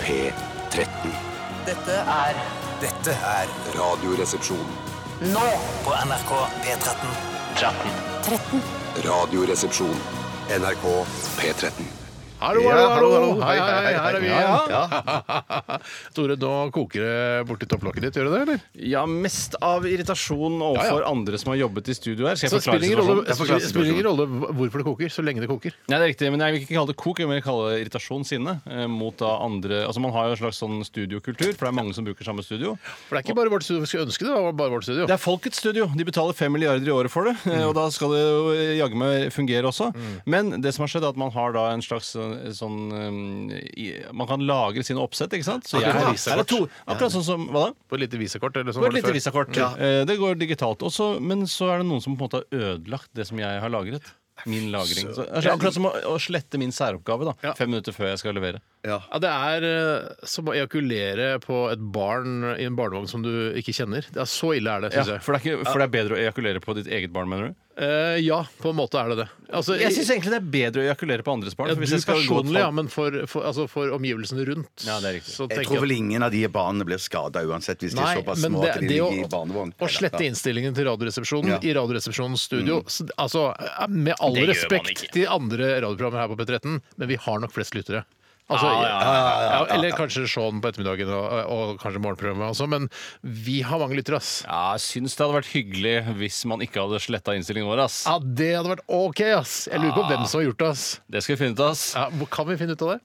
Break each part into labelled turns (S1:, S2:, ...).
S1: P13.
S2: Dette er
S3: Dette er
S1: Radioresepsjon.
S2: nå
S3: på NRK P13.
S1: Radioresepsjon. NRK P13.
S4: Hallo,
S5: Ja,
S4: hallo, hallo,
S5: hallo, hallo.
S4: Hei, hei, hei, her er vi igjen.
S5: Ja,
S4: Tore, nå koker det borti topplokket ditt, gjør det det, eller?
S5: Ja, mest av irritasjon overfor
S4: Ja, ja.
S5: andre som har jobbet i studio her. Skal
S4: Så
S5: jeg
S4: det spiller
S5: forklare
S4: ingen rolle,
S5: situasjonen? Jeg forklarer
S4: det spiller ingen
S5: situasjonen.
S4: rolle hvorfor det koker, så lenge det koker.
S5: Nei, det er riktig, men jeg vil ikke kalle det kok, jeg vil kalle det irritasjon sinne. eh, Mot da andre Altså, man har jo en slags sånn studiokultur, for det er mange som bruker samme studio.
S4: For det er ikke bare vårt studio vi skulle ønske det, det var bare vårt studio.
S5: Det er folkets studio. De betaler fem milliarder i året for det.
S4: Mm.
S5: eh, Og da skal det jo eh, jaggu meg fungere også. Men det som har skjedd, er at man har da en slags eh, sånn eh, i- Man kan lagre sine oppsett, ikke sant? Så
S4: Akkurat
S5: jeg-
S4: som visakort.
S5: er det to- Akkurat sånn som Hva da?
S4: På et lite visakort eller sånn
S5: På
S4: var
S5: et
S4: det
S5: lite
S4: før.
S5: visakort. Eh, Det går digitalt. Også, men så er det noen som på en måte har ødelagt det som jeg har lagret. Min lagring. Så, altså, akkurat som å, å slette min særoppgave da,
S4: Ja.
S5: fem minutter før jeg skal levere.
S4: Ja, det er eh, som å ejakulere på et barn i en barnevogn som du ikke kjenner. Det er så ille er det,
S5: Ja,
S4: syns jeg.
S5: for, det er ikke, for det er bedre å ejakulere på ditt eget barn, mener du?
S4: Eh, ja, på en måte er det det. Altså,
S5: Jeg syns egentlig det er bedre å ejakulere på andres barn.
S4: ja,
S5: for
S4: du
S5: hvis jeg skal gå et
S4: personlig,
S5: fag-
S4: ja, men for, for, altså for omgivelsene rundt.
S5: Ja, det er riktig.
S4: så
S6: Jeg
S4: tenker
S6: tror
S4: jeg-
S6: vel ingen av de barna blir skada uansett, hvis de er såpass
S4: men
S6: små
S4: det,
S6: at de
S4: det å,
S6: ligger i barnevogn.
S4: å slette innstillingen til Radioresepsjonen
S6: Ja. Mm.
S4: i Radioresepsjonens studio s- Altså, med all
S5: Det gjør man
S4: respekt
S5: ikke.
S4: til andre radioprogrammer her på P13, men vi har nok flest lyttere. Altså,
S5: Ja, ja, ja,
S4: ja, eller kanskje Sean på ettermiddagen og, og kanskje morgenprogrammet også, men vi har mange lyttere, ass.
S5: Ja, jeg syns det hadde vært hyggelig hvis man ikke hadde sletta innstillingen vår, ass.
S4: Ja, det hadde vært OK, ass! Jeg lurer
S5: Ah.
S4: på hvem som har gjort det, ass.
S5: Det skal vi finne ut av, ass.
S4: Ja, hvor- kan vi finne ut av det?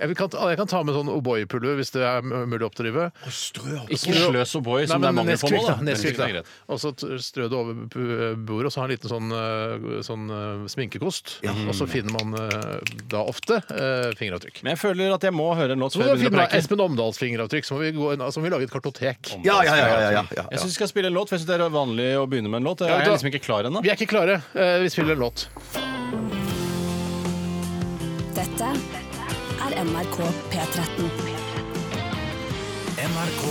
S4: Jeg vil- kan, ta- jeg kan ta med sånn O'boy-pulver hvis det er m- mulig å oppdrive.
S5: Ikke sløs og boy, som
S4: Nei,
S5: det er
S4: men
S5: mangel på nå.
S4: Nesquik,
S5: da.
S4: da. Nesquik,
S5: Men det er
S4: da.
S5: greit.
S4: Og så t- strø det over p- bordet, og så ha en liten sånn, eh, sånn eh, sminkekost. Og så finner man eh, da ofte eh, fingeravtrykk.
S5: Men jeg føler at jeg må høre en låt
S4: Så
S5: før
S4: må
S5: jeg
S4: vi
S5: begynner å
S4: finne
S5: preike.
S4: Espen Omdals fingeravtrykk, så må vi, gå, en- så må vi lage et kartotek.
S6: Ja, ja, ja. ja, ja, ja,
S5: Jeg
S6: ja.
S5: syns vi skal spille en låt, for jeg synes det er vanlig å begynne med en låt. Jeg
S4: vet du
S5: er
S4: hva?
S5: liksom ikke klar ennå.
S4: Vi er ikke klare. Eh, Vi spiller en låt.
S7: Dette er NRK P13.
S3: NRK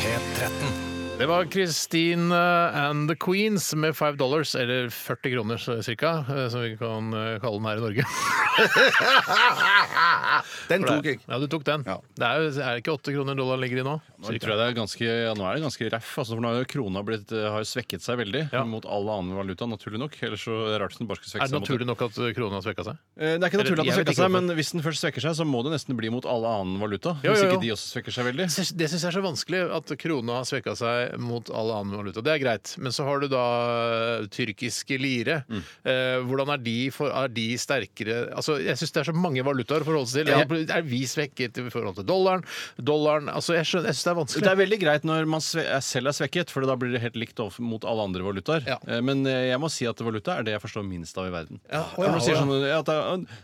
S3: P13.
S4: Det var Christine eh, and the Queens med 5 dollars, eller 40 kroner så- cirka, eh, som vi kan eh, kalle den her i Norge.
S6: Den tok jeg.
S4: Ja, du tok den.
S6: Ja.
S4: Det er, jo- er det ikke 8 kroner dollaren ligger i nå?
S5: Nå tror jeg det er ganske, ja, nå er det ganske raff, altså, for nå har jo krona blitt, eh, har jo svekket seg veldig
S4: Ja.
S5: mot all annen valuta, naturlig nok. Ellers så er det rart hvis den bare skulle
S4: Er
S5: svekke
S4: det
S5: seg mot
S4: naturlig nok at krona har svekka seg?
S5: Eh, Det er ikke naturlig at den
S4: Jeg vet
S5: svekker
S4: ikke
S5: seg, men hvis den først svekker seg, så må det nesten bli mot all annen valuta.
S4: Jo,
S5: Hvis
S4: jo, jo.
S5: ikke de også svekker seg veldig.
S4: Jeg synes- Det syns jeg er så vanskelig, at krona har svekka seg mot all annen valuta. Det er greit. Men så har du da eh, tyrkiske lire.
S5: Mm.
S4: Eh, hvordan er de, for, er de sterkere Altså, Jeg syns det er så mange valutaer å forholde seg til. Er vi svekket i forhold til dollaren? Dollaren Altså, jeg, skjønner, jeg syns det er vanskelig.
S5: Det er veldig greit når man sve er- selv er svekket, for da blir det helt likt overfor- mot alle andre valutaer.
S4: Ja.
S5: Eh, Men eh, jeg må si at valuta er det jeg forstår minst av i verden.
S4: Ja, å
S5: Når
S4: ja,
S5: man sier
S4: å ja.
S5: sånn at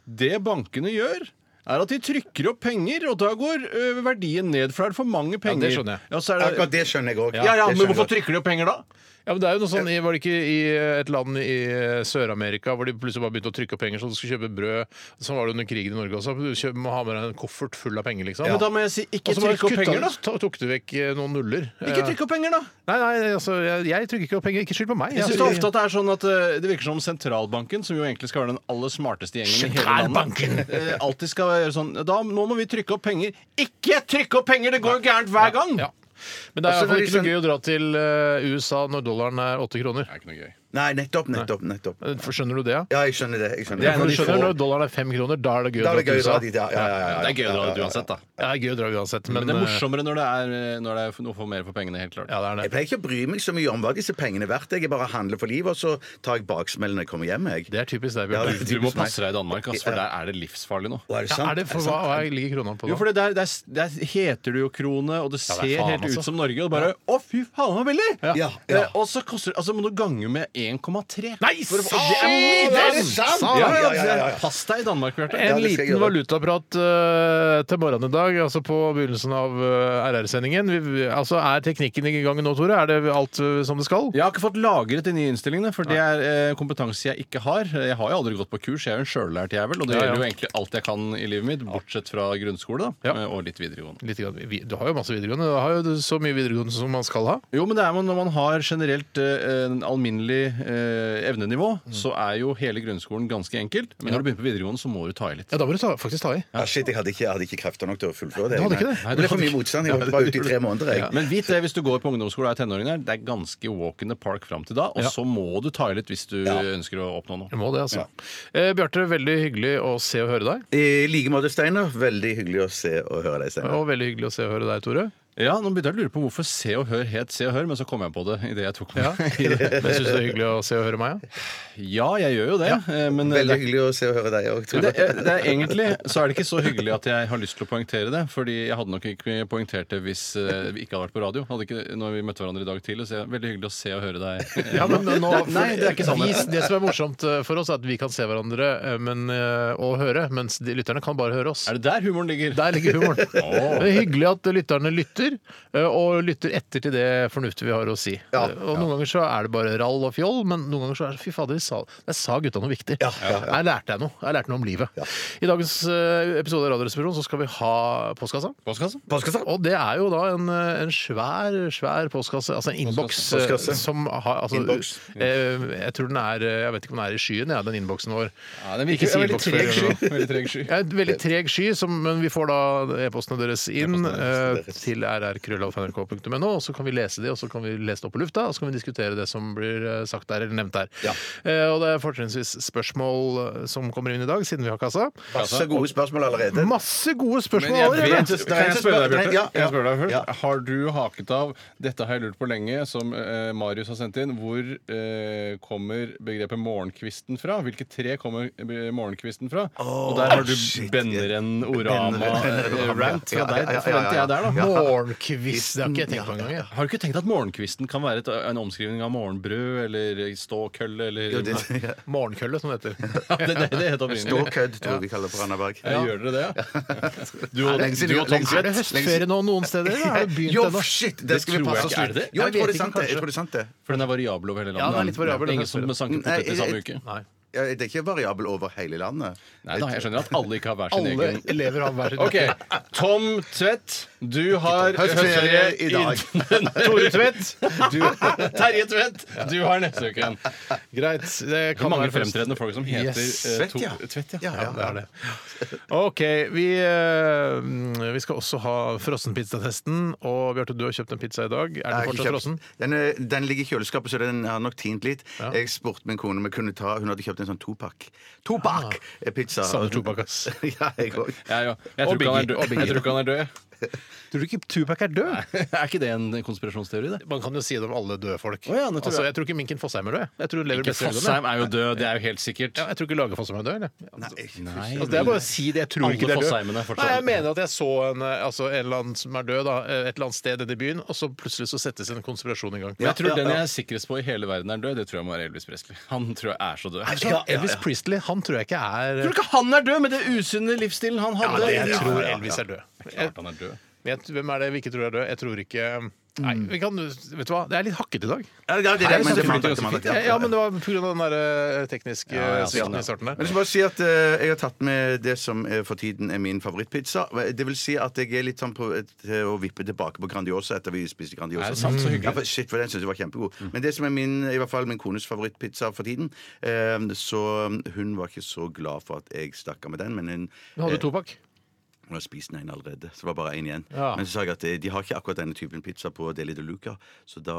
S5: det, det bankene gjør er at de trykker opp penger, og da går ø, verdien ned, for da er det for mange penger.
S4: det skjønner jeg.
S5: Ja, så er det,
S6: Akkurat det skjønner jeg òg.
S5: ja, ja, men hvorfor trykker de opp penger da?
S4: Ja, men det er jo noe sånn, i- Var det ikke i et land i Sør-Amerika hvor de plutselig bare begynte å trykke opp penger så du skulle kjøpe brød? Sånn var det under krigen i Norge også. Du kjø- må ha med deg en koffert full av penger, liksom.
S5: Men da må jeg si
S4: Og
S5: ikke
S4: så bare
S5: trykk opp
S4: kutta-
S5: penger, da!
S4: ta- tok du vekk eh, noen nuller.
S5: Ikke
S4: Eh,
S5: trykk opp penger, da!
S4: Nei, nei, altså, jeg, jeg trykker ikke opp penger. Ikke skyld på meg.
S5: Jeg synes det ofte at det er sånn at eh, det virker som om sentralbanken, som jo egentlig skal være den aller smarteste gjengen i hele
S4: Sentralbanken!
S5: landet, eh, alltid skal være sånn da, Nå må vi trykke opp penger. Ikke trykke opp penger! Det går jo gærent hver gang!
S4: ja. Men det er i
S6: Også
S4: hvert
S5: Altså,
S4: fall
S6: når
S4: ikke så
S6: de skjøn-
S4: gøy å dra til eh, USA når dollaren er åtte kroner.
S5: Det er ikke noe gøy.
S6: Nei, nettopp, nettopp. nettopp
S4: Eh, Skjønner du det? Ja?
S6: Ja, jeg skjønner det. Jeg skjønner
S5: Det er en
S4: For du
S5: av de
S4: skjønner
S5: få-
S4: Når dollaren er altså. fem kroner, da er det gøy
S6: Da
S4: å dra
S6: er det gøy
S4: til
S6: å dra
S4: USA.
S6: dit, ja. ja, ja, ja, ja.
S5: Det er gøy å dra ut uansett, da.
S4: Ja, det er gøy å dra uansett, men,
S5: Men det er
S4: eh,
S5: morsommere når det er, eh, når det er noe for mer for pengene, helt klart.
S4: Ja, det er det.
S6: Jeg pleier ikke å bry meg så mye om hva disse pengene er verdt. Jeg bare handler for livet, og så tar jeg baksmellen når jeg kommer hjem. Jeg.
S4: Det er typisk deg,
S6: Ja,
S4: Bjørn.
S6: det er
S5: Du må
S6: typisk meg.
S5: passe deg i Danmark, ass, for der er det livsfarlig nå.
S6: Å, er det
S4: Ja,
S6: sant?
S4: er det for, hva, hva ligger krona på da?
S5: Jo, for det der, der, der heter det jo krone, og det ser
S4: det er faen,
S5: helt
S4: altså.
S5: ut som Norge. Og det bare Å, fy faen, så billig!
S6: Ja, ja.
S5: Eh, Og så koster, altså, må du gange med 1,3.
S4: Nei,
S5: For å få-
S4: sa-
S5: Det er mye!
S6: Er det sant?
S5: Ja, ja,
S6: ja, ja, ja.
S5: Pass deg i Danmark, Bjarte.
S4: En
S6: det
S4: liten
S6: skal jeg gjøre.
S4: valutaprat eh, til morgenen i dag, altså på begynnelsen av eh, RR-sendingen. Vi- vi- Altså, Er teknikken i gang nå, Tore? Er det alt eh, som det skal?
S5: Jeg har ikke fått lagret de nye innstillingene, for det er eh, kompetanse jeg ikke har. Jeg har jo aldri gått på kurs, jeg er jo en sjøllært jævel, og det
S4: Ja, ja.
S5: gjelder jo egentlig alt jeg kan i livet mitt, bortsett fra grunnskole da,
S4: Ja.
S5: eh, og litt videregående.
S4: Litt grann. Vi- Du har jo masse videregående. Du har jo så mye videregående som man skal ha.
S5: Jo, men det er jo når man har generelt eh, en alminnelig eh, evnenivå, så er jo hele grunnskolen ganske enkelt. Men når du begynner på videregående, så må du ta i litt.
S4: Ja, da må du ta, faktisk ta i.
S6: Ah, shit, jeg hadde, ikke, jeg hadde ikke krefter nok til å fullføre det.
S4: Du hadde ikke
S6: Nei.
S4: det? Nei,
S6: det
S4: du
S6: ble for
S4: hadde
S6: mye motstand. Jeg var ute i tre måneder. Jeg.
S5: Men vit det hvis du går på ungdomsskole og er tenåring der, det er ganske walk in the park fram til da, og så må du ta i litt hvis du ønsker å oppnå noe.
S4: Du må det, altså. Eh, Bjarte, veldig hyggelig å se og høre deg.
S6: I like måte, Steinar. Veldig hyggelig å se og høre deg, Steinar.
S4: Og veldig hyggelig å se og høre deg, Tore.
S5: Ja, nå begynte jeg å lure på hvorfor Se og Hør het Se og Hør, men så kom jeg på det idet jeg tok
S4: Ja.
S5: meg i
S4: Men
S5: det.
S4: syns du det er hyggelig å se og høre meg? Ja?
S5: Ja, jeg gjør jo det, eh, men det
S6: Veldig
S5: er,
S6: hyggelig å se og høre deg òg.
S5: det, er, det er egentlig så er det ikke så hyggelig at jeg har lyst til å poengtere det. Fordi jeg hadde nok ikke poengtert det hvis eh, vi ikke hadde vært på radio. Hadde ikke, når vi møtte hverandre i dag tidlig, så er det veldig hyggelig å se og høre deg. eh,
S4: Ja, men nå,
S5: Det er- nei, det er ikke sånn.
S4: vi,
S5: samme.
S4: det som er morsomt eh, for oss, er at vi kan se hverandre eh, men, eh, og høre, mens de, lytterne kan bare høre oss.
S5: Er det der humoren ligger?
S4: Der ligger humoren. Det er hyggelig at lytterne lytter, eh, og lytter etter til det fornuftige vi har å si. Eh, Og Noen ganger så er det bare rall og fjoll, men noen ganger så er det fy fader, jeg sa, jeg sa gutta noe viktig. Her lærte jeg noe. Jeg lærte noe om livet. I dagens eh, episode av Radioresepsjonen så skal vi ha postkassa.
S5: Postkasse?
S4: Og det er jo da en, eh, en svær svær postkasse, altså en innboks eh,
S6: Postkasse.
S4: som har altså,
S6: Innboks.
S4: eh, Jeg tror den er eh, Jeg vet ikke om den er i skyen, ja, den innboksen vår.
S5: Ja, den
S4: Ikke
S5: virker
S4: si
S5: veldig
S4: innboks
S5: treg
S4: før,
S5: sky. Veldig treg sky.
S4: Ja, et veldig treg sky, som, men vi får da e-postene deres inn
S6: E-postene deres.
S4: eh, til rrkrøllalfa.nrk.no, og så kan vi lese de, og så kan vi lese det opp på lufta, og så kan vi diskutere det som blir eh, sagt der eller nevnt der. Eh, og det er fortrinnsvis spørsmål eh, som kommer inn i dag, siden vi har kassa.
S6: Masse gode spørsmål allerede.
S4: Masse gode spørsmål!
S5: Men jeg
S4: allerede.
S5: vet,
S6: Kan
S5: kan jeg
S6: jeg
S5: spørre deg,
S6: spørre-
S5: Bjarte?
S6: Ja,
S5: Kan jeg spørre deg først?
S6: ja.
S5: Har du haket av 'dette har jeg lurt på lenge', som eh, Marius har sendt inn? Hvor eh, kommer begrepet morgenkvisten fra? Hvilke tre kommer eh, morgenkvisten fra? Og der har du Benneren-orama-rant fra deg.
S6: Ja, ja, ja,
S5: Det forventer
S6: ja, ja.
S5: jeg der, da.
S4: Morgenkviss, det har ikke jeg tenkt på engang. jeg.
S5: Har du ikke tenkt at morgenkvisten kan være et, en omskrivning av morgenbrød eller ståkølle eller
S6: Jo, det- ja.
S4: Morgenkølle, som det heter.
S5: Ja, det, det, det heter opprinnelig.
S6: Ståkødd, tror jeg vi kaller det på Randaberg.
S5: Ja, Gjør dere det, ja? Du og,
S6: Lenge siden-
S5: du og Tom
S6: lenge siden-
S4: Er det høstferie nå noen steder? eller har det begynt
S6: Jo,
S4: ennå?
S6: shit! Det,
S5: Det
S6: skal vi
S5: tror
S6: passe
S5: jeg
S6: oss
S5: ikke. Er
S6: litt.
S5: det det?
S6: Jo,
S4: Jeg vet
S6: jeg, tror det er
S4: ikke,
S6: sant det. jeg
S4: kanskje.
S6: tror det er sant det.
S5: For den er variabel over hele
S4: Ja,
S5: landet.
S4: den er litt variabel,
S5: Det er
S4: den
S5: ingen som
S4: høstferien.
S5: sanket
S6: Nei,
S5: potet i samme
S6: jeg-
S5: uke.
S4: Nei.
S6: Ja, Det er ikke variabel over hele landet.
S5: Nei da, jeg skjønner at alle ikke har hver sin
S4: Alle
S5: egen.
S4: elever har hver sin
S5: Ok, Tom Tvedt, du har
S6: Høstferie i dag.
S5: Tore Tvedt, du, Terje Tvedt, du har neste uke igjen.
S4: Greit. Det
S5: Det
S4: kan
S5: er mange
S4: være først.
S5: fremtredende folk som heter
S4: Yes.
S5: eh,
S6: Tvedt,
S5: Tor-
S6: ja.
S5: Tvedt, ja.
S6: Ja, ja,
S4: det er det. OK. Vi, eh, vi skal også ha frossenpizzatesten. Og Bjarte, du har kjøpt en pizza i dag. Er
S6: Jeg
S4: den
S6: har
S4: fortsatt
S6: ikke
S4: frossen?
S6: kjøpt- Den, er- den ligger i kjøleskapet, så den har nok tint litt. Jeg spurte min kone om jeg kunne ta Hun hadde kjøpt en sånn topakk.
S5: Ah.
S6: Topakk! Pizza.
S4: Savner tobakk, ass.
S6: Ja, jeg òg.
S5: Jeg, ja. jeg, tror
S4: Og
S5: ikke han
S4: Biggie,
S5: er
S4: og
S5: død.
S4: Biggie.
S5: jeg tror ikke han er død.
S4: Tror du ikke Tupac er død?
S5: Er ikke det en konspirasjonsteori, det?
S4: Man kan jo si det om alle døde folk.
S5: Å ja, det tror
S4: altså,
S5: jeg.
S4: jeg tror ikke Minken Fossheim er død. jeg. Jeg tror hun lever
S5: Ikke
S4: best i helgene.
S5: Fossheim er jo død, det er jo helt sikkert.
S4: Ja, jeg tror ikke Lage Fossheim er død. Eller?
S5: Nei,
S4: Altså, det er bare å si det. Jeg tror
S5: Alle
S4: ikke det er død.
S5: Fossheimene er fortsatt-
S4: Nei, jeg mener at jeg så en, eh, altså, en eller annen som er død, da, eh, et eller annet sted nede i byen, og så plutselig så settes en konspirasjon i gang.
S5: Men jeg tror
S6: Ja, ja,
S5: den
S6: ja.
S5: jeg er sikrest på i hele verden er død, det tror jeg må være Elvis Presley. Han tror jeg er så død.
S4: Så Elvis Priestley, han tror jeg ikke er
S5: Tror du ikke han er død med det usunne livsstilen han
S4: Ja,
S5: hadde?
S4: jeg
S5: Ja,
S4: tror Elvis er død.
S5: Klart han er død.
S4: Men jeg, hvem er det vi ikke tror er død? Jeg tror ikke Nei,
S5: Mm.
S4: vi kan, vet du hva? Det er litt hakket i dag.
S6: Ja, det er det,
S5: Nei,
S6: men det
S5: så
S6: er
S5: fint,
S6: mandag, det er mandag,
S4: Ja, ja men det var pga. den der eh, tekniske
S5: Ja, ja,
S4: eh, svikten
S5: sånn, ja.
S4: i starten
S6: Men
S4: der.
S6: jeg skal bare si at eh, jeg har tatt med det som eh, for tiden er min favorittpizza. Det vil si at jeg er litt sånn på til å vippe tilbake på Grandiosa etter vi spiste Grandiosa.
S5: Er det sant? Så hyggelig.
S6: Ja, for, shit, for den synes jeg var kjempegod. Men det som er min, i hvert fall min kones favorittpizza for tiden eh, Så hun var ikke så glad for at jeg stakk av med den, men hun,
S4: Nå hadde du tobakk.
S6: hun har spist den ene allerede. Så det var bare én igjen.
S4: Ja.
S6: Men så sa jeg at eh, de har ikke akkurat denne typen pizza på Deli de Luca, så da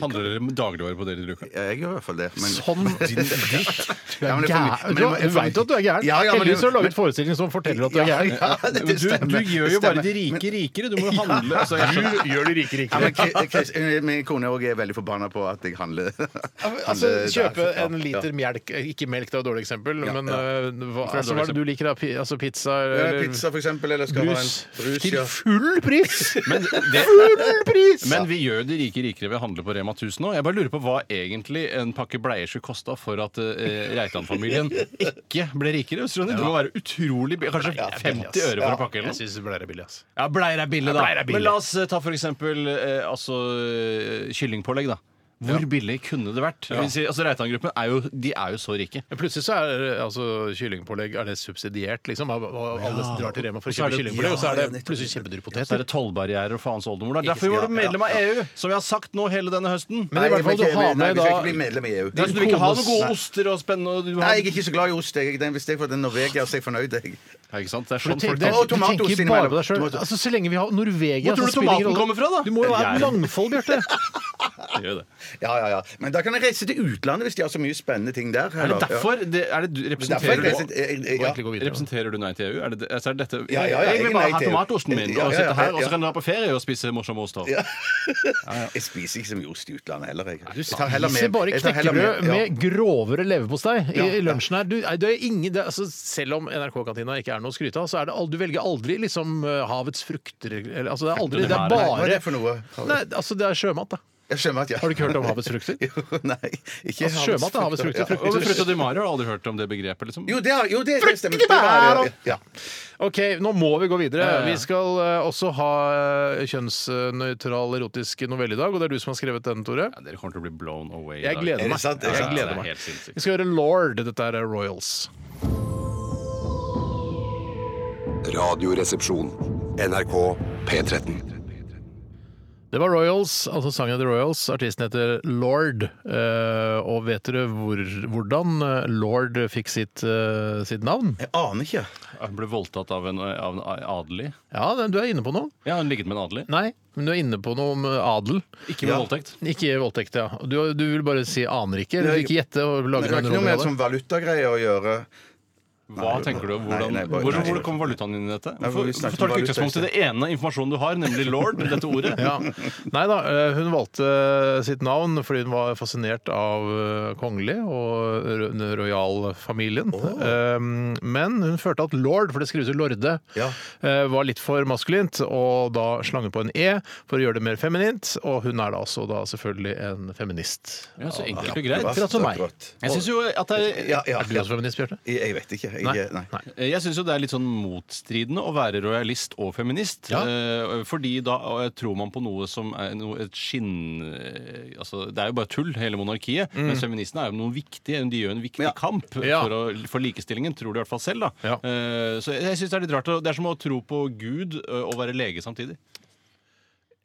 S5: Handler det om dagligvarer på det de bruker?
S6: Ja, Jeg gjør i hvert fall det. Men
S4: Sånn din dritt! Du
S6: Ja,
S4: er
S6: men det er for mye-
S4: gæren.
S6: men
S4: Du
S6: det
S4: har- Jeg
S6: er for
S4: vet
S6: mye-
S4: at du er gæren.
S6: Ja, ja, men-
S4: Heldigvis har du laget forestilling som forteller at du er gæren.
S6: Ja, ja,
S5: Men
S6: det
S5: du,
S6: stemmer.
S5: du gjør jo
S6: Det
S5: bare
S6: stemmer.
S5: de rike rikere. Du må jo handle. Altså, jeg skjønner-
S4: Du gjør de rike
S6: Ja, men
S4: rikere.
S6: Chris- Chris, eh, Min kone også er veldig forbanna på at jeg handler.
S4: Altså,
S6: handler
S4: kjøpe
S6: der.
S4: en liter melk Ikke melk, det er et dårlig eksempel,
S6: Ja,
S4: men
S6: ja.
S4: eh, hva,
S5: er et
S4: altså, hva er det du liker, da? Pi- Altså pizza?
S6: Ja,
S4: eller-
S6: Pizza, for eksempel. Eller skal ha en
S4: Brus.
S6: brus
S4: Til
S6: ja.
S4: full pris!
S5: Men, det,
S4: Full pris!
S5: men vi gjør jo de rike rikere ved å handle på Rema 1000 nå. Jeg bare lurer på hva egentlig en pakke bleier skulle kosta for at eh, Reitan-familien ikke ble rikere. Hvis du skjønner. Det må være utrolig bi- Kanskje 50 øre for en pakke eller
S4: Jeg
S5: noe.
S4: syns bleier er billig, ass.
S5: Ja, bleier er billig, da.
S4: bleier er billig.
S5: Men la oss eh, ta for eksempel eh, altså, eh, kyllingpålegg, da. Hvor billig kunne det vært? Vi sier- Altså, Reitan-gruppen er, jo- de er jo så rike.
S4: Men Plutselig så er eh, altså, kyllingpålegg er det subsidiert, liksom. Og og alle drar til Rema for å
S5: så
S4: kjøpe
S5: er det-
S4: kyllingpålegg, og så er det plutselig kjempedyre
S5: Så er
S4: poteter.
S5: det tollbarrierer og faens oldemor. Det er Derfor var du medlem av EU, som vi har sagt nå hele denne høsten.
S4: Men i hvert fall du har med
S6: nei, vi skal
S4: da
S6: ikke bli medlem i EU.
S5: Nei, så du vil ikke ha noen gode oster og spennende og du
S6: Nei,
S5: har...
S6: jeg er ikke så glad i ost. Jeg. Den, hvis jeg får den Norvegia, så er jeg fornøyd. Jeg.
S5: Ja, ikke sant? Det er
S4: For
S5: sånn
S4: du tenker,
S5: folk
S4: det,
S5: tenker.
S4: du
S6: tenker- Å, tomatost
S4: tenker bare på deg sjøl.
S6: innimellom.
S4: Altså, så lenge vi har Norvegia
S5: Hvor
S4: så
S5: tror du
S4: spiller det ingen
S5: tomaten
S4: rolle.
S5: kommer fra, da?
S4: Du må jo ha
S5: Jeg-
S4: et mangfold, Bjarte.
S5: Det gjør det.
S6: Ja, ja, ja. Men da kan jeg reise til utlandet hvis de har så mye spennende ting der.
S5: Er det
S6: eller?
S5: derfor? Det, er det du,
S6: Derfor jeg
S5: representerer,
S6: reiser
S5: du,
S6: jeg- jeg- jeg-
S4: Må
S6: ja.
S4: egentlig gå videre.
S5: representerer du Nei til EU? Er det, det- altså, er det dette?
S6: Ja, ja, ja,
S5: jeg
S6: jeg
S5: vil bare
S6: nei
S5: ha
S6: til EU.
S5: tomatosten min
S6: E Ja, ja,
S5: og sitte
S6: ja,
S5: her, og
S6: ja.
S5: så kan du dra på ferie og spise morsom ost òg.
S6: Jeg spiser ikke så mye ost i utlandet heller. Jeg.
S4: Du
S6: Jeg tar heller med-
S4: spiser bare
S6: jeg tar heller
S4: knekkebrød
S6: ja.
S4: med grovere leverpostei i i lunsjen her. Du, nei, det er ingen, det, er- altså, selv om NRK-kantina ikke er noe å skryte av, så er det aldri, du velger aldri liksom eh, havets frukter eller, altså, det, er aldri, det er
S6: Hva er
S4: bare
S6: det for noe?
S4: Nei, altså det er sjømat, da.
S6: Jeg skjønner at jeg
S4: Har du ikke hørt om havets frukter?
S6: Jo, nei. Ikke
S4: Altså, sjømat er havets frukter,
S6: Ja.
S4: frukter.
S5: Frutt og Di Mario har aldri hørt om det begrepet, liksom.
S6: Jo, det har jo det, det stemmer.
S4: Fruktige bær og-
S6: Ja.
S4: OK, nå må vi gå videre.
S5: Ja, ja, ja.
S4: Vi skal eh, også ha eh, kjønnsnøytral erotisk novelle i dag, og det er du som har skrevet den, Tore.
S5: Ja, dere kommer til å bli blown away. i
S4: Jeg
S5: dag.
S4: gleder
S6: Er
S4: meg.
S6: det sant?
S4: Jeg
S6: Ja,
S5: det er
S4: gleder meg.
S5: helt sinnssykt.
S4: Vi skal høre Lord. Dette er eh, Royals.
S1: Radioresepsjon. NRK P13.
S4: Det var Royals, altså sangen The Royals. Artisten heter Lord. Eh, og vet dere hvor, hvordan eh, Lord fikk sitt, eh, sitt navn?
S6: Jeg aner ikke.
S5: Hun ble voldtatt av en, av en adelig.
S4: Ja, den- du er inne på noe.
S5: Ja, hun ligget med en adelig.
S4: Nei, men du er inne på noe om eh, adel.
S5: Ikke med voldtekt.
S4: Ikke voldtekt, ja. Du, du vil bare si aner ikke? Du vil ikke gjette og
S6: Men
S4: lage
S6: det har
S4: noen
S6: ikke noe med
S4: rolle?
S6: sånn valutagreier å gjøre.
S5: Hva tenker du? Hvordan,
S6: Nei, nei, bare-
S5: hvor,
S6: nei.
S5: hvor kommer valutaen inn i dette?
S6: Nei,
S5: Hvorfor
S6: vi snakker
S5: hvorfor tar du
S6: om
S5: ikke utgangspunkt i det ene informasjonen du har, nemlig lord, dette ordet?
S4: Ja. Nei da, eh, hun valgte sitt navn fordi hun var fascinert av eh, kongelig og ro- den royal-familien. Eh, Men hun følte at lord, for det skrives jo lorde,
S6: Ja.
S4: eh, var litt for maskulint, og da slang hun på en e for å gjøre det mer feminint, og hun er da også da selvfølgelig en feminist.
S5: Ja, så enkelt og greit.
S4: Akkurat som meg.
S6: Akkurat.
S5: Jeg syns jo at det er
S6: Ja, ja,
S4: Er du
S6: ja.
S4: også feminist, Bjarte?
S6: Jeg jeg vet ikke. Jeg,
S4: Nei.
S6: nei.
S4: Nei.
S5: Jeg syns jo det er litt sånn motstridende å være rojalist og feminist.
S4: Ja.
S5: Eh, Fordi da eh, tror man på noe som er noe, et skinn... eh, Altså, det er jo bare tull, hele monarkiet. Mens feministene er jo noe viktig. De gjør en viktig
S6: Mm. Ja.
S5: kamp
S4: Ja.
S5: for, å, for likestillingen, tror de i hvert fall selv. da.
S4: Ja.
S5: Eh, Så jeg, jeg synes Det er litt rart. å- Det er som å tro på Gud eh, og være lege samtidig.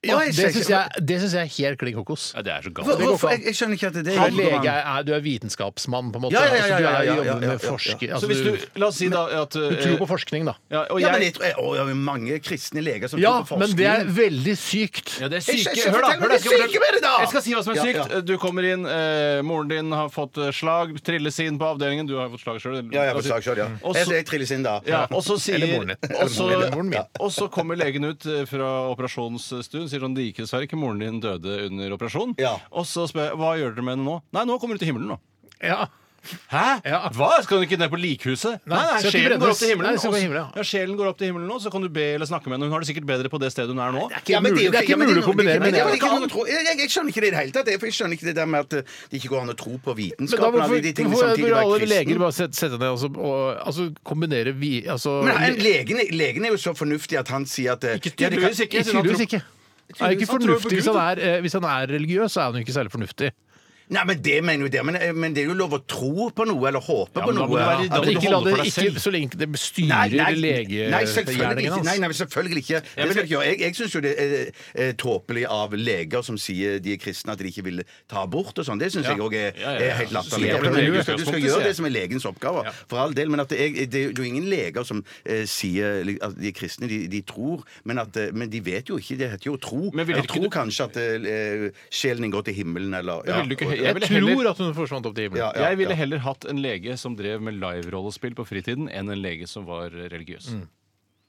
S4: Ja,
S6: Oi,
S4: det
S6: shit.
S4: syns jeg, det synes jeg er helt klin kokos.
S5: Ja, det er så
S6: Hvor-
S5: galt.
S4: går
S6: Hvorfor?
S4: ikke
S6: Jeg, jeg skjønner ikke at det
S4: Du er lege,
S6: er
S4: er, du er vitenskapsmann, på en måte.
S6: Ja, ja, ja,
S4: Altså, du er-
S6: ja, ja, ja, ja,
S4: jobber
S6: ja, ja.
S4: med forsker.
S5: Så
S4: Altså,
S5: hvis du,
S4: du,
S5: La oss si da at
S4: du
S6: eh,
S4: tror på forskning, da.
S5: ja, og
S6: Ja,
S5: jeg,
S6: men jeg tror, jeg, å, ja, det er mange kristne leger som
S4: Ja,
S6: tror på
S4: men
S6: forskning.
S4: det er veldig sykt.
S5: Ja, det er
S6: Jeg
S5: syke. Hør,
S6: skjønner-
S5: da!
S6: fortell
S5: Hør
S6: meg
S5: da
S6: det syke med det, da!
S5: Jeg skal si hva som er
S6: Ja,
S5: sykt.
S6: ja.
S5: Du kommer inn, eh, moren din har fått eh, slag, trilles inn på avdelingen. Du har fått slag sjøl.
S6: Ja, jeg får slag selv, ja.
S5: Og
S6: Jeg,
S5: så-
S6: jeg trilles inn da.
S5: Ja, og så sier,
S4: Eller moren din. Eller
S5: og så-
S4: moren- eller moren min.
S5: Ja. Og så kommer legen ut eh, fra operasjonsstuen sier sånn, det gikk dessverre ikke, moren din døde under operasjon.
S6: Ja.
S5: Og så spør jeg, hva gjør dere med henne nå? Nei, nå kommer hun til himmelen nå.
S4: Ja.
S5: Hæ?
S4: Ja.
S5: Hva? Skal hun ikke ned på likhuset?
S4: Nei, skal ikke
S5: sjelen går
S4: brennes.
S5: opp til himmelen.
S4: Nei, skal
S5: og
S4: på
S5: så-
S4: himmelen, ja.
S5: ja, sjelen går opp til himmelen nå, så kan du be eller snakke med henne. Hun har det sikkert bedre på det stedet hun er nå.
S4: ikke
S6: men
S4: mulig-
S6: jo
S4: det er ikke
S6: ja, men
S4: mulig å
S6: noe- det er
S4: kombinere
S6: ikke- men det er
S4: med
S6: ikke noe å tro- jeg, jeg, jeg skjønner ikke det i det hele tatt. jeg, For jeg skjønner ikke det der med at eh, det ikke går an å tro på
S4: Men da
S6: vitenskapen.
S4: hvorfor,
S6: alle de tingene
S4: hvorfor
S6: samtidig,
S4: burde
S6: være
S4: alle
S6: kristen.
S4: leger bare sette, sette ned og, så- og altså, kombinere vi... Altså,
S6: Men han, legen, legen er jo så fornuftig at han sier at eh,
S5: Ikke
S6: ja, det kan-
S5: tydeligvis ikke.
S4: Ikke
S5: sånn
S4: tydeligvis ikke. Er ikke
S5: Tydeligvis, han tror på
S4: fornuftig hvis
S5: Gud,
S4: han, er, eh, hvis han er religiøs, så er han jo ikke særlig fornuftig.
S6: Nei, men det mener jo det. Men, eh, men det er jo lov å tro på noe eller håpe
S5: Ja,
S6: på
S5: men da
S6: noe.
S5: må du være-
S6: Ja.
S5: da må
S4: Men
S5: du
S4: ikke la
S5: holde
S4: det
S5: for deg
S4: ikke
S5: selv.
S4: så lenge det
S6: Nei,
S4: styrer altså.
S6: nei, nei, selvfølgelig
S4: legegjerningen
S6: ikke. Nei,
S4: hans.
S6: nei, men selvfølgelig ikke. Det
S5: men-
S6: skal ikke gjøre. Jeg, jeg syns jo det er eh, tåpelig av leger som sier de er kristne, at de ikke vil ta abort og sånn. Det syns jeg òg er,
S5: Ja, ja, ja.
S6: er helt latterlig.
S5: Så det blir
S6: Du,
S5: lege-
S6: skal- du skal gjøre det som er legens oppgave, for all del. Men at det er, det er jo ingen leger som eh, sier li- at de er kristne. De, de tror, men, at, eh, men de vet jo ikke. Det heter jo tro.
S5: Men vil
S6: Jeg
S5: ikke
S6: tror
S5: du-
S6: kanskje at eh, sjelen din går til himmelen, eller
S5: Jeg ville ikke- jeg
S4: Jeg
S5: ville heller-
S4: tror at hun forsvant opp til
S6: Ja,
S4: himmelen.
S6: ja,
S5: jeg ville
S6: ja.
S5: heller hatt en lege som drev med live-rollespill på fritiden, enn en lege som var religiøs.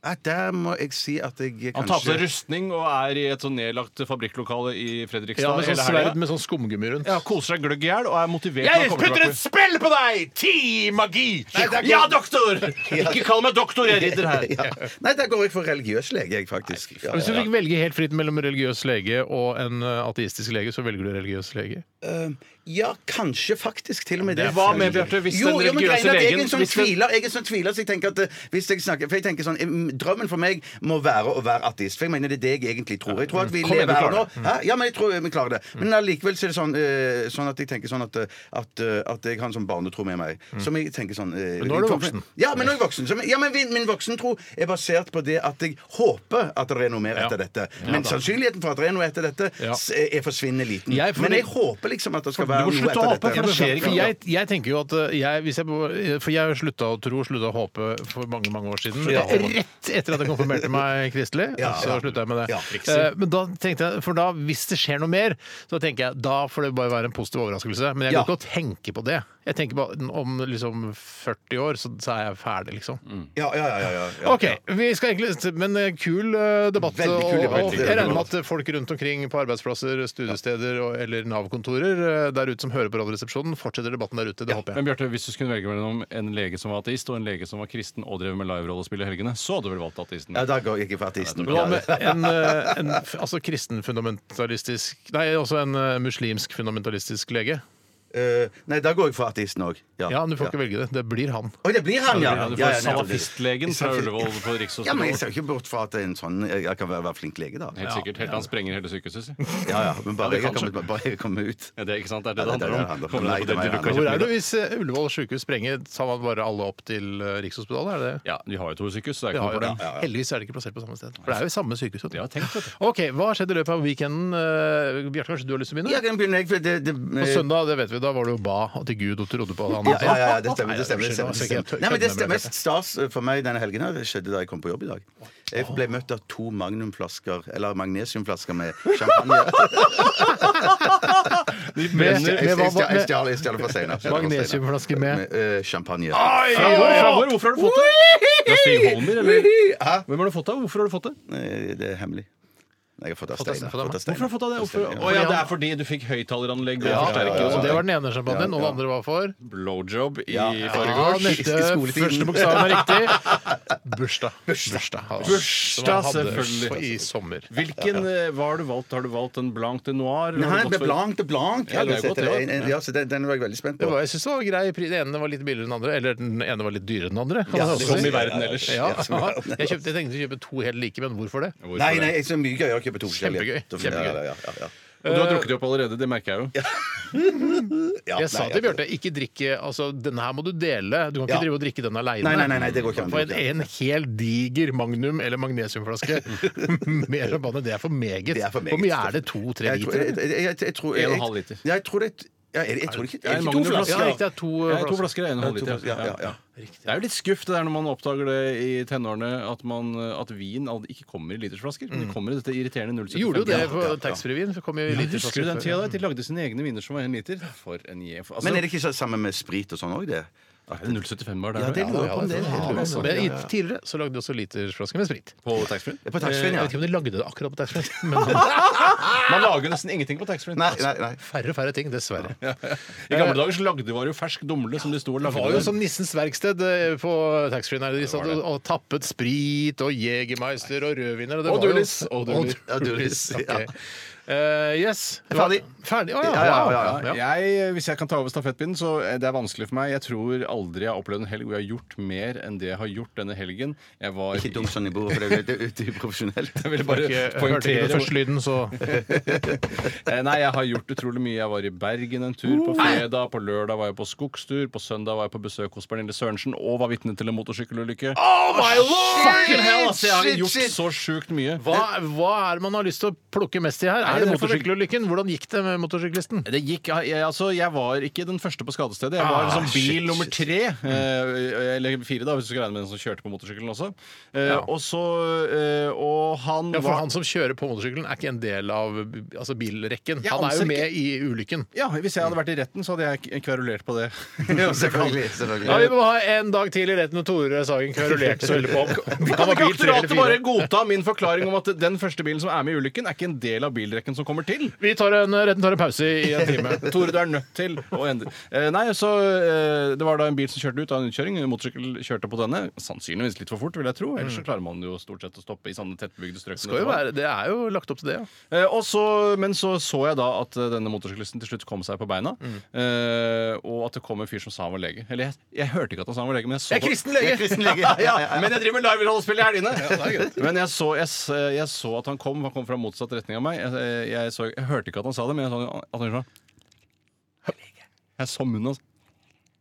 S6: Nei, Der må jeg si at jeg
S5: Han tar på seg
S6: kanskje
S5: rustning og er i et sånn nedlagt fabrikklokale i Fredrikstad
S4: Ja, med sånn
S5: hele
S4: sverd
S5: helga.
S4: med sånn skumgummi rundt.
S5: Ja, koser seg gløgg i hjel og er motivert. når han
S4: Jeg
S5: kommer
S4: putter
S5: tilbake.
S4: et spill på deg! Ti magi!
S5: Ja, doktor! Ikke kall meg doktor, jeg ridder her.
S6: ja. Nei, der går jeg for religiøs lege, jeg, faktisk. Ja,
S4: Hvis du
S6: ja.
S4: fikk velge helt fritt mellom religiøs lege og en eh, ateistisk lege, så velger du religiøs lege.
S6: eh, ja, kanskje faktisk til og med det.
S5: Men hva med, Bjarte, hvis
S6: jo,
S5: den
S6: jo, men
S5: religiøse
S6: greien er at Jeg er
S5: legen-
S6: en sånn
S5: hvis den-
S6: tviler, jeg er en sånn tviler så jeg tenker at eh, hvis jeg snakker For jeg tenker sånn eh, Drømmen for meg må være å være ateist. For jeg mener det er det jeg egentlig tror. Jeg tror at vi
S5: Mm. Kom igjen, du
S6: lever her
S5: klarer
S6: nå. Hæ? Ja, men jeg tror vi klarer det. Men allikevel så er det sånn, eh, sånn at jeg tenker sånn at, eh, at, eh, at jeg har en sånn barnetro med meg.
S5: Mm.
S6: Som jeg tenker sånn eh,
S4: Men nå er du voksen.
S6: Ja, men nå er jeg voksen. Så, ja, men min, min voksentro er basert på det at jeg håper at det er noe mer
S4: Ja.
S6: etter dette. Men sannsynligheten for at det er noe etter dette,
S4: Ja.
S6: s- er forsvinnende liten.
S4: Jeg- for
S6: men
S4: det-
S6: jeg håper liksom at det
S5: For
S6: skal
S5: du
S6: være
S5: må
S6: noe
S5: slutte
S6: etter
S5: å
S6: dette.
S5: håpe, for det skjer
S4: For
S5: ikke.
S4: jeg, jeg tenker jo at eh, jeg, hvis jeg, på- For jeg har slutta å tro, slutta å håpe for mange mange år siden.
S6: Ja.
S4: Rett etter at jeg konfirmerte meg kristelig,
S6: Ja.
S4: så slutta jeg med det.
S6: Ja.
S4: Eh, Men da tenkte jeg, for da, hvis det skjer noe mer, så tenker jeg da får det bare være en positiv overraskelse. Men jeg
S6: Ja.
S4: kan ikke tenke på det. Jeg tenker bare om liksom 40 år, så, så er jeg ferdig, liksom.
S6: Ja, ja, ja, ja, ja, ja.
S4: OK. vi skal egentlig, Men eh, kul eh, debatt.
S6: Veldig kul
S4: og-
S6: debatt.
S4: Og jeg regner med at folk rundt omkring på arbeidsplasser, studiesteder og, eller Nav-kontorer eh, der ute som hører på Radioresepsjonen, fortsetter debatten der ute. Det håper jeg.
S5: Men Bjarte, hvis du skulle velge mellom en lege som var ateist og en lege som var kristen og drev med liverollespill i helgene, så hadde du vel valgt ateisten?
S6: Ja, da går jeg ikke for ateisten.
S4: Hva med en, eh, en f- altså kristenfundamentalistisk Nei, også en eh, muslimsk fundamentalistisk lege.
S6: Eh, nei, da går jeg for ateisten òg.
S4: Ja, men du får ikke velge det. Det blir han.
S6: Å, det blir han, ja!
S5: Ja, du
S6: Ja,
S5: får
S6: ja, nettopp.
S5: salafistlegen fra Ullevål på
S6: Ja, men jeg
S5: Rikshospitalet.
S6: ser ikke bort fra at en sånn Jeg kan være, være flink lege, da.
S5: Helt sikkert. Helt til han sprenger hele sykehuset, si.
S6: Ja, ja, Men
S4: Ja,
S6: bare
S4: det
S6: jeg
S4: kan
S6: kommer- bare jeg kommer ut.
S5: Ja, det er ikke sant? Det er
S6: Ja,
S5: det det
S6: det er det det handler
S5: handler om.
S6: om.
S5: Kommer
S6: Nei,
S5: det
S6: det
S5: på det du
S6: er det
S5: kan
S4: Hvor
S5: kjøpe
S4: er du
S5: det?
S4: hvis eh, Ullevål sykehus sprenger? Tar man bare alle opp til eh, Rikshospitalet? Er det det?
S5: Ja, vi har jo to sykehus, så
S4: Det
S5: det er ikke
S4: har
S5: noe
S4: jo det.
S5: problem.
S4: Heldigvis er det ikke plassert på samme sted. For det er jo samme sykehus. vet du.
S5: Ja, tenk det.
S4: OK, hva skjedde i løpet av weekenden? Eh, Bjarte, kanskje du har lyst til å begynne?
S6: Ja, jeg kan begynne, jeg. For det, det,
S4: På søndag, det vet vi, da var det jo ba og til Gud og trodde på det andre.
S6: Ja, ja, ja, det stemmer. det stemmer,
S4: Nei,
S6: det stemmer, det
S4: unnskyld, nå skal jeg
S6: stemmer.
S4: ikke
S6: Nei, men Det
S4: kødde
S6: stemmer
S4: med
S6: mest stas eh, for meg denne helgen her, det skjedde da jeg kom på jobb i dag. Jeg ble møtt av to magnumflasker, eller magnesiumflasker med champagne. Jeg stjal- jeg stjal- jeg stjal- jeg stjal for senere.
S4: Magnesiumflaske med-
S6: eh, Champagne.
S5: Fra hvor? Fra hvor? Hvorfor har du fått det? Fra Stig Holmer, eller? Hvem har du fått det av? Hvorfor har du fått det?
S6: Nei, Eh, Det er hemmelig. Nei, Jeg har fått av
S4: av
S6: Steinar.
S4: Steinar.
S5: Hvorfor har du fått av det? Hvorfor?
S6: Steinar, ja.
S5: Å ja, det er fordi du fikk høyttaleranlegg og
S4: Ja,
S5: forsterker og
S4: og
S5: sånn.
S4: det var den ene sjampanjen, og den andre var for
S5: blowjob i
S6: Ja.
S4: ja,
S5: forgårs.
S4: neste,
S6: i skoletiden.
S4: Første bokstaven er riktig. Bursdag. Bursdag, ja.
S5: Bursdag,
S4: Som han hadde
S5: selvfølgelig.
S4: I sommer.
S5: Hvilken eh, hva har du valgt? Har du valgt en blanc de noir? Har du
S6: Nei,
S5: gått
S6: med
S5: for-
S6: blank til blank.
S5: Ja, det er godt,
S6: Eller
S5: det,
S6: en- en- ja, så den, den var jeg veldig spent
S4: Det
S6: på.
S4: var, jeg synes det var grei pris. Den ene var litt billigere enn den andre, eller den ene var litt dyrere enn den andre. kan man også
S5: Som
S4: si.
S5: i verden ellers.
S4: Ja, ja. Jeg, kjøpte, jeg tenkte å kjøpe to helt like, men hvorfor det?
S5: Hvorfor
S6: Nei,
S5: det?
S6: nei, jeg så mye gøyere å kjøpe to
S4: Kjempegøy.
S6: forskjellige. Da-
S4: Kjempegøy.
S6: Ja, ja, ja, ja.
S5: Og du har drukket det opp allerede, det merker jeg jo.
S6: Ja,
S4: Jeg sa
S6: nei,
S4: til Bjarte, ikke drikke altså, Denne her må du dele. Du kan ikke
S6: Ja.
S4: drive og drikke den aleine.
S6: Nei, nei, nei, nei, det går ikke an.
S4: For en, en hel diger magnum- eller magnesiumflaske med champagne, det er for meget.
S6: Det er for meget.
S4: Hvor mye er det? To-tre
S6: Jeg tror- jeg-
S4: liter?
S6: jeg- jeg- jeg tror-
S5: En og en
S6: jeg-
S5: halv liter.
S6: Ja, Jeg tror det ja, er det- jeg tror ikke er det ikke to
S5: Magnum
S6: flasker.
S4: Ja, riktig, det er to
S5: Ja, to eh,
S4: flasker.
S5: flasker er en og en halv liter.
S6: Ja, ja, ja.
S5: Det er jo litt skuff det der når man oppdager det i tenårene, at, man, at vin al- ikke kommer i litersflasker.
S6: Mm.
S5: Men det kommer i dette irriterende 0,75.
S4: Gjorde jo det på
S6: ja, ja.
S4: taxfree-vin. så kom jo i
S5: Ja,
S4: literflasker
S5: husker du den
S4: før.
S5: tida da? De lagde sine egne viner som var en liter. For en je... for- Altså,
S6: Men er det ikke så sammen med sprit og sånn òg, det?
S5: er det 0,75 bar der?
S6: Ja, det
S5: også?
S6: lurer jeg på om det
S4: Ja,
S6: er helt
S4: men
S6: lurt.
S4: i- Tidligere så lagde de også literflasker med sprit.
S5: På taxfree?
S6: På taxfree,
S4: Jeg
S6: ja.
S4: vet ikke om de lagde det akkurat på taxfree, men
S5: Man lager jo nesten ingenting på taxfree. Altså,
S6: Nei, nei, nei.
S4: færre og færre ting, dessverre.
S5: I gamle dager så lagde man jo fersk dumle som de sto og
S4: Det
S5: lagde.
S4: var
S6: sånn
S4: jo
S5: der.
S4: som Nissens verksted eh, på taxfree. der. De satt og, og tappet sprit og Jegermeister og rødviner. Og, det
S5: Og
S4: var jo-
S5: Dulis, og Dulis.
S4: Og Dulis.
S6: Ja.
S4: ok. Eh, yes. Det var-
S6: Ferdig.
S4: Ferdig. Å, ja,
S6: Ja, ja, ja,
S4: wow. ja.
S5: Jeg, eh, hvis jeg kan ta over stafettpinnen, så er det er vanskelig for meg. Jeg tror aldri jeg har opplevd en helg hvor jeg har gjort mer enn det jeg har gjort denne helgen. Jeg var
S6: Ikke dum sånn i bordet, for det er ute uprofesjonelt.
S5: Jeg ville
S4: Ikke-
S5: bare
S4: jeg Hørte ikke den første
S5: poengtere
S4: lyden, så
S5: Eh, Nei, jeg har gjort utrolig mye. Jeg var i Bergen en tur på fredag. På lørdag var jeg på skogstur. På søndag var jeg på besøk hos Pernille Sørensen og var vitne til en motorsykkelulykke.
S6: Oh my lord!
S5: Fucking hell, altså! Jeg har gjort så sjukt mye.
S4: hva, hva er det man har lyst til å plukke mest i her? Er det
S5: Nei, det er for-
S4: motorsykkelulykken? Hvordan gikk det med motorsyklisten?
S5: Det gikk, jeg, altså, jeg var ikke den første på skadestedet. Jeg var
S4: Ah,
S5: liksom bil
S4: shit, Mm.
S5: nummer tre. eh, Eller fire, da, hvis du skal regne med den som kjørte på motorsykkelen også. Eh,
S4: Ja.
S5: Og så eh, Og han
S4: Ja, for
S5: var
S4: Han som kjører på motorsykkelen, er ikke en del av altså, bilrekken.
S5: Jeg
S4: Han er jo
S5: anser
S4: med i ulykken.
S5: ja, Hvis jeg hadde
S4: Mm.
S5: vært i retten, så hadde jeg k- kverulert på det.
S6: Ja, selvfølgelig. selvfølgelig.
S4: Ja, Vi må ha en dag til i retten med Tore Sagen kverulerte så veldig på om. Han
S5: Kan
S4: var
S5: ikke
S4: bil tre eller
S5: aktoratet bare
S4: fire.
S5: godta min forklaring om at den første bilen som er med i ulykken, er ikke en del av rekken som kommer til.
S4: Vi tar en, retten tar en pause i en time.
S5: Tore, du er nødt til å endre. Eh, nei, så eh, Det var da en bil som kjørte ut av en utkjøring. En motorsykkel kjørte på denne. Sannsynligvis litt for fort, vil jeg tro. Ellers så klarer man jo stort sett å stoppe i sånne tettbygde strøk.
S4: Mm.
S5: som
S4: Skal jo
S5: dette var.
S4: være, det er jo lagt opp til det, ja.
S5: Eh, og så- men så så jeg da at eh, denne motorsyklisten til slutt kom seg på beina.
S4: Mm.
S5: Eh, og at det kom en fyr som sa han var lege. Eller jeg, jeg hørte ikke at han sa han var lege, men jeg så
S4: Jeg er kristen lege!
S6: Jeg er kristen lege. Ja, ja, ja.
S5: Men jeg driver med live-rollespill i helgene!
S4: er greit.
S5: men jeg så, jeg, s- eh, jeg så at han kom. Han kom fra motsatt retning av meg. Jeg, eh, jeg, så, jeg hørte ikke at han sa det, men jeg så at han gjorde sånn. Jeg så munnen hans.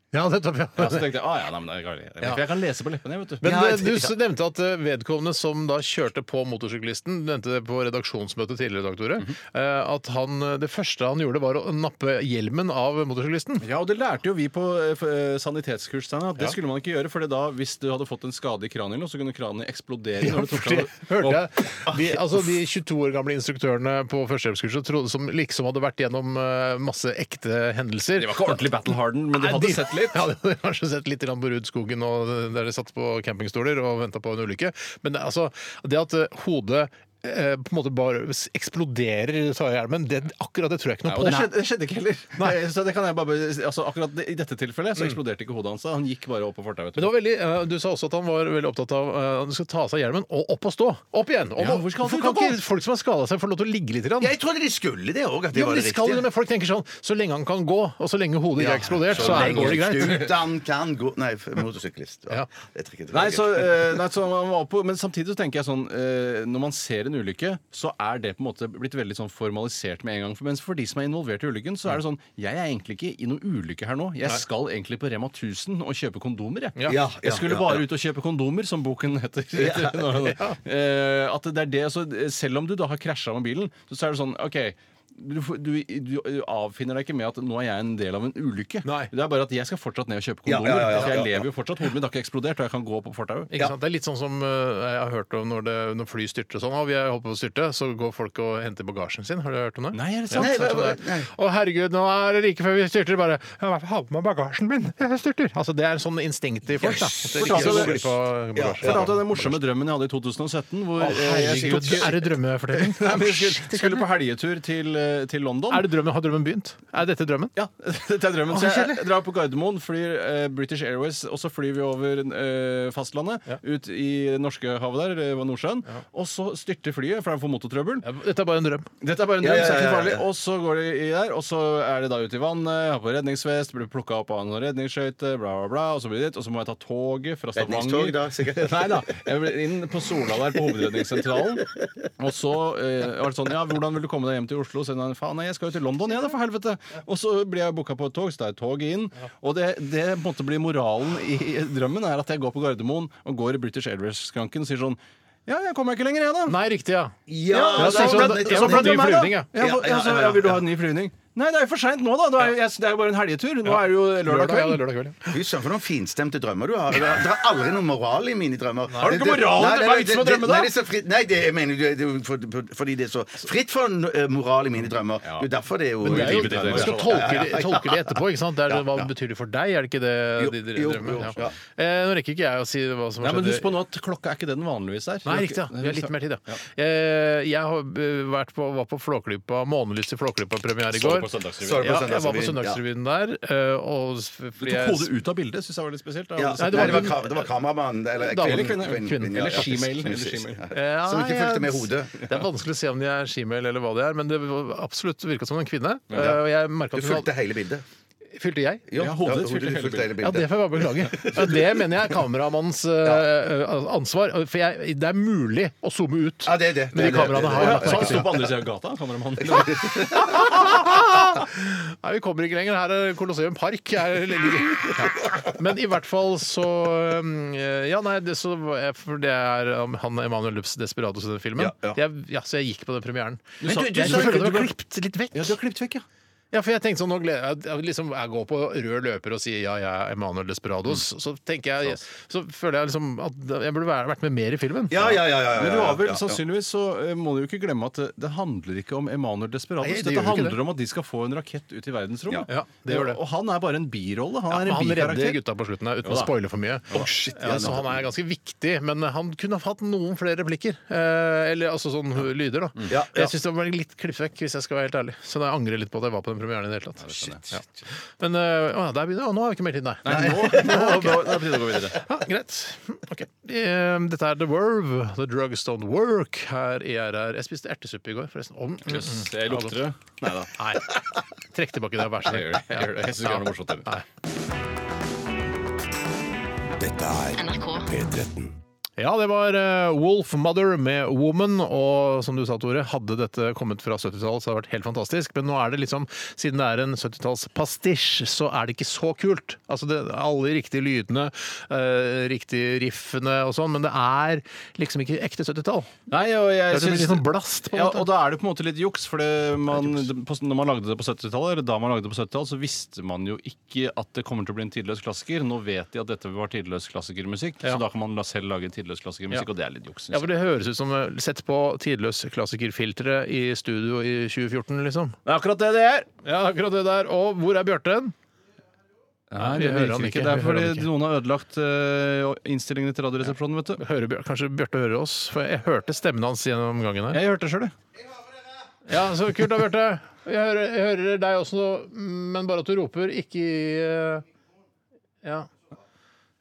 S4: Ja, nettopp, ja.
S5: Ja, så tenkte jeg, ah, ja, nei, men det er galt.
S4: Ja.
S5: For jeg kan lese på leppene, jeg, vet du.
S4: Men det, du s- nevnte at eh, vedkommende som da kjørte på motorsyklisten, du nevnte det på redaksjonsmøtet tidligere, Dag Tore, eh, at han, eh, det første han gjorde, var å nappe hjelmen av motorsyklisten.
S5: Ja, og det lærte jo vi på eh, f- eh, sanitetskurs, Steinar, at det
S4: Ja.
S5: skulle man ikke gjøre. For da, hvis du hadde fått en skade i kraniet, så kunne kraniet eksplodere.
S4: Ja,
S5: når du tok
S4: for det
S5: av-
S4: hørte
S5: og-
S4: jeg. De, altså, de 22 år gamle instruktørene på førstehjelpskurset trodde- som liksom hadde vært gjennom eh, masse ekte hendelser.
S5: Det var ikke ordentlig battle harden, men de
S4: Nei,
S5: hadde sett litt.
S4: Ja, de hadde kanskje sett litt grann på Rudskogen og der de satt på campingstoler og venta på en ulykke. Men det, altså, det at eh, hodet eh, på en måte bare eksploderer ut av hjelmen, det, akkurat det tror jeg ikke
S5: Nei,
S4: noe på.
S5: og det skjedde, det skjedde ikke heller. Eh, Så det kan jeg bare, altså, akkurat det- I dette tilfellet så eksploderte ikke hodet hans. da. Han gikk bare opp på fortauet.
S4: Mm. Men det var veldig, eh, Du sa også at han var veldig opptatt av eh, at han skulle ta av seg hjelmen og opp og stå. Opp igjen! Og
S5: Ja,
S4: hvorfor
S5: hvor skal han
S4: kan
S5: ut av
S4: ikke folk som har skada seg, få lov til å ligge litt? Grann?
S6: Jeg trodde de skulle det òg, at det
S4: Jo,
S6: var
S4: men
S6: det
S4: de skal jo det,
S6: riktige.
S4: men folk tenker sånn Så lenge han kan gå, og så lenge hodet ikke er eksplodert, så, er- går det greit.
S6: Skutan kan gå Nei, f- motorsyklist.
S4: Ja.
S6: Det er ikke det.
S5: Nei, så, eh, nei, så han var på, Men samtidig så tenker jeg sånn eh, Når man ser en ulykke, så er det på en måte blitt veldig sånn formalisert med en gang. For- Mens for de som er involvert i ulykken, så er det sånn Jeg er egentlig ikke i noen ulykke her nå. Jeg skal egentlig på Rema 1000 og kjøpe kondomer, jeg.
S4: Ja.
S6: Ja, ja,
S5: jeg skulle
S6: ja,
S5: bare
S6: ja.
S5: ut og kjøpe kondomer, som boken heter. Eh, at det er det, så, Selv om du da har krasja med bilen, så er det sånn OK. Du, du, du avfinner deg ikke med at nå er jeg en del av en ulykke.
S4: Nei.
S5: Det er bare at jeg skal fortsatt ned og kjøpe
S6: Ja,
S5: kondomer.
S6: ja, ja, ja,
S5: for jeg
S6: ja, ja.
S5: lever jo fortsatt. Hodet mitt har ikke eksplodert, og jeg kan gå på fortauet.
S4: Ikke sant? Det er litt sånn som eh, jeg har hørt om når, det, når fly styrter og sånn. «Å, vi er holdt på å styrte, så går folk og henter bagasjen sin. Har du hørt om det?
S5: Nei, er det
S4: Ja,
S5: sant?
S4: det er sånn det er. Å herregud, nå er det like før vi styrter. Bare ja, i hvert fall ha på meg bagasjen min. Jeg styrter. Altså, det er sånn instinkt i folk. Da. At det ikke
S5: Fortalte du-
S4: går glipp av
S5: Jeg
S4: bagasje.
S5: fortalte den morsomme drømmen jeg hadde i 2017. Hvor
S4: Å,
S5: eh, jeg
S4: herregud,
S5: skulle,
S4: er det drømmefortelling?
S5: Nei, men jeg skulle, skulle på helgetur til, eh, til London.
S4: Er det drømmen? Har drømmen begynt? Er dette drømmen?
S5: Ja, dette er drømmen. Så jeg drar på Gardermoen, flyr eh, British Airways, og så flyr vi over eh, fastlandet, ut i det norske havet der, eh, ved Nordsjøen. Og så styrter flyet, for det er for motortrøbbel.
S4: Dette er bare en drøm.
S5: Dette er bare en
S6: Ja,
S5: drøm,
S6: ja,
S5: så det er ikke
S6: ja,
S5: farlig.
S6: ja, ja.
S5: Og så går det i der, og så er det da ute i vannet, jeg har på redningsvest, blir plukka opp av noen redningsskøyter, bla, bla, bla, og så blir det dit. Og så må jeg ta toget fra
S6: Redningstog,
S5: Stavanger
S6: da, sikkert.
S5: Nei da. Jeg ble inn på Sola der, på Hovedredningssentralen. Og så eh, var det sånn Ja, hvordan vil du komme deg hjem til Oslo? Så jeg, faen, nei, jeg skal jo til London, jeg, da, for helvete. Og så blir jeg booka på et tog, så det er tog inn. Og det, det måtte bli moralen i drømmen, er at jeg går på Gardermoen og går i British Airways-skranken og sier sånn Ja, jeg kommer meg ikke lenger, jeg, da.
S4: Nei, riktig, ja. Ja,
S6: Ja, det er
S4: så-
S6: sånn-
S4: så-
S6: det er
S4: så-
S6: sånn-
S4: så- ny flyvning, ja.
S5: ja. Ja, for-
S6: Ja, ja,
S5: altså,
S6: ja, ja,
S5: ja, vil du
S6: ja.
S5: ha en ny flyvning? Nei, det er jo for seint nå, da. Det er, jo- jeg, det er jo bare en helgetur. Nå er det jo lørdag
S4: ja, det er
S5: kveld.
S4: lørdag kveld. ja.
S6: Fy søren, for noen finstemte drømmer du har. Det er det er aldri noe moral i mine drømmer.
S5: Har du ikke
S6: Det- det-
S5: moral?
S6: Nei,
S5: Det er
S6: nei,
S5: bare vits med å drømme, da.
S6: Nei, det er så fritt, nei, det jeg mener du- det er jo for- for- fordi det er så fritt for eh, moral i mine drømmer. Det er jo derfor det er jo
S4: Men det er jo,
S5: livet ditt,
S4: man skal
S5: ja.
S4: tolke det, tolke det etterpå. ikke sant? Det er, det, hva betyr det for deg? Er det ikke det
S6: Jo,
S4: de
S6: jo,
S4: drømmer?
S6: jo,
S4: Ja.
S6: ja.
S4: Eh, Nå rekker ikke jeg å si hva som
S5: Nei,
S4: har
S5: men
S4: skjedd.
S5: husk på nå at klokka er ikke det den vanligvis er.
S4: Nei, riktig. ja. Vi har litt mer tid, ja. Eh, Jeg har eh, vært på, var på Flåklypa, Månelyst i Flåklypa-premiere i går.
S6: Så er det
S4: Ja,
S6: på
S4: jeg var på
S6: Søndagsrevyen, altså, ja.
S4: Søndagsrevyen der. eh, Og s- fordi
S5: Du tok
S4: jeg-
S5: hodet ut av bildet, syns jeg var litt spesielt.
S6: Ja,
S5: Nei,
S6: nei,
S4: det
S6: det
S4: var-
S6: var, ka- det var kameramannen eller
S4: Dame
S5: eller
S6: kvinnen-
S5: kvinne.
S6: kvinnen,
S4: Kvinnen,
S6: ja,
S5: eller
S6: ja,
S5: skimailen, eller
S6: faktisk, faktisk,
S5: skimailen.
S6: ja.
S4: Ja,
S6: Som ikke
S4: jeg-
S6: fulgte med hodet.
S4: Det er vanskelig å se om de er skimail eller hva det er, men det var absolutt virka som en kvinne. Eh, Og jeg merket
S6: Du
S4: at hun
S6: fulgte
S4: hadde...
S6: hele bildet.
S4: Fylte jeg?
S6: Jo,
S5: Ja, hodet
S6: ja,
S5: fulgte
S6: du
S5: hele
S6: fulgte hele
S4: Ja, det
S6: bildet.
S4: får jeg bare beklage. Ja, Det mener jeg er kameramannens eh, eh, ansvar. For jeg, det er mulig å zoome ut
S6: Ja, det er det.
S4: med de
S6: Det er det, det er
S4: kameraene
S6: det.
S4: har.
S5: ja, Så han sto på andre sida av gata, kameramannen.
S4: Nei, vi kommer ikke lenger. Her er Colosseum Park. Her ligger- Ja. Men i hvert fall så um, Ja, nei, det, så, var jeg- for det er um, han Emanuel Lupps Desperados i den filmen.
S6: Ja, ja.
S4: Jeg, ja, så jeg gikk på den premieren.
S5: Men du- du
S4: jeg
S5: sa-
S4: føler
S5: du
S4: det var
S5: ble-
S4: klippet litt vekk.
S5: Ja, du har klippet vekk, ja.
S4: Ja, for jeg tenkte sånn, nå gleder jeg, jeg liksom, jeg går på rød løper og sier ja, jeg er Emanuel Desperados.
S6: Mm.
S4: Så tenker jeg, så føler jeg liksom at jeg burde være- vært med mer i filmen.
S6: Ja, ja, ja. ja, ja,
S5: Men du har vel
S6: ja, ja.
S5: sannsynligvis så eh, må du jo ikke glemme at det, det handler ikke om Emanuel Desperados.
S4: Nei, det gjør
S5: Dette
S4: jo ikke
S5: handler
S4: det.
S5: om at de skal få en rakett ut i verdensrommet.
S4: Ja, det gjør det.
S5: Og han er bare en birolle.
S4: Ja,
S5: Han er
S4: men
S5: en
S4: han redder
S5: bikarakter.
S4: gutta på slutten her, uten å
S5: Jo da.
S4: spoile for mye. ja, så han er ganske viktig, men eh, han kunne hatt noen flere replikker. Eh, eller altså sånn lyder, da.
S5: Mm.
S6: Ja, ja.
S4: Jeg syns det var litt klippvekk, hvis jeg skal være helt ærlig. Så jeg angrer litt på at jeg var på den premieren i det hele tatt. Ja. Men eh, å, ja, der begynner, å, nå har vi ikke mer tid, nei.
S5: Nei, nå, nå, nå, nå er det på tide å gå videre.
S4: Ja, greit. Ok. Eh, Dette er The Verve, The Drugs Don't Work, her i RR. Jeg spiste ertesuppe i går, forresten. Om.
S5: Jøss, jeg lukter det. Nei da.
S4: Nei. Trekk tilbake det, vær så
S5: Jeg gjør det. Jeg gjør det. Jeg synes ikke det er noe morsomt, det.
S4: Nei.
S1: Dette er
S8: NRK.
S1: P13.
S4: Ja, det var eh, Wolf Mother med Woman, og som du sa, Tore, hadde dette kommet fra 70-tallet, så hadde det vært helt fantastisk. Men nå er det liksom, siden det er en 70-tallspastisj, så er det ikke så kult. Altså, det, alle de riktige lydene, eh, riktige riffene og sånn, men det er liksom ikke ekte 70-tall.
S5: Nei, og
S4: Det
S5: jeg
S4: er litt
S5: synes-
S4: sånn blast, på en
S5: Ja,
S4: måte.
S5: og da er det på en måte litt juks, for det man, på- når man lagde det på 70-tallet, eller da man lagde det på 70-tallet, så visste man jo ikke at det kommer til å bli en tidløs klassiker. Nå vet de at dette var tidløs klassikermusikk,
S4: Ja.
S5: så da kan man la selv lage tidløs klassikermusikk,
S4: Ja.
S5: og det er litt juks. synes
S4: Ja, for Det høres ut som eh, sett på tidløs klassikerfiltre i studio i 2014, liksom.
S5: jeg. Det er akkurat det det er!
S4: Ja, akkurat det der. Og hvor er Bjørten?
S5: Nei,
S4: vi
S5: det
S4: hører
S5: virker
S4: han ikke.
S5: ikke. Det er
S4: Vi hører
S5: fordi
S4: han ikke.
S5: noen har ødelagt øh, innstillingene til Radioresepsjonen, vet du.
S4: Hører, Bjør- kanskje Bjarte hører oss? For jeg hørte stemmen hans gjennom gangen her.
S5: Jeg hørte det sjøl, jeg.
S4: Ja, så kult da, Bjarte. Jeg hører, jeg hører deg også, men bare at du roper, ikke i eh, Ja.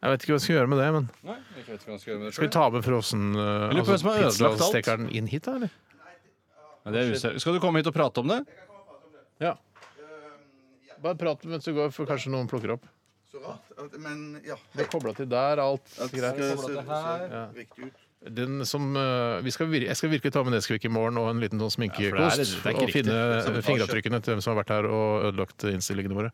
S4: Jeg vet ikke hva jeg skal gjøre med det, men skal vi ta med frossen uh,
S5: lurer på hvem som har ødelagt alt.
S4: pizzastekeren inn hit, da, eller?
S5: Ja, det er useriøst. Skal du komme hit og prate om det?
S4: Ja. Bare prat mens du går, for kanskje noen plukker opp.
S6: Så rart, at- men ja.
S4: Det er kobla til der, alt greit.
S6: Skal se- se riktig ut.
S4: Den som, eh, vi skal vir jeg skal virkelig ta med Neskvik i morgen og en liten sånn
S5: Ja, for det er-
S4: sminkekost.
S5: det er ikke
S4: og
S5: riktig.
S4: finne fingeravtrykkene til hvem som har vært her og ødelagt innstillingene våre.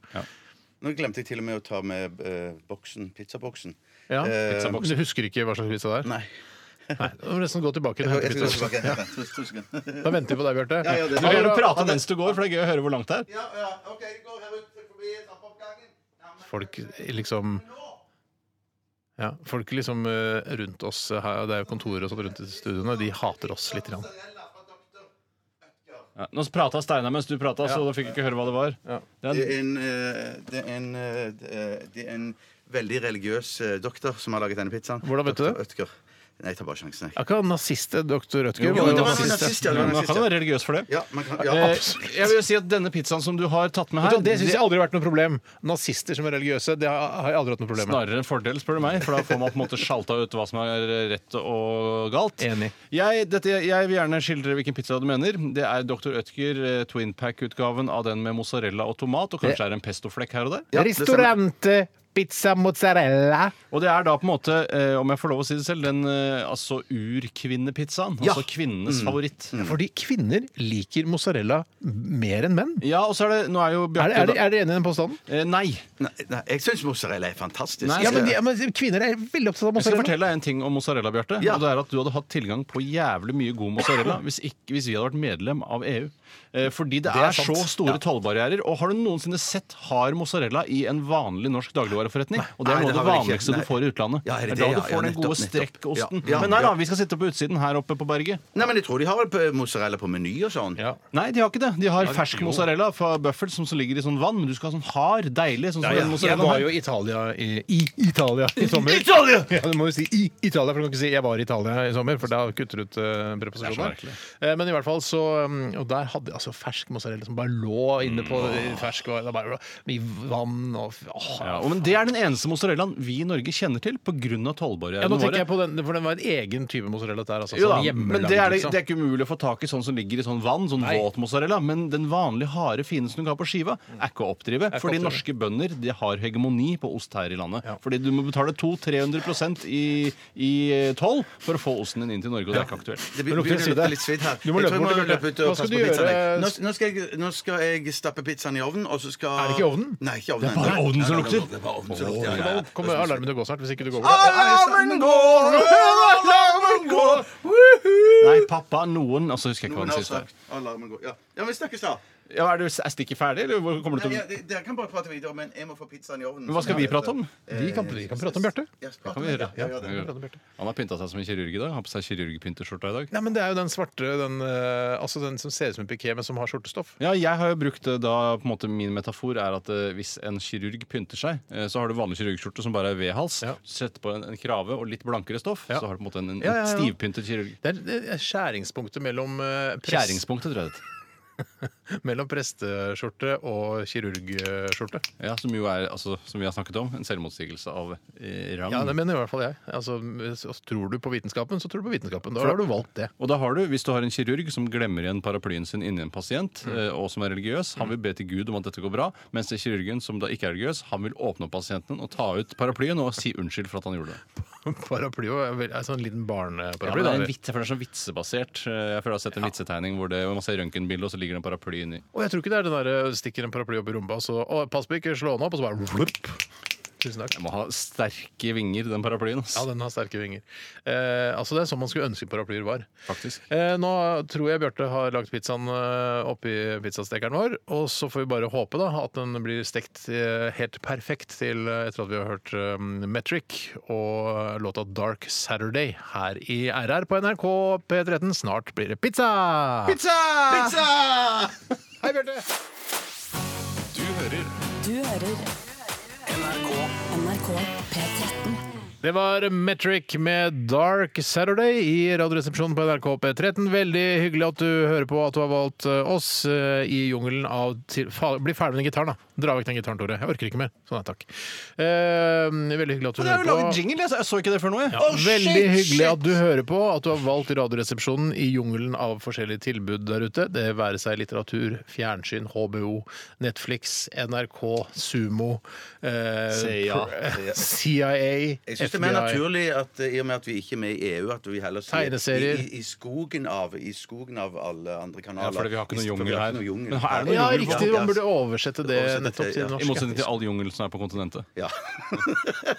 S6: Nå glemte jeg til og med å ta med eh, boksen, pizzaboksen.
S4: Ja,
S6: Eh,
S4: pizzaboksen. Men du husker ikke hva slags pizza det er?
S6: Nei.
S4: Nei, Da må vi nesten gå tilbake. og
S6: Jeg
S4: hente pizza.
S6: skal gå tilbake. Ja, to- to sekunder.
S4: Da venter vi på deg, Bjarte.
S6: Ja, ja, det-
S5: Du kan
S4: Du,
S5: jo prate mens du går, for det er gøy å høre hvor langt det er.
S6: Ja, ja, OK, jeg går her ut forbi trappeoppgangen.
S4: folk liksom ja, Folk liksom eh, rundt oss eh, her, det er jo kontorer og sånt rundt i studioene, de hater oss litt. Grann.
S5: Ja, nå prata Steinar mens du prata, så du fikk ikke høre hva det var. Det er
S6: Det
S5: en
S6: er en, eh, det er en, eh, det er en veldig religiøs eh, doktor som har laget denne pizzaen.
S4: Hvordan vet du det?
S6: Dr. Ødger. Nei, jeg tar bare sjansen, jeg.
S4: Er ikke han nazist, doktor Rødtger?
S5: Jo,
S4: Var
S5: men
S4: jo
S5: det var
S4: nazist,
S5: nazist,
S6: ja, det var
S5: Men Man kan
S6: nazist,
S5: jo være religiøs for det.
S6: ja. Ja, man kan, ja.
S5: Eh, jeg vil jo si at Denne pizzaen som du har tatt med
S4: Vet
S5: her,
S4: du, Det syns jeg aldri har vært noe problem. Nazister som er religiøse, det har har jeg aldri hatt noe problem med.
S5: snarere en fordel, spør du meg. For da får man på en måte sjalta ut hva som er rett og galt.
S4: Enig.
S5: Jeg, dette, jeg vil gjerne skildre hvilken pizza du mener. Det er Dr. Ødker, eh, Twin Pack-utgaven av den med mozzarella og tomat, og kanskje er det en pestoflekk her og der.
S6: det stemmer.
S4: Ristorante pizza mozzarella.
S5: Og det er da på en måte, eh, om jeg får lov å si det selv, den eh, altså urkvinnepizzaen.
S4: Ja.
S5: Altså kvinnenes favoritt.
S4: Fordi kvinner liker mozzarella mer enn menn.
S5: Ja, og så er det Nå er jo
S4: Er,
S5: Bjarte
S4: er, de- er dere enig i den påstanden?
S5: da- eh, Nei.
S6: Nei, nei, jeg syns mozzarella er fantastisk.
S5: Nei,
S4: Ja, men, de, ja, men Kvinner er veldig opptatt av
S5: Jeg skal
S4: mozzarella.
S5: fortelle deg en ting om mozzarella, Bjarte.
S6: Ja.
S5: Og det er at Du hadde hatt tilgang på jævlig mye god mozzarella hvis, ikke, hvis vi hadde vært medlem av EU. Eh, fordi det,
S4: er
S5: er, så
S4: sant.
S5: store tollbarrierer. Og har du noensinne sett hard mozzarella i en vanlig norsk dagligvareforretning? Og det
S6: Nei,
S5: er noe av det
S6: det har vi ikke.
S5: vanligste
S6: Nei.
S5: du får i utlandet.
S6: Ja, er det
S5: da du
S6: det? Ja, ja,
S5: får den
S6: nettopp,
S5: gode
S6: nettopp.
S5: strekkosten.
S6: Ja, ja,
S5: Men nei da,
S6: ja.
S5: vi skal sitte på utsiden her oppe på berget.
S6: Nei, men jeg tror de har vel p- mozzarella på meny og sånn.
S4: Ja.
S5: Nei, de har ikke det. De har fersk mozzarella fra bøffel som så ligger i sånn vann. Men du skal ha sånn hard, deilig sånn som
S4: Ja,
S5: den
S4: ja. Jeg
S5: mozzarellaen
S4: var
S5: her.
S4: jo i Italia i, i Italia i sommer. Ja, du må jo si i Italia, for du kan ikke si 'jeg var i Italia i sommer', for da kutter du ut eh, preposisjoner.
S5: Det er så merkelig.
S4: Eh, men i hvert fall så um, Og der hadde jeg altså fersk mozzarella som bare lå inne på fersk og, det var bare, I vann og åh.
S5: Mm, Ja, og men Det er den eneste mozzarellaen vi i Norge kjenner til pga.
S4: Ja,
S5: tollbarrierene
S4: nå tenker jeg på den, for den var en egen type mozzarella der, altså.
S5: Jo da,
S4: sånn hjemmelagd,
S5: men det er, det,
S4: liksom.
S5: det er ikke umulig å få tak i sånn som ligger i sånn vann, sånn
S4: Nei.
S5: våt mozzarella. Men den vanlige harde, fine som du kan ha på skiva, er ikke å oppdrive.
S4: ikke å
S5: Fordi
S4: oppdrive.
S5: norske bønder de har hegemoni på ost her i landet.
S4: Ja.
S5: Fordi du må betale 200-300 i, i eh, toll for å få osten din inn til Norge, og det er ikke aktuelt.
S6: Det
S4: Men
S6: begynner
S4: lukter
S6: å
S4: svidd
S6: lukte
S4: her.
S6: litt svidd her.
S4: Du må
S6: Jeg
S4: løpe
S6: tror jeg
S4: bort, Bjarte.
S6: ut og
S4: Hva skal
S6: passe
S4: du
S6: på
S4: gjøre?
S6: pizzaen, jeg. Nå, nå, skal jeg, nå skal jeg stappe pizzaen i ovnen, og så skal
S4: Er det ikke ovnen?
S6: Nei, ikke ovnen.
S5: Det er bare
S6: ennå.
S5: ovnen
S6: Nei,
S5: som
S6: nei,
S5: lukter.
S6: Det er bare ovnen som lukter. Ah, ja, ja, ja.
S4: Nå kommer alarmen til å gå snart, hvis ikke du går bort.
S6: Alarmen går, alarmen går!
S5: Nei, pappa, noen altså husker jeg ikke hva
S6: Noen
S5: den
S6: har
S5: siste er.
S6: sagt alarmen går. Ja, ja men vi snakkes da.
S5: Ja, er, du, er stikket ferdig, eller hvor kommer du til
S6: Ja,
S5: å
S6: de- Dere kan bare prate videre, men jeg må få pizzaen i ovnen.
S5: Men Hva skal vi prate om?
S4: Vi kan, vi kan prate om Bjarte.
S6: Ja,
S5: kan vi gjøre.
S6: Ja, gjør det.
S5: Ja. Han har pynta seg som en kirurg i dag. Har på seg kirurgpynteskjorta i dag.
S4: Nei, men Det er jo den svarte, den, eh, altså den som ser ut som en piké, men som har skjortestoff.
S5: Ja, jeg har jo brukt eh, da på en måte Min metafor er at eh, hvis en kirurg pynter seg, eh, så har du vanlig kirurgskjorte som bare er vedhals.
S4: Ja.
S5: Setter på en, en krave og litt blankere stoff,
S4: Ja.
S5: så har du på en måte en, en
S4: Ja, ja, ja.
S5: stivpyntet kirurg.
S4: Det er, det er skjæringspunktet mellom, eh, prest,
S5: Skjæringspunktet, tror jeg det heter.
S4: mellom presteskjorte og kirurgskjorte.
S5: Ja, som jo er, altså, som vi har snakket om, en selvmotsigelse av eh, rang.
S4: Ja, det mener i hvert fall jeg. Altså, hvis- altså, tror du på vitenskapen, så tror du på vitenskapen. Da har du valgt det.
S5: Og da har du, Hvis du har en kirurg som glemmer igjen paraplyen sin inni en pasient, eh, og som er religiøs, han vil be til Gud om at dette går bra, mens det er kirurgen som da ikke er religiøs, han vil åpne opp pasienten og ta ut paraplyen og si unnskyld for at han gjorde det.
S4: Paraply er vel- er sånn liten
S5: Ja,
S4: barneparaply.
S5: men det er en
S4: da.
S5: vits, for det er så vitsebasert. Eh, Jeg føler jeg har sett en vitsetegning hvor det hvor man ser røntgenbildet, og så ligger det en paraply inni.
S4: og jeg tror ikke det er den der eh, stikker en paraply opp i rumpa, så å, pass på ikke slå den opp, og så bare vlupp. Tusen takk.
S5: Den må ha sterke vinger, den paraplyen. ass.
S4: Ja, den har sterke vinger. Eh, altså Det er sånn man skulle ønske paraplyer var.
S5: Faktisk.
S4: Eh, nå tror jeg Bjarte har lagt pizzaen eh, oppi pizzastekeren vår. Og så får vi bare håpe da at den blir stekt eh, helt perfekt til eh, etter at vi har hørt eh, Metric og låta Dark Saturday her i RR på NRK P13. Snart blir det pizza! Pizza! Hei, Bjarte!
S7: Du hører NRK P13.
S4: Det var Metric med Dark Saturday i Radioresepsjonen på NRK P13. Veldig hyggelig at du hører på at du har valgt eh, oss eh, i jungelen av til, fa, Bli ferdig med den gitaren, da. Dra vekk den gitaren, Tore. Jeg orker ikke mer. Sånn, ja, takk. Eh, veldig hyggelig at du hører på.
S5: jingle, jeg så- jeg så ikke det før nå. jeg.
S4: Veldig hyggelig at du hører på, at du har valgt Radioresepsjonen i jungelen av forskjellige tilbud der ute. Det være seg litteratur, fjernsyn, HBO, Netflix, NRK, Sumo, eh,
S5: CIA.
S4: pr- CIA,
S6: Jeg synes det er mer
S4: FBI
S6: naturlig at eh, i og med at vi ikke er med i EU, at vi heller
S4: Tegneserier.
S6: i, i, i, skogen av, i skogen av alle andre kanaler.
S5: Ja, fordi vi har ikke noe
S6: I- for vi
S5: jungel
S6: har
S5: her.
S6: ikke noe jungel.
S5: Men er det noe
S4: Ja,
S5: jungel
S4: riktig. Man burde oversette det
S6: Oversette det,
S4: nettopp til
S6: ja.
S5: I
S4: norsk.
S5: motsetning til all jungelen som er på kontinentet.
S6: Ja.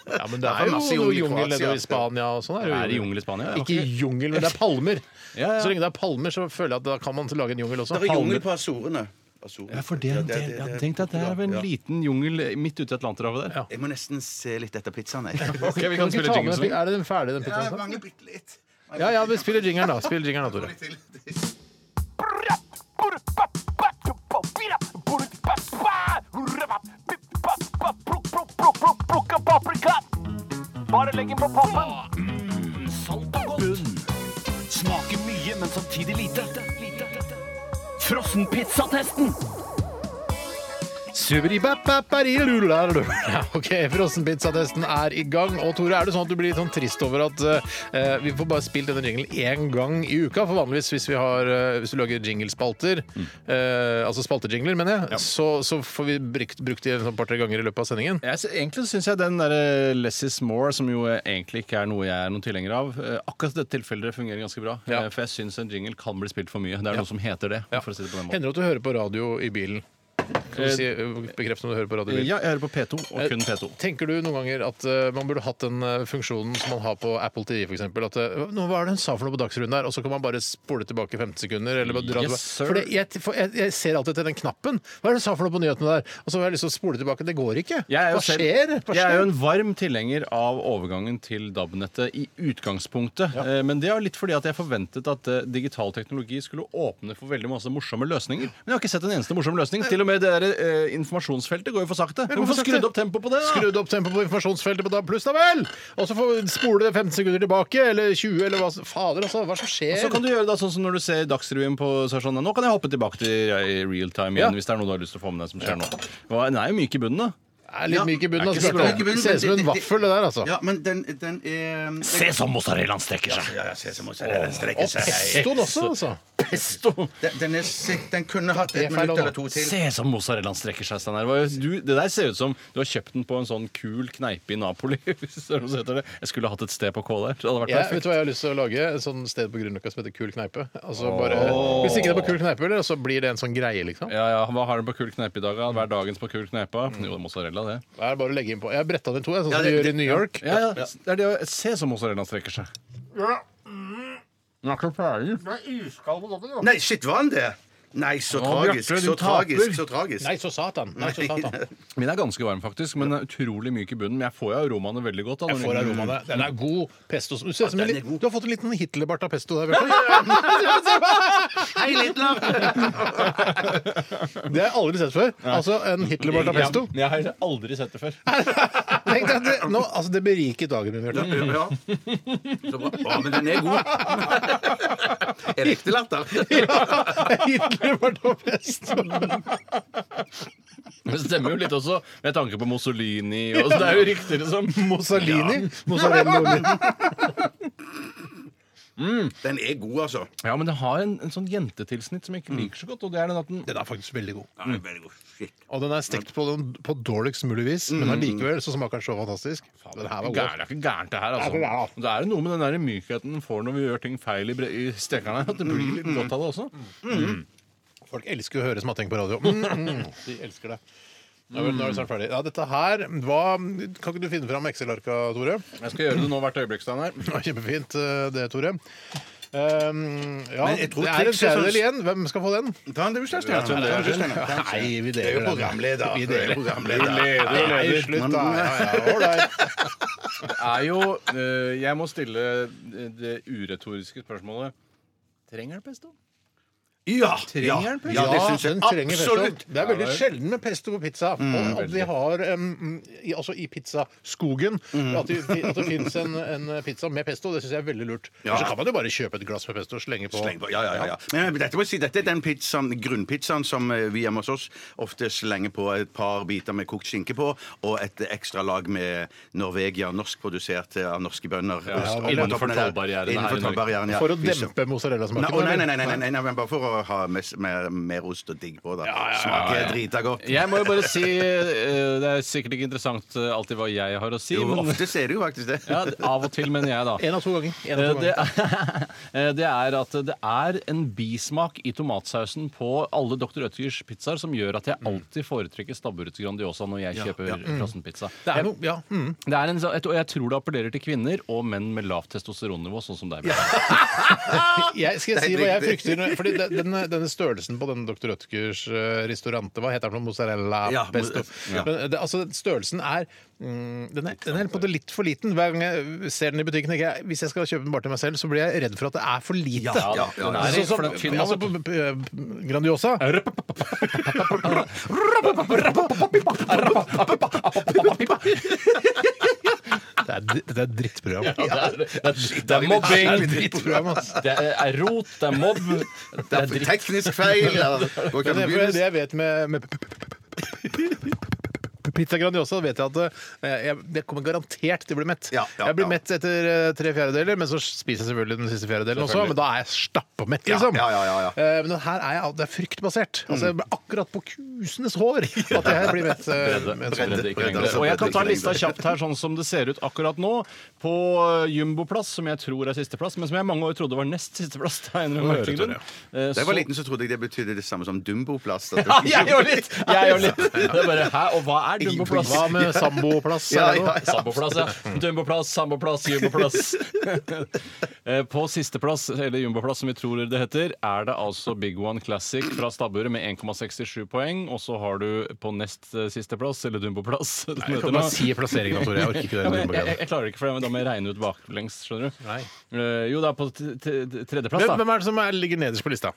S4: Ja, men det
S6: Ja,
S4: er jo
S6: masse
S4: noe
S6: jungel i
S4: jungel
S6: Kroatia.
S4: nedover i Spania og sånn. er det jo
S5: Er det jungel i Spania? Jeg har
S4: Ikke jungel, men det er palmer.
S5: Ja, ja.
S4: Så lenge det er palmer, så føler jeg at da kan man lage en jungel også.
S6: Det er
S4: Palmer.
S6: jungel på Azorene. Azorene.
S5: Ja, for det er en del. Ja, tenk deg at det er vel en
S6: Ja.
S5: liten jungel midt ute i Atlanterhavet der.
S4: Ja.
S6: Jeg må nesten se litt etter pizzaen, jeg.
S5: Ok, sånn. vi
S4: Kan
S5: kan
S4: du ikke
S5: spille
S4: ta
S5: jingle
S4: med- Er det den ferdige, den
S6: Ja,
S4: pizzaen?
S6: mange bitte litt.
S4: Ja, ja, vi spiller jingeren, da. Spill jingeren, da, Tore.
S8: Bare legg den på pappen. salt og godt. Smaker mye, men samtidig lite. Frossenpizzatesten.
S4: Superibapaparirularulu. Ja, Ok, Frossenpizzatesten er i gang. Og Tore, er det sånn at du blir litt sånn trist over at eh, vi får bare spilt denne jinglen én gang i uka? For vanligvis hvis vi har eh, Hvis du lager jinglespalter, eh, altså spaltejingler, mener jeg, så, så får vi brukt, brukt de et par-tre ganger i løpet av sendingen.
S5: Jeg, sy- egentlig så syns jeg den der eh, less is more, som jo eh, egentlig ikke er noe jeg er noen tilhenger av, eh, akkurat i dette tilfellet fungerer ganske bra.
S4: Ja.
S5: Eh, For jeg syns en jingle kan bli spilt for mye. Det er noe som heter det. for å si det på den måten.
S4: Hender det at du hører på radio i bilen? Kan du si, bekreft om du hører på radio i bilen?
S5: Ja, jeg hører på P2,
S4: Eh,
S5: og kun P2.
S4: Tenker du noen ganger at eh, man burde hatt den eh, funksjonen som man har på Apple TV f.eks.? At eh, nå, hva er det hun sa for noe på Dagsrevyen der? Og så kan man bare spole tilbake 15 sekunder? Eller bare dra
S5: Yes,
S4: tilbake.
S5: sir.
S4: for det, jeg, for jeg, jeg ser alltid til den knappen. Hva er det hun sa for noe på nyhetene der? Og så har jeg lyst til å spole tilbake. Det går ikke.
S5: Jeg er jo
S4: hva
S5: selv-
S4: skjer? Hva skjer?
S5: Jeg er jo en varm tilhenger av overgangen til DAB-nettet i utgangspunktet. Eh, Men det er jo litt fordi at jeg forventet at eh, digital teknologi skulle åpne for veldig masse morsomme løsninger. Men jeg har ikke sett en eneste morsom løsning. Til og med det der, eh, informasjonsfeltet går jo for sakte. Du må få
S4: for sakte.
S5: skrudd opp tempoet på det. da.
S4: Skrudd opp tempoet på informasjonsfeltet på DAB pluss, da vel! Og så får vi spole det 15 sekunder tilbake, eller 20, eller hva som- Fader, altså, hva som skjer?
S5: Så kan du gjøre det sånn som når du ser Dagsrevyen på så er det sånn, Nå kan jeg hoppe tilbake til eh, real time igjen
S4: Ja.
S5: hvis det er noe du har lyst til å få med deg som skjer nå. Og Den er jo myk i bunnen, da.
S4: er litt myk i bunnen.
S5: ikke så
S4: Altså,
S5: bra.
S4: Bjarte. det ser ut som en vaffel, det der, altså.
S6: Ja, men den, den er
S8: Se som mozzarellaen strekker seg.
S6: Ja, ja, sesammozzarella strekker
S4: Og
S6: seg.
S4: pestoen også, altså.
S5: Pesto!
S6: Den, den, er, sick. den kunne hatt et
S4: Det er feil
S6: minutt eller
S4: nå.
S6: to til.
S5: Se som mozzarellaen strekker seg, Steinar. Hva gjør- du- Det der ser ut som du har kjøpt den på en sånn kul kneipe i Napoli. Hvis det er noe som heter det. Jeg skulle hatt et sted på K der. Det hadde vært
S4: Jeg, vet
S5: perfekt.
S4: du hva jeg har lyst til å lage? Et sånn sted på Grünerløkka som heter Kul kneipe. Altså bare, Hvis ikke det er på Kul kneipe, eller, så blir det en sånn greie, liksom.
S5: Ja, ja, Hva har du på kul kneipe i dag? da? Hver dagens på kul kneipe? Jo, det er mozzarella, det.
S4: Det er bare å legge inn på. Jeg har bretta den i to, jeg, sånn som
S6: det-
S4: de gjør i New York.
S5: Ja, ja. Det er det å se som mozzarellaen strekker seg. Mm. Den er ikke ferdig.
S6: Nei, shit, var den det? Nei, så
S5: Å,
S6: tragisk.
S5: Bjarte, du
S6: så tragisk.
S5: taper.
S6: Så tragisk.
S4: Nei, så satan! Nei, så satan.
S5: Min er ganske varm, faktisk, men er utrolig myk i bunnen. Men jeg får jo aromaene veldig godt. Da,
S4: Jeg
S5: når
S4: får
S5: den-
S4: aromaene. Den er god pesto. Du, ser ut som en
S6: den er
S4: litt-
S6: god.
S4: du har fått en liten Hitlerbart av pesto der, Bjarte.
S6: Hei, Litlav!
S4: Det har jeg aldri sett før. Altså en Hitlerbart av pesto.
S5: Ja, Jeg har aldri sett det før.
S4: Tenk deg at det, nå, altså, det beriket dagen min, Bjarte.
S6: Ja. Så bra. Å, men den er god. Er det ekte latter?
S4: Hitlerbart av pesto.
S5: Det stemmer jo litt også, med tanke på Mussolini. Og så det er jo rykter som
S4: Mozzarini. Mozzarella.
S6: Den er god, altså.
S5: Ja, men det har en, en sånn jentetilsnitt som
S4: Mm.
S5: jeg ikke liker så godt. Og det er den at den
S4: Den er faktisk veldig god.
S6: Ja, den er veldig god. Shit.
S4: Og den er stekt på, den, på dårligst mulig vis, men allikevel så smaker den så fantastisk. Den her var
S5: Gær-
S4: god.
S5: det er ikke gærent, det
S4: Ja,
S5: her.
S4: det er
S5: altså
S4: det.
S5: Det er jo noe med den der mykheten den får når vi gjør ting feil i, bre i stekerne. At det blir
S4: Mm.
S5: litt godt av det også.
S4: Folk elsker å høre smatting på radio. De elsker det. Ja, vel, nå er det snart ferdig. Ja, dette her, hva, Kan ikke du finne fram Excel-arka, Tore?
S5: Jeg skal gjøre det nå hvert øyeblikk. Steinar.
S4: Det var Kjempefint eh, det, Tore. Um, ja,
S6: Men
S4: det
S6: jeg
S4: er sånn
S6: tror
S4: en
S6: trikset som-
S4: fjerdedel igjen. Hvem skal få den?
S6: Ta den, du,
S5: tror
S6: Kjerstian.
S5: det er
S6: Ta den, Kjerstian.
S4: sånn Nei, vi
S6: Det er
S4: deler
S6: jo programleder.
S4: Vi
S6: Det er
S4: deler.
S6: programleder.
S4: Nei, slutt, da. Ja, ja, ålreit.
S5: Det er jo eh, Jeg må stille det uretoriske spørsmålet. Trenger det pesto?
S6: Ja, ja,
S5: Trenger den pesto?
S6: ja, det
S4: Ja,
S6: syns jeg
S4: den trenger
S6: absolutt. Mm.
S4: pesto. Det er veldig sjelden med pesto på pizza. og at de har um, i, Altså i pizzaskogen
S6: Mm.
S4: at, de, at det fins en, en pizza med pesto, det syns jeg er veldig lurt.
S6: Ja.
S4: Så kan man jo bare kjøpe et glass med pesto og slenge på.
S6: Sleng på. Ja, ja, ja, ja. Men, men dette, må jeg si, dette er den pizzaen, grunnpizzaen som eh, vi hjemme hos oss ofte slenger på et par biter med kokt skinke på, og et ekstra lag med Norvegia, norskprodusert eh, av norske bønder.
S5: ja,
S6: Og- og-
S5: innenfor
S6: og- og-
S5: tollbarrieren her i Norge.
S6: Innenfor tollbarrieren, ja.
S4: For å
S6: Vi så-
S4: dempe mozzarella-smaken.
S6: Nei, å, nei, nei, nei, nei, nei, nei, nei, men bare for å ha mest, mer, mer ost og digg på. Da. Smaker drita godt.
S5: Jeg må jo bare si eh, Det er sikkert ikke interessant eh, alltid hva jeg har å si,
S6: Jo,
S5: men
S6: ofte ser du jo faktisk det.
S5: ja, av og til, mener jeg, da.
S4: En av to ganger. En
S5: Eh,
S4: av to
S5: Det
S4: ganger.
S5: er, det er at det er en bismak i tomatsausen på alle Dr. Ødgers pizzaer som gjør at jeg alltid foretrekker stabburets Grandiosa når jeg kjøper frossenpizza.
S4: Det er noe, ja. Mm.
S5: Det er en, så- et- og jeg tror det appellerer til kvinner og menn med lavt testosteronnivå, sånn som deg. Bjørn.
S4: jeg, skal jeg si
S6: Det er
S4: hva jeg
S6: riktig.
S4: frykter? nå? Fordi den- denne, denne størrelsen på denne Dr. Rødtgers eh, restaurante Hva heter den? for noe? Mozzarella
S6: Ja,
S4: pesto?
S6: ja.
S4: Men, eh, det, altså, størrelsen er mm, den er, den er på det litt for liten. Hver gang jeg ser den i butikken, tenker jeg hvis jeg skal kjøpe den bare til meg selv, så blir jeg redd for at det er for lite.
S6: Ja, ja, ja, ja.
S4: Sånn som-
S5: For den er tynn,
S4: altså,
S5: altså.
S4: p- p- Grandiosa. Det er, dri- det er et drittprogram.
S5: Ja, det, er, det er mobbing,
S4: Det er et drittprogram, ass.
S5: det er rot, det er mobb, det er dritt.
S6: Teknisk feil! Ja. Går ikke
S4: Men det, for
S6: an å
S4: det
S6: begynne.
S4: jeg vet med, med p- p- p- p- Pizza Grandiosa vet jeg at eh, jeg, jeg kommer garantert til å bli mett.
S6: Ja, ja,
S4: jeg blir
S6: ja.
S4: mett etter eh, tre fjerdedeler, men så spiser jeg selvfølgelig den siste fjerdedelen også. Men da er jeg stappa-mett,
S6: Ja,
S4: liksom.
S6: ja, ja, ja, Mm. ja.
S4: Eh, Men her er jeg, det er fryktbasert. Altså, jeg ble akkurat på kusenes hår at jeg blir mett. eh, med en sånn-
S5: Bredde, ikke lengde.
S6: altså,
S5: Og jeg kan ta
S6: bredde, ikke
S5: lista
S6: lengde.
S5: kjapt her, sånn som det ser ut akkurat nå. På eh, jumboplass, som jeg tror er sisteplass, men som jeg i mange år trodde var nest sisteplass. Da, av en eller annen merkelig grunn. Eh,
S6: Da jeg var
S5: så-
S6: liten, så trodde jeg det betydde det samme som dumboplass. at
S5: Ja,
S6: du-
S5: jeg gjør litt! Jeg gjør litt. Det er bare, hæ, og hva er jumboplass?
S4: Hva med samboplass?
S6: Ja,
S4: eller noe?
S6: ja, ja.
S5: Samboplass, ja. Mm. Jumboplass, samboplass, jumboplass. Eh, På sisteplass, eller jumboplass som vi tror det heter, er det altså Big One Classic fra stabburet med 1,67 poeng. Og så har du på nest eh, sisteplass, eller jumboplass som
S4: Jeg
S5: heter
S4: kan
S5: nå.
S4: bare si plasseringen, Tore. Jeg orker ikke
S5: Ja,
S4: det.
S5: men jeg, jeg,
S4: dumbo-greiene.
S5: jeg klarer det ikke, for da må jeg regne ut baklengs. skjønner du?
S4: Nei.
S5: Eh, jo, det er på t t tredjeplass,
S4: Hvem
S5: da.
S4: hvem er det som er, ligger nederst på lista?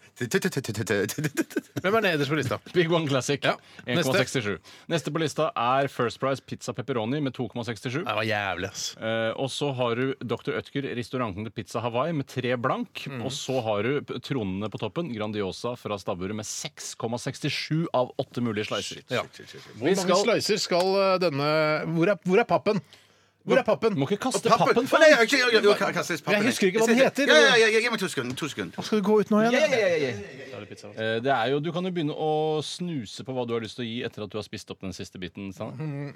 S4: Hvem er nederst på lista?
S5: Big One Classic.
S4: Ja, neste.
S5: 1,67. Neste på lista er First Price Pizza Pepperoni med 2,67.
S4: Det var jævlig, ass.
S5: Eh, og så har du Dr. Ødker, restauranten til Pizza Hawaii med tre blank.
S4: Mm.
S5: Og så har du p- tronene på toppen, Grandiosa fra stabburet med 6,67 av åtte mulige slicer.
S4: Ja.
S5: Vi
S4: Hvor mange
S5: skal
S4: slicer skal eh, denne Hvor er, hvor er pappen? Hvor er pappen?
S5: Må ikke kaste
S6: Pappen!
S5: pappen!
S6: Å, nei, jeg har ikke- jeg- jeg- jeg har kastet pappen,
S4: Jeg husker ikke hva den
S6: Jeg ser-
S4: heter.
S6: Ja, ja, ja, ja, Gi meg to sekunder. To sekunder.
S4: Skal du gå ut nå igjen? eller?
S5: Eh, Det er jo, du kan jo begynne å snuse på hva du har lyst til å gi
S4: Mm,
S5: etter at du har spist opp den siste biten. Steinar.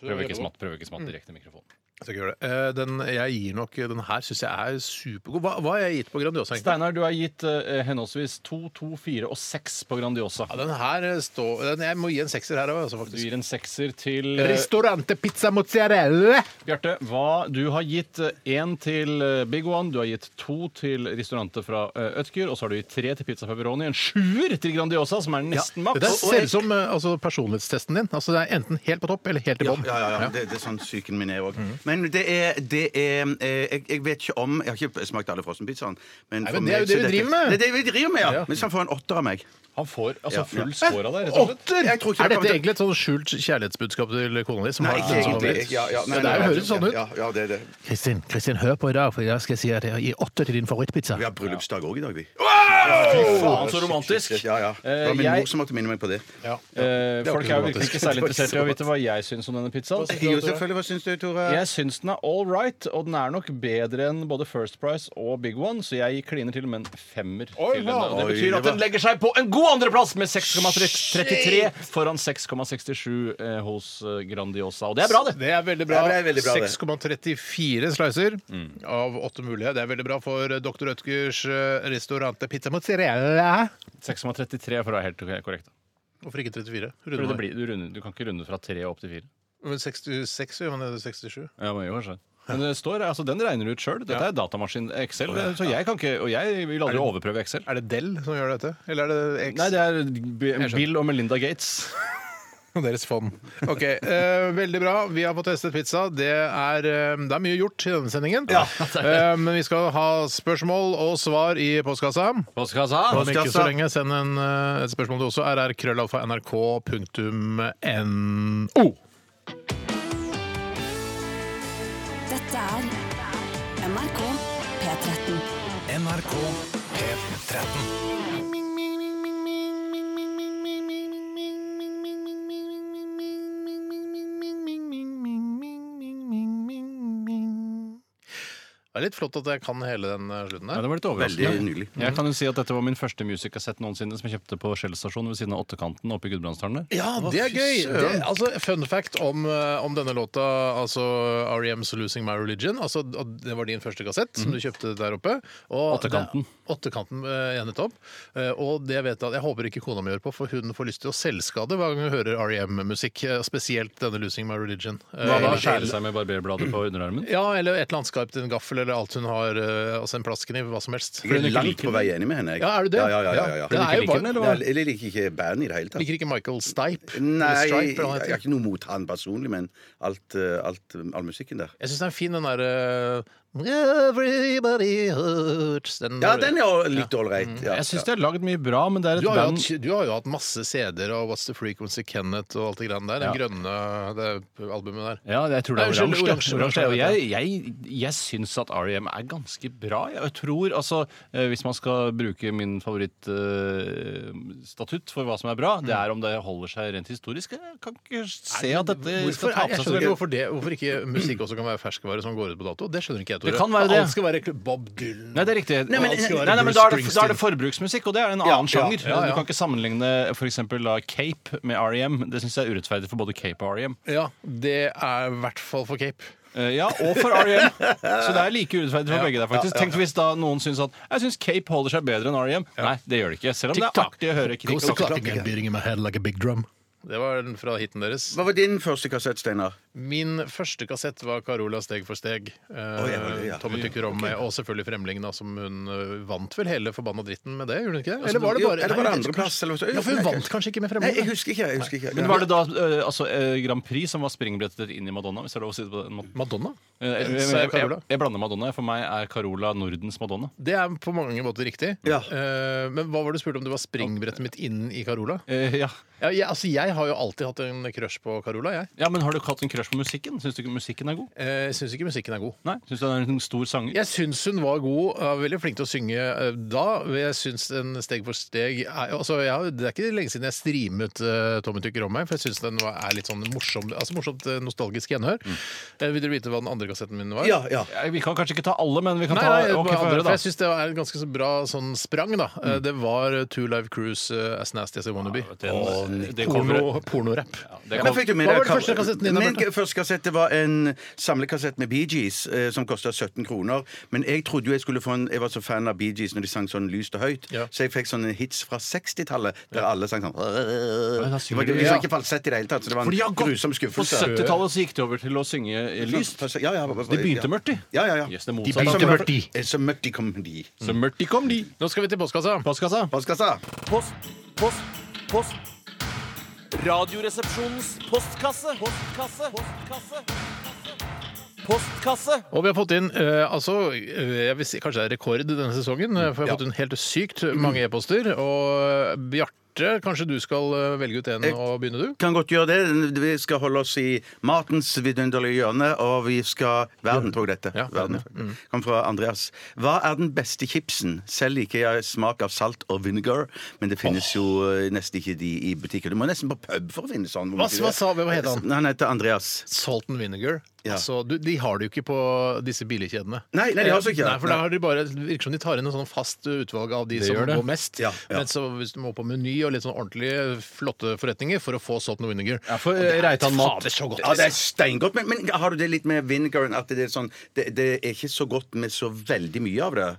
S5: Prøv ikke smatt, prøv ikke smatt direkte i mikrofonen.
S4: Jeg skal ikke gjøre det. Eh, Den jeg gir nok Den her syns jeg er supergod. Hva, hva har jeg gitt på Grandiosa? egentlig?
S5: Steinar, du har gitt eh, henholdsvis 2, 2, 4 og 6 på Grandiosa.
S4: Ja, den her eh, står den, Jeg må gi en sekser her òg, altså,
S5: Du
S4: faktisk.
S5: gir en sekser til eh,
S4: Ristorante pizza mozzarella!
S5: Bjarte. Hva, du har gitt eh, én til eh, Big One, du har gitt to til restauranter fra eh, Ødker, og så har du gitt tre til Pizza Pepperoni. En sjuer til Grandiosa, som er nesten
S4: Det der
S5: maks.
S4: ser ut som eh, altså, personlighetstesten din. Altså, det er enten helt på topp eller helt i
S6: Ja,
S4: bånn.
S6: ja, ja, ja. Det, det er sånn psyken min er òg.
S4: Mhm.
S6: Men det er, det er eh, jeg, jeg vet ikke om Jeg har ikke smakt alle frossenpizzaene. Men,
S4: Nei,
S6: for
S4: men det er jo
S6: meg
S4: det
S6: så
S4: vi driver med.
S6: Det er det vi driver med, ja.
S4: Ja.
S6: Men så han får en åtter av meg.
S5: Han får altså
S6: Ja.
S5: full score av deg, rett og slett.
S4: Åtter!
S6: Jeg tror ikke
S4: Er
S6: det
S4: dette
S6: kommer til-
S4: egentlig et sånn skjult kjærlighetsbudskap til kona di? som
S6: Nei,
S4: har-
S6: ikke
S4: som har
S6: egentlig.
S4: blitt-
S6: Ja, ja, nei,
S4: sånn det
S6: nei,
S4: der
S6: nei,
S4: høres sånn ut.
S6: Ja, ja, det er det.
S4: Kristin, Kristin, hør på i dag, for i dag skal jeg si at jeg gir åtte til din favorittpizza.
S6: Vi har bryllupsdag òg i dag, vi.
S5: faen, så romantisk.
S6: Shit, shit, shit. Ja, ja. Det var
S5: Eh,
S6: min
S5: jeg-
S6: mor som måtte minne meg på det.
S5: Eh,
S4: var
S5: folk
S4: ikke
S5: er
S4: så
S5: jo virkelig
S4: romantisk.
S5: ikke særlig
S6: Det var ikke
S5: interessert i å
S6: så
S5: vite hva jeg syns om denne pizzaen.
S6: Jo, selvfølgelig. Hva syns du, Tore?
S5: Jeg syns den er all right, og den er nok bedre enn både First Price og Big One, så jeg kliner til med en femmer. til denne. Og det
S6: Oi,
S5: betyr
S6: det
S5: at den
S6: var-
S5: legger seg på en god andreplass med 6,33 foran 6,67 eh, hos eh, Grandiosa. Og det er bra, det.
S4: Det er veldig bra.
S6: Det er veldig bra, det.
S4: 6,34 slicer av åtte mulige. Det er veldig bra for Dr. Rødtgers eh, restaurante pizza mozzarella.
S5: 6,33 for å være helt korrekt.
S4: Hvorfor ikke 34?
S5: Fordi
S4: Runde
S5: det
S4: meg.
S5: blir, du, runder, du kan ikke runde fra 3 opp til 4.
S4: Men 66 gjør man det 67?
S5: Ja, men, jo, kanskje. men det står, altså, den regner du ut sjøl. Dette er datamaskin Excel, så jeg kan ikke, og jeg vil aldri overprøve Excel.
S4: Er det Del som gjør dette? Eller er det X?
S5: Nei, det er B-
S4: skjønner.
S5: Bill og Melinda Gates.
S4: deres fond. Ok, eh, Veldig bra. Vi har fått testet pizza. Det er, eh, det er mye gjort i denne sendingen. Eh, men vi skal ha spørsmål og svar i postkassa. Om ikke så lenge, send en, eh, et spørsmål til også. rrkrøllalfa.nrk.no.
S7: Dette er NRK P13.
S3: NRK P13.
S4: Det er litt flott at jeg kan hele den eh, slutten
S5: Ja,
S4: der.
S5: det var litt
S6: Veldig
S5: overraskende.
S6: nylig.
S5: Jeg kan jo si at dette var min første music-kassett noensinne som jeg kjøpte på Shell stasjon ved siden av Åttekanten oppe i Gudbrandsdalen. der.
S4: Ja, det er gøy! Det, altså, fun fact om, eh, om denne låta, altså REMs 'Losing My Religion'. Altså, at det var din første kassett som
S6: Mhm.
S4: du kjøpte der oppe. Og
S5: Åttekanten.
S4: Det, åttekanten eh, ja, nettopp. Eh, og det vet jeg at jeg håper ikke kona mi gjør på, for hun får lyst til å selvskade hver gang hun hører REM-musikk. eh, Spesielt denne 'Losing My Religion'. Eh,
S5: Hva da?
S4: eller-
S5: Skjære seg med barberbladet på underarmen?
S4: Ja, eller et eller annet skarpt, en gaffel eller alt hun har. eh, Altså en plastkniv, hva som helst.
S6: Jeg er langt på vei enig med henne. jeg.
S4: Ja, er du det?
S6: Ja, ja, ja, ja, ja.
S4: Det er jo
S5: liker den,
S4: bare
S5: eller hva?
S6: Nei, Jeg liker ikke bandet i det hele tatt.
S4: Liker ikke Michael Stipe?
S6: Nei,
S4: eller
S6: jeg,
S4: Stripe, eller hva han
S6: jeg
S4: heter.
S6: har ikke noe mot han personlig, men alt, eh, alt, eh, all musikken der.
S4: Jeg syns den er fin, den derre Everybody hurts. Den,
S6: Ja, Mm. den er jo litt ålreit. Ja,
S5: Jeg syns de har lagd mye bra, men det er
S4: du
S5: et
S4: har, jo
S5: band
S4: hatt, du har jo hatt masse CD-er og What's the Frequency Kenneth og alt det greiene der. Den grønne det albumet der.
S5: Ja, jeg tror det
S4: Nei,
S5: er
S4: unnskyld,
S5: oransje.
S4: oransje,
S5: Oransje,
S4: oransje,
S5: og Jeg, jeg, jeg syns at REM er ganske bra. Jeg Og jeg tror, altså, eh, Hvis man skal bruke min favorittstatutt for hva som er bra, det er om det holder seg rent historisk. Jeg kan ikke se at dette
S4: Hvorfor,
S5: skal ta
S4: jeg
S5: på seg
S4: skjønner
S5: så
S4: ikke
S5: mye.
S4: hvorfor, det, hvorfor ikke musikk også kan være ferskvare som går ut på dato. Det skjønner ikke jeg, Tore.
S5: Det kan være det.
S4: Alt skal være Bob Dylan.
S5: Nei, det er riktig.
S4: Nei, men-
S5: Alt skal være
S4: Nei, nei, men
S5: Bruce
S4: da er det-
S5: Springsteen. da er det forbruksmusikk, og det er en annen sjanger.
S4: ja, ja.
S5: Du kan ikke sammenligne f.eks. Cape med REM. Det syns jeg er urettferdig for både Cape og REM.
S4: Ja, det er i hvert fall for Cape.
S5: Eh, Ja, og for R.E.M. Så det er like urettferdig for begge der, faktisk. Tenk hvis da noen syns at Jeg syns Cape holder seg bedre enn R.E.M. Nei, det gjør det ikke. Selv om det er
S4: Tick-tock.
S5: artig å høre
S4: Goes the
S5: kritikk.
S4: clock again, beating in my head like a big drum. Det var den fra hiten deres.
S6: Hva var din første kassett, Steinar?
S4: Min første kassett var Carola steg for steg. Eh,
S6: ja, var det, ja.
S4: Tommy tykker om meg, Og selvfølgelig Fremling, da, som hun eh, vant vel hele forbanna dritten med det? Gjorde hun ikke det? Eller var det
S6: Altså, Jo,
S4: bare
S6: eller var det
S4: Nei, jeg-
S6: andreplass, eller hva så-
S4: Ja, for hun vant kanskje ikke med
S6: Nei, jeg
S4: Fremling? da.
S6: husker ikke. jeg husker ikke
S5: Men var det da eh, altså, eh, Grand Prix som var springbrettet inn i Madonna? Hvis det er lov å si det på den måten.
S4: Madonna?
S5: Eh, Jeg, jeg,
S4: Sa jeg
S5: jeg, jeg,
S4: Carola?
S5: jeg blander Madonna. For meg er Carola Nordens Madonna.
S4: Det er på mange måter riktig.
S6: Ja.
S4: Eh, men hva var det du spurte om? Det var springbrettet mitt inn i Carola?
S5: Eh, ja.
S4: Ja, jeg, altså, jeg har jo alltid hatt en crush på Carola, jeg.
S5: ja, men har du ikke hatt en crush på musikken? Syns du ikke musikken er god?
S4: Eh, Jeg syns ikke musikken er god.
S5: Nei? Syns du den er en stor sanger?
S4: Jeg syns hun var god, er veldig flink til å synge eh, da. Jeg syns en steg for steg er, altså, jeg, har- Det er ikke lenge siden jeg streamet eh, Tommy tykker om meg, for jeg syns den var, er litt sånn morsom, altså morsomt eh, nostalgisk gjenhør.
S5: Mm.
S4: Eh, vil dere vite hva den andre kassetten min var?
S6: Ja, ja.
S5: Eh, Vi kan kanskje ikke ta alle, men vi kan
S4: Nei,
S5: ta
S4: nei, bare
S5: ok, få
S4: andre, for
S5: høre, da. Mm.
S4: jeg syns det er et ganske så bra sånn sprang. da Eh, Det var eh, Two Live Cruise eh, As Nasty As I Wanna Be.
S5: Den- det
S4: Porno- Pornorapp.
S5: Det
S6: Men fikk du med
S4: Hva
S6: deg
S4: var den første kassetten din,
S6: Min
S4: Bjarte?
S6: første kassett det var en samlekassett med Bee Gees eh, som kosta 17 kroner. Men jeg trodde jo jeg skulle få en Jeg var så fan av Bee Gees når de sang sånn lyst og høyt,
S4: Ja.
S6: så jeg fikk sånne hits fra 60-tallet der alle sang sånn
S4: da
S6: Det
S4: synger
S6: var,
S4: de-
S6: de
S4: ja.
S6: sang ikke falsett i det hele tatt, så det var
S5: Fordi de har
S6: en
S5: gått
S6: grusom
S5: På
S6: skuffelse.
S5: 70-tallet så gikk det over til å synge eh, lyst.
S6: Ja, ja,
S5: De begynte mørkt, de.
S6: Ja, ja, ja.
S5: Yes, det er
S4: De
S5: motsatt.
S4: begynte-
S6: Som-
S4: mørkt, de.
S6: Eh, Så mørkt de kom de.
S4: Mm.
S5: Så mørkt de kom, de.
S4: Nå skal vi til postkassa.
S5: Postkassa.
S6: Postkassa.
S8: Post, post, post. Radioresepsjonens postkasse. Postkasse. Postkasse. Postkasse.
S4: Og vi har fått inn eh, altså, eh, jeg vil si, kanskje det er rekord denne sesongen, eh, for vi har fått inn helt sykt mange e-poster. Og eh, Bjarte, kanskje du skal eh, velge ut en
S6: Jeg-
S4: og begynne, du?
S6: Kan godt gjøre det. Vi skal holde oss i matens vidunderlige hjørne, og vi skal Verden tok dette.
S4: Ja, Mm.
S6: verden. Kom fra Andreas. Hva er den beste chipsen? Selv liker jeg smak av salt og vinegar, men det finnes jo eh, nesten ikke de i butikker. Du må nesten på pub for å finne sånn. må
S4: Hva-
S6: du ikke
S4: hva
S6: det?
S4: sa vi? Hva heter han?
S6: Han heter Andreas.
S4: Salt and vinegar.
S6: Ja.
S4: Altså, du, de har det jo ikke på disse billigkjedene.
S6: Nei, nei, de har altså ikke
S4: Eh,
S6: det.
S4: Nei, for da har de bare, det virker som de tar inn en sånn fast utvalg av de
S5: Det
S4: som
S5: gjør det.
S4: går mest.
S6: Ja, ja.
S4: Men så hvis du må på Meny og litt sånn ordentlige, flotte forretninger for å få salt and vinegar
S5: Ja, for eh, Reitan Mat.
S4: Fader, så godt!
S6: Ja, det er steingodt, men, men har du det litt med vinegaren at det er sånn det, det er ikke så godt med så veldig mye av det?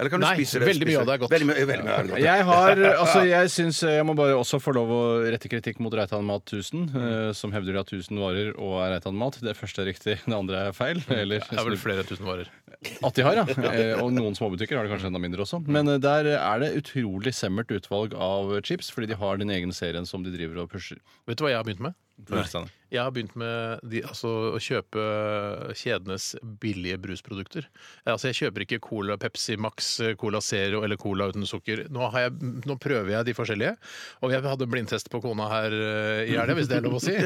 S6: Eller kan du
S4: Nei,
S6: spise det?
S4: veldig mye av det er godt.
S6: Veldig, mye- veldig mye av det er godt.
S5: Jeg har, altså jeg synes, jeg må bare også få lov å rette kritikk mot Reitan Mat 1000, eh, som hevder at 1000 varer og er Reitan Mat. Det første er riktig, det andre er feil. Eller
S4: Det er vel flere tusen varer.
S5: At de har, ja. Eh, Og noen småbutikker har det kanskje enda mindre også. Men eh, der er det utrolig semmert utvalg av chips, fordi de har den egen serien som de driver og pusher.
S4: Vet du hva jeg har begynt med?
S5: Nei.
S4: Jeg har begynt med de, altså, å kjøpe kjedenes billige brusprodukter. Altså, jeg kjøper ikke Cola, Pepsi Max, Cola Zero eller Cola uten sukker. Nå, har jeg, nå prøver jeg de forskjellige. Og jeg hadde en blindtest på kona her eh, i helga, hvis det er lov å si.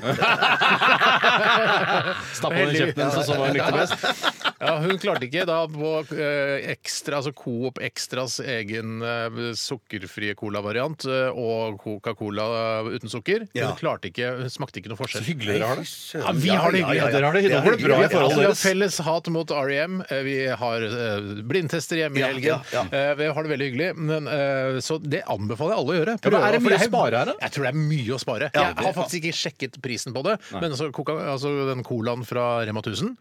S5: Stappa den i kjeften hennes, og sånn. så var hun lykkelig best.
S4: Ja, hun klarte ikke da på eh, ekstra, altså Coop Extras egen eh, sukkerfrie colavariant eh, og Coca-Cola eh, uten sukker.
S6: Ja.
S4: Hun klarte ikke, hun smakte ikke noe forskjell. Så hyggelig
S6: dere har det.
S4: Ja, vi har det hyggelig.
S5: Ja, dere har det, da går det bra i
S4: Altså,
S5: forholdet
S4: vi har
S5: deres.
S4: felles hat mot REM. eh, Vi har eh, blindtester hjemme i
S6: Ja,
S4: helgen.
S6: ja,
S4: Eh, Vi har det veldig hyggelig. Men, eh, så det anbefaler jeg alle å gjøre.
S5: Ja, men er det
S4: Prøve, for
S5: mye å spare her, da?
S4: Jeg tror det er mye å spare.
S6: det-
S4: jeg har faktisk ikke sjekket prisen på det, men altså, Coca, altså den colaen fra Rema 1000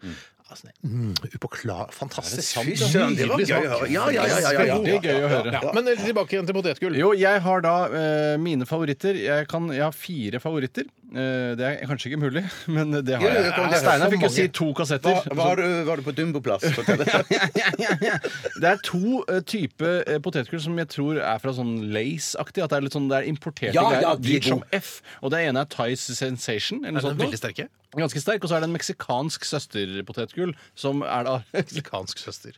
S4: altså, mm, upåklar, Fantastisk.
S6: Fy søren, det var
S4: Nydelig
S6: gøy å
S4: smak.
S6: høre. Ja, ja, ja, ja, ja, ja.
S5: Veldig gøy å høre.
S4: Ja, men eh, tilbake igjen til potetgull.
S5: Jo, jeg har da eh, mine favoritter. Jeg, kan, jeg har fire favoritter. Eh, det er kanskje ikke mulig, men det har
S6: Jo, jo, det
S5: jeg. Altså,
S6: kommer til å høre
S5: Steinar
S6: så
S5: fikk jo si
S6: mange.
S5: to
S6: Hva,
S5: kassetter.
S6: var, du, var du på Dumbo-plass? Fortell.
S5: Det er to uh, type eh, potetgull som jeg tror er fra sånn Lace-aktig. At det er litt sånn, det er importerte
S6: Ja,
S5: greier.
S6: ja, de er
S5: dyrt som
S6: gode.
S5: F. Og det ene er Thais Sensation.
S4: Er
S5: Eller noe
S4: den
S5: sånt.
S4: veldig
S5: noe.
S4: sterke?
S5: Ganske sterk. Og så er det en meksikansk søsterpotetgull som er da
S4: Meksikansk søster.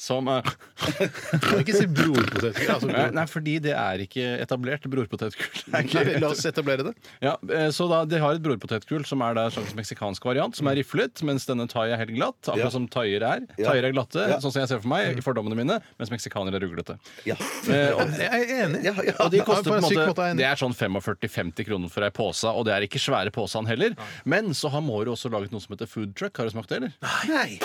S5: Som er
S4: Kan du ikke si brorpotetgull? Altså,
S5: Nei,
S4: bror.
S5: nei, fordi det er ikke etablert brorpotetgull. Det er ikke-
S4: Nei, La oss etablere det.
S5: Ja, eh, så da, De har et brorpotetgull som er da en slags meksikansk variant, som er riflet, mens denne thai er helt glatt. Akkurat
S6: Mm. Ja. Mm.
S5: som thaier er. Thaier er glatte, sånn som jeg ser for meg i fordommene mine, mens meksikanere er ruglete. Eh,
S6: Ja.
S4: Jeg er enig.
S6: Ja, ja.
S5: Og de koster
S4: Ja,
S5: på en
S4: syk
S5: måte,
S4: måte er jeg enig.
S5: Det er sånn 45-50 kroner for ei pose, og det er ikke svære posen heller. Men så har Mårud også laget noe som heter food truck. Har du smakt det, eller?
S6: Nei.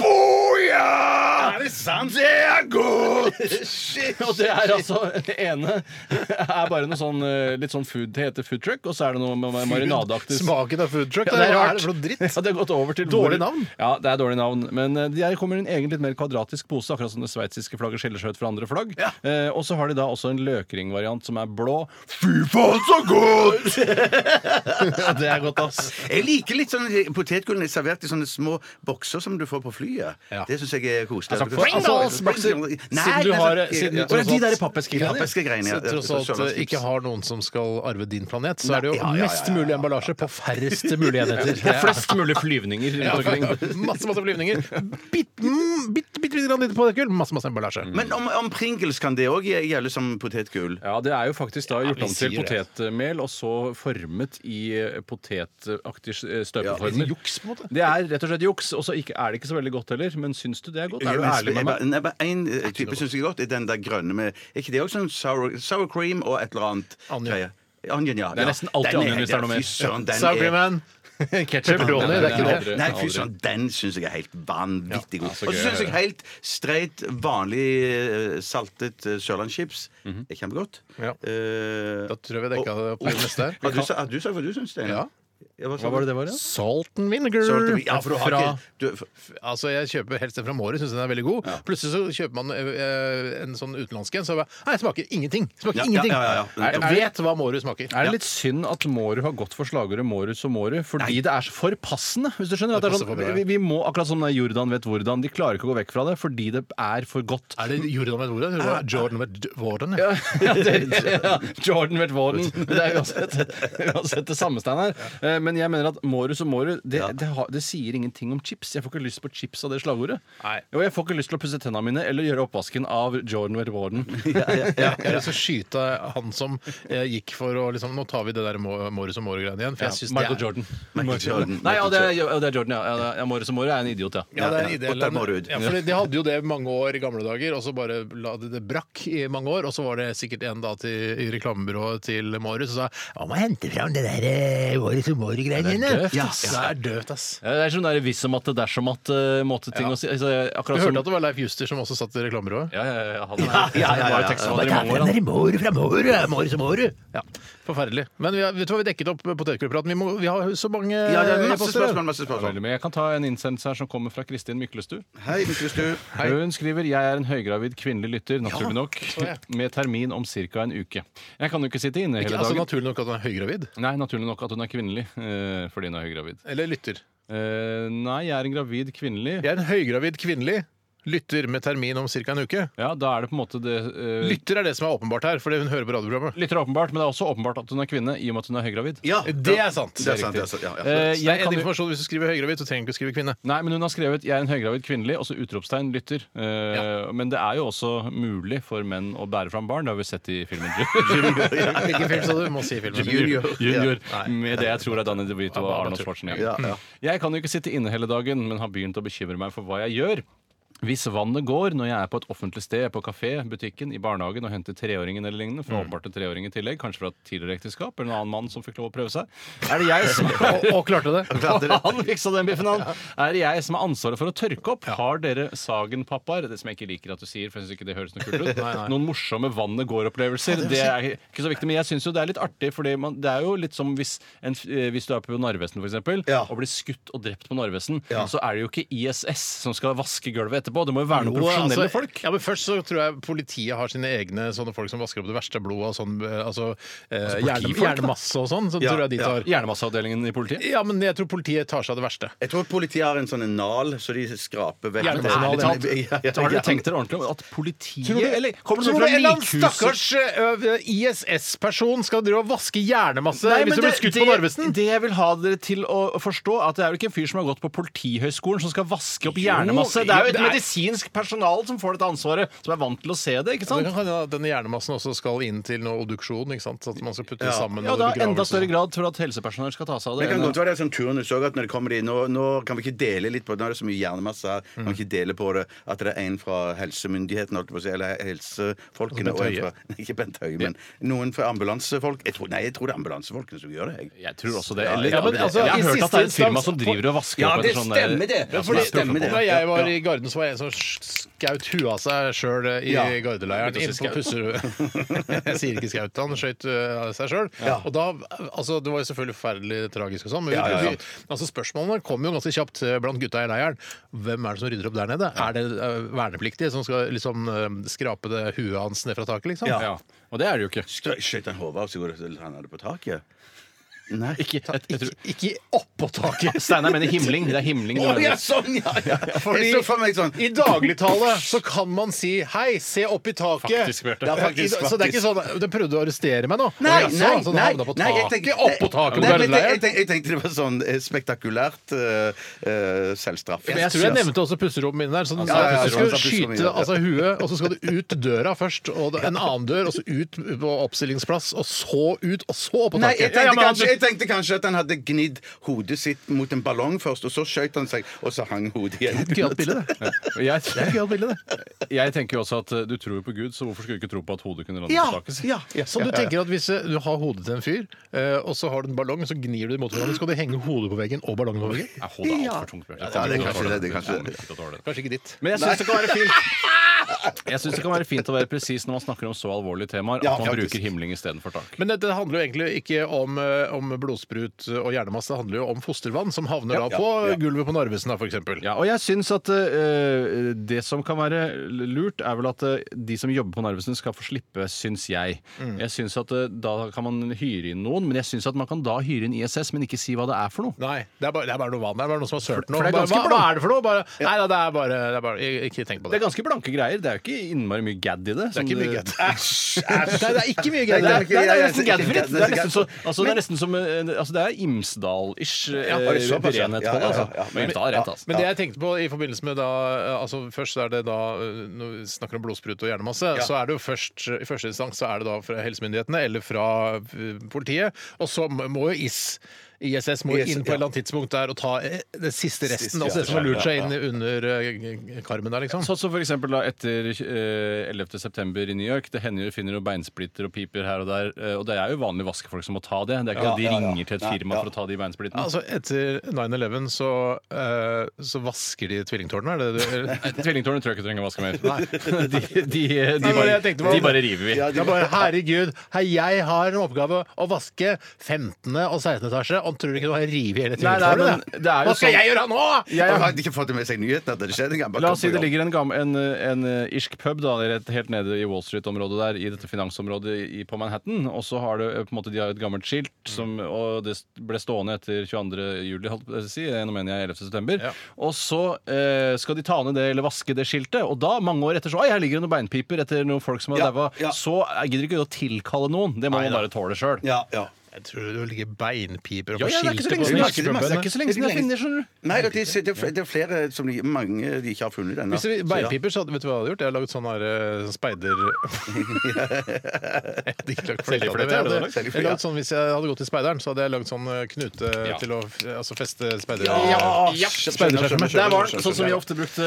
S6: Er det sant? Det er godt! Shit.
S5: Og det er altså Det ene er bare noe sånn eh, litt sånn food Det heter food truck, og så er det noe ma- marinadeaktig
S4: Smaken av food truck,
S5: Ja, det er
S4: hva er
S5: rart.
S4: det for noe dritt?
S5: Ja, det har gått over til
S4: Dårlig
S5: hvor-
S4: navn.
S5: Ja, det er dårlig navn. Men eh, de kommer i en egen litt mer kvadratisk pose, akkurat som det sveitsiske flagget skiller seg ut fra andre flagg. Eh, og så har de da også en løkringvariant som er blå.
S6: Fy faen, så godt!
S5: Ja, det er godt, ass.
S6: Jeg liker litt sånn potetgull når det er servert i sånne små bokser som du får på flyet.
S4: Ja.
S6: Det syns jeg er koselig.
S5: Altså, Pringles-bokser!
S6: Nei,
S5: Siden du
S6: nei,
S5: har-
S6: sånn-
S5: siden du
S6: Ja,
S5: tross
S6: de der
S5: alt-
S6: pappeskegreiene. Pappeskegreiene, ja.
S4: Så tross alt eh, ikke har noen som skal arve din planet, så er det jo
S6: Nei, ja, ja, ja, ja,
S4: mest mulig emballasje på færrest mulig enheter.
S5: Det er flest mulig flyvninger rundt omkring.
S4: Masse, masse flyvninger. Bitte, mm, bitte, bitte lite grann lite potetgull. Masse, masse emballasje.
S6: Men om, om Pringles kan det òg gjelde som potetgull?
S5: Ja, det er jo faktisk da gjort
S4: vi
S5: om til
S4: sier det.
S5: potetmel, og så formet i eh, potetaktig s- eh,
S4: Litt
S5: støpeformer.
S4: Juks, på en måte.
S5: Det er rett og slett juks, og så ikke- er det ikke så veldig godt heller. Men syns du det er godt? Er du
S6: Jeg-
S5: ærlig med
S6: jeg-
S5: meg?
S6: Nei, bare én eh, type syns jeg er godt. er Den der grønne med Er ikke det også sånn sour, sour cream og et eller annet?
S4: Onion.
S6: greie? Onion, ja.
S5: Det er
S6: ja.
S5: nesten alltid
S6: Den
S5: onion hvis det er noe mer.
S6: Fy søren, den
S4: Sour cream
S6: er
S4: and ketchup. Pepperoni, det er ikke det.
S5: Aldri,
S6: Nei, fy
S5: aldri.
S6: søren, den syns jeg er helt vanvittig god.
S5: Ja, så
S6: Og så
S5: gøy å
S6: syns jeg
S5: høre.
S6: helt streit, vanlig eh, saltet eh, sørlandschips er kjempegodt.
S4: Ja.
S6: Eh,
S4: Da tror jeg vi dekka det på det meste her.
S6: har, du, sa- har du sagt hva du syns, Stein?
S4: Ja.
S5: Hva var det det var, ja?
S4: Salt and vinegar.
S6: Salt and- ja, for du har
S4: fra,
S6: ikke- du- for-
S4: altså jeg kjøper helst den fra Måre, syns den er veldig god. Plutselig så kjøper man eh, en sånn utenlandsk en, så bare, nei, smaker ingenting. Smaker
S6: Ja, ja,
S4: ingenting.
S6: ja, ja, ja.
S4: Jeg vet hva Måre smaker.
S5: Er det litt synd at Mårud har gått for slagordet 'Mårud som Mårud'? Fordi det er så forpassende. hvis du skjønner at det er
S4: passer for
S5: sånn,
S4: bra, ja.
S5: vi, vi må, Akkurat som det er Jordan vet hvordan. De klarer ikke å gå vekk fra det fordi det er for godt.
S4: Er det Jordan med Jordan? Eller Jordan med d- Warden? Ja.
S5: ja, det, ja, Jordan vet Warden. Men Det er uansett, uansett det samme, Steinar. Eh, Men jeg mener at Mårud som Mårud, det, det, har- det sier ingenting om chips. Jeg får ikke lyst på chips av det slagordet.
S4: Nei.
S5: Og jeg får ikke lyst til å pusse tennene mine eller gjøre oppvasken av Jordan vet Warden.
S4: Jeg har lyst til å skyte han som eh, gikk for å liksom, Nå tar vi det der Må- Måre som Måre-greiene igjen. For jeg synes det
S5: Michael
S4: er,
S5: Jordan.
S6: Michael Jordan.
S5: Nei, ja, det er, ja, det er Jordan, ja. ja. det er- ja Mårud som Mårud er en idiot, ja.
S4: Ja, det er
S6: Ja,
S4: ideell.
S6: Ottar Mårud.
S4: Ja, for de hadde jo det mange år i gamle dager, og så bare la det, det brakk i mange år. Og så var det sikkert en da til, i reklamebyrået til Mårud som sa Hva må jeg hente fram det der eh, Årets humor-greiene dine?
S5: døvt,
S4: Ja, Det er døvt, ass.
S5: Ja, Det er sånn der hvis som at det er som at eh, måte ting å si. Altså, jeg-
S4: Du
S5: akkurat som
S4: hørte at det var Leif Juster som også satt i reklamebyrået?
S5: ja, ja, ja, han er, han var jo tekstforfatter i mange år. han.
S4: Mårud fra Mårud, Mårud som Mårud. Ja, forferdelig. Men vi har, vet du hva, vi dekket opp potetgullpraten. Vi, må- vi har så mange
S6: Ja, det er masse
S4: e-poster.
S6: spørsmål. Masse spørsmål.
S5: Veldig, Men jeg kan ta en innsendelse her som kommer fra Kristin Myklestuen.
S6: Hei, Mikkel Stu.
S5: Hun skriver jeg er en høygravid kvinnelig lytter, naturlig nok, med termin om ca. en uke. Jeg kan jo ikke sitte inne hele
S4: Ikke, altså,
S5: dagen.
S4: naturlig nok at han er høygravid.
S5: Nei, naturlig nok at hun er kvinnelig eh, fordi hun er høygravid.
S4: Eller lytter.
S5: Eh, nei, jeg er en gravid kvinnelig.
S4: Jeg er en høygravid kvinnelig. Lytter med termin om ca. en uke.
S5: Ja, da er det på en måte det eh,
S4: Lytter er det som er åpenbart her, fordi hun hører på radioprogrammet.
S5: Lytter er åpenbart, men det er også åpenbart at hun er kvinne i og med at hun er høygravid.
S6: Ja,
S4: Det er sant.
S6: Det er sant, det er sant. Ja, ja.
S5: Eh,
S4: Det
S5: jeg
S4: er
S5: kan
S4: en
S5: jo-
S4: informasjon Hvis du skriver høygravid, så trenger du ikke skrive kvinne.
S5: Nei, men hun har skrevet 'Jeg er en høygravid kvinnelig', og så utropstegn 'lytter'. Eh, Men det er jo også mulig for menn å bære fram barn. Det har vi sett i filmen
S4: Hvilken film sa du? Må si filmen.
S5: Junior. Junior.
S4: Ja. Nei.
S5: Med det jeg tror er Danny DeVito og Arnold Schwarzenegger. Jeg kan jo ikke sitte inne hele dagen, men har begynt å bekymre meg for hva jeg gjør. Hvis vannet går når jeg er på et offentlig sted, på kafé, butikken, i barnehagen og henter treåringen eller lignende, for
S4: Mm.
S5: åpenbart en treåring i tillegg, kanskje fra et tidligere ekteskap eller en annen mann som fikk lov å prøve seg, er det jeg som
S4: Og, og klarte det.
S5: han fiksa den biffen, han. Er det jeg som har ansvaret for å tørke opp? Har dere Sagen-pappaer, det som jeg ikke liker at du sier, for jeg syns ikke det høres noe kult ut, noen morsomme vannet går-opplevelser? Det er ikke så viktig, men jeg syns jo det er litt artig, for det er jo litt som hvis, en, f- eh, hvis du er på Narvesen, for eksempel,
S6: Ja.
S5: og blir skutt og drept på Narvesen, så er det jo ikke ISS som skal vaske gulvet etterpå. Det må jo være noen profesjonelle
S4: Altså,
S5: folk.
S4: Ja, men Først så tror jeg politiet har sine egne sånne folk som vasker opp det verste blodet og sånn eh, altså, eh, hjerne,
S5: politifolk, da.
S4: hjernemasse og sånn. Så
S6: Ja,
S4: tror jeg de
S6: ja.
S4: tar
S5: Hjernemasseavdelingen i politiet.
S4: Ja, men jeg tror politiet tar seg av det verste.
S6: Jeg tror politiet har en sånn en nal, så de skraper vekk
S4: Gjerne med Ja,
S5: Ærlig talt,
S6: Ja, ja,
S5: har dere
S6: ja.
S5: tenkt dere ordentlig om at politiet
S4: Tror du-
S5: Eller kommer det
S4: Tror
S5: noe
S4: du
S5: fra
S4: en eller annen
S5: Likhuset?
S4: stakkars eh, ø, ISS-person skal drive og vaske hjernemasse
S5: Nei, men
S4: hvis du blir skutt på Narvesen?
S5: Det jeg vil ha dere til å forstå, at det er jo ikke en fyr som har gått på Politihøgskolen som skal vaske opp
S4: Jo,
S5: hjernemasse. Det er jo
S4: jo,
S5: et
S4: det er-
S5: medisinsk personal som får dette ansvaret, som er vant til å se det, ikke
S4: Det
S5: sant?
S4: kan hende at denne hjernemassen også skal inn til noe obduksjon. ikke sant? Så at man skal putte det sammen
S5: Ja,
S4: og sånn.
S5: da
S4: begravelse.
S5: enda større grad for at helsepersonell skal ta seg av
S6: Men
S5: det.
S6: Det kan godt være det er sånn turnus òg, at når det kommer de, nå, nå kan vi ikke dele litt på det. Nå er det så mye hjernemasse her. Kan vi ikke dele på det at det er en fra helsemyndighetene, holdt jeg på å si, eller helsefolkene og en fra Nei, ikke Bent Høie, men noen fra ambulansefolk. Jeg tror, nei, jeg tror det er ambulansefolkene som gjør det, jeg.
S5: Jeg tror også det.
S6: Ja,
S5: Eller,
S6: ja, men altså,
S5: jeg har
S4: i
S5: hørt at det er et
S4: siste
S5: firma
S4: instans-
S5: som driver og vasker
S6: Ja,
S5: opp
S6: det
S5: etter sånn
S6: stemmer det.
S5: Ja,
S6: Fordi-
S5: som er
S6: stemmer det.
S4: Da jeg var i Garden, så var jeg en som skaut huet av seg sjøl i
S6: Ja.
S4: gardeleiren.
S5: Begynte å si
S4: Innenfor Pusserud. Jeg sier ikke skaut, han skøyt eh, av seg sjøl. Og da Altså, det var jo selvfølgelig forferdelig tragisk og sånn, men vi,
S6: Ja, ja, ja.
S4: vi- altså, spørsmålene kom jo ganske kjapt eh, blant gutta i leiren. Hvem er det som rydder opp der nede? Er det eh, vernepliktige som skal liksom eh, skrape det huet hans ned fra taket, liksom?
S5: Ja. Og det er det jo ikke.
S6: Skjø- Skjøt han hodet av, så går det til han hadde på taket? Nei.
S5: Ikke, jeg, jeg tror,
S4: Ikke oppå taket!
S5: Steinar mener himling. Det er himling.
S6: Å ja, sånn, ja! ja.
S4: Fordi-
S6: jeg så for meg sånn
S4: I dagligtale så kan man si 'hei, se opp i taket'.
S5: Faktisk, Bjarte.
S4: Ja, faktisk,
S6: I dag-
S4: Så det er ikke sånn Du prøvde å arrestere meg nå?
S6: Nei,
S4: Å, jaså,
S6: nei,
S4: så den
S6: nei,
S4: havna på
S6: nei,
S4: taket, oppå taket på
S6: Nei, men jeg, jeg,
S4: gardeleiren?
S6: tenkte, jeg tenkte det var sånn eh, spektakulært eh, eh, selvstraff.
S4: Men jeg tror jeg nevnte også pusterommet inne der. Så den
S6: Ja,
S4: sa
S6: ja, ja,
S4: at du skal
S6: han sa pusterommet
S4: skyte
S6: inne, ja.
S4: altså, huet, og så skal du ut døra først. Og da- en annen dør, og så ut på oppstillingsplass, og så ut, og så opp på
S6: Nei,
S4: taket.
S6: jeg tenkte,
S5: Ja, men altså- han-
S6: kanskje, jeg tenkte kanskje at han hadde gnidd hodet sitt mot en ballong først, og så skjøt han seg, og så hang hodet
S4: Det er
S6: igjen.
S4: et Gøyalt bilde, det.
S5: Jeg,
S4: Det er et gøyalt bilde, det.
S5: jeg tenker jo også at eh, du tror jo på Gud, så hvorfor skulle du ikke tro på at hodet kunne lande på taket?
S6: ja, ja.
S4: Så du tenker at hvis eh, du har hodet til en fyr, eh, og så har du en ballong, så gnir du det mot hverandre, så skal du henge hodet på veggen og ballongen på veggen?
S5: Jeg holder altfor tungt. Bjørn.
S6: Ja, det er kanskje det, det er kanskje
S5: Jeg kommer
S6: det.
S5: ikke til å tåle det.
S4: Kanskje ikke ditt.
S5: Men jeg syns det kan være fint. Jeg syns det kan være fint å være presis når man snakker om så alvorlige temaer,
S6: Ja,
S5: at man
S6: faktisk.
S5: bruker himling istedenfor tak.
S4: Men dette handler jo egentlig ikke om, eh, om blodsprut og hjernemasse, det handler jo om fostervann, som havner da på eh, gulvet på Narvesen, da, for eksempel.
S5: Ja, og jeg syns at eh, det som kan være lurt, er vel at eh, de som jobber på Narvesen skal få slippe, syns jeg.
S6: Mm.
S5: Jeg syns at eh, da kan man hyre inn noen, men jeg syns at man kan da hyre inn ISS, men ikke si hva det er for noe.
S4: Nei, det er, bare, det er bare noe vann. Det er bare noen som har sølt noe.
S5: for det er
S4: Bare,
S5: ganske
S4: hva, hva er det for noe? Bare, nei da, det er bare, det er bare jeg, Ikke tenk på
S5: Det
S4: det.
S5: er ganske blanke greier. Det er jo ikke innmari mye gadd i det.
S4: Det er
S5: som
S4: ikke mye
S5: det-
S4: gett. Æsj! Nei, det er ikke mye
S5: Nei,
S4: gett.
S5: det er,
S6: ikke-
S5: nei, det er
S6: jeg-
S5: nesten
S6: jeg-
S5: gadfritt. Det er
S6: jeg-
S5: nesten, så, altså, det er nesten som eh, altså, Det er Imsdal-ish eh,
S4: Ja,
S6: det er såpass, ja.
S5: renhet
S6: Ja,
S5: på det.
S6: ja,
S5: Altså.
S6: ja, ja, men-
S5: Men Imsdal er rett, altså.
S4: Men det jeg tenkte på i forbindelse med da eh, altså Først er det da eh, Når vi snakker om blodsprut og hjernemasse, så er det jo først i første instans så er det da fra helsemyndighetene eller fra eh, politiet. Og så må jo IS ISS må jo
S6: IS,
S4: inn på et eller annet tidspunkt der og ta eh, den siste resten,
S6: Siste,
S4: altså
S6: ja,
S4: det som har lurt seg
S6: ja,
S4: inn under eh, karmen der, liksom.
S5: Sånn som for eksempel da etter eh, 11. september i New York. Det hender jo finner jo beinsplitter og piper her og der. eh, og det er jo vanlige vaskefolk som må ta det. Det er ikke sånn at de
S6: ja, ja.
S5: ringer til et
S6: Nei,
S5: firma
S6: ja.
S5: for å ta de beinsplittene.
S4: Altså, etter 9-11 så, eh, så vasker de tvillingtårnene, er det det du
S5: Nei, Tvillingtårnet tror jeg ikke trenger å vaske mer. De, de, de,
S4: Nei, men
S5: bare,
S4: jeg tenkte på-
S5: de bare river vi.
S4: Det er bare, herregud, hei, jeg har en oppgave å vaske 15. og 16. etasje, og tror du ikke du har revet hele
S5: Nei, nei, men
S4: tvillingtårnet?
S5: det er jo
S4: Hva skal
S5: sånn-
S4: jeg gjøre nå?!
S6: Han hadde ikke fått med seg nyheten at det skjedde engang. Bare
S5: La
S6: kom
S5: oss si
S6: på
S5: det
S6: jobb.
S5: ligger en, gam- en, en eh, irsk pub da, rett, helt nede i Wall Street-området der, i dette finansområdet i, på Manhattan. Og så har det, eh, på en måte, de har et gammelt skilt,
S6: Mm.
S5: som, og det ble stående etter 22. juli, holdt på å si, eh, nå mener jeg 11. september.
S4: Ja.
S5: Og så eh, skal de ta ned det, eller vaske det skiltet, og da, mange år etter, så Oi, her ligger det noen beinpiper etter noen folk som har
S6: Ja,
S5: daua.
S6: ja.
S5: Så jeg gidder ikke å tilkalle noen. Det må man bare tåle sjøl.
S6: Ja, ja.
S4: Jeg tror det ligger beinpiper og
S5: Ja, ja, det er ikke så lenge
S4: skilter
S5: siden
S4: på
S5: jeg- det er ikke så lenge siden jeg finner, skjønner du.
S6: Nei, det er, det er- det er flere som de, mange de ikke har funnet ennå.
S4: Hvis det var beinpiper, så hadde, vet du hva jeg hadde gjort? Jeg hadde laget sånn her eh, speider... jeg hadde ikke lagd flere av det, men jeg
S5: Seljefløyte, er det
S4: hadde-
S5: det du
S6: lager?
S4: jeg hadde laget sånn, Hvis jeg hadde gått til speideren, så hadde jeg lagd sånn eh, knute til å f- altså feste speider...
S6: Ja, ja.
S4: Speiderskjermen.
S6: Skjønner, skjønner,
S5: Der var
S6: skjønner,
S5: den, sånn som vi
S6: skjønner.
S5: ofte brukte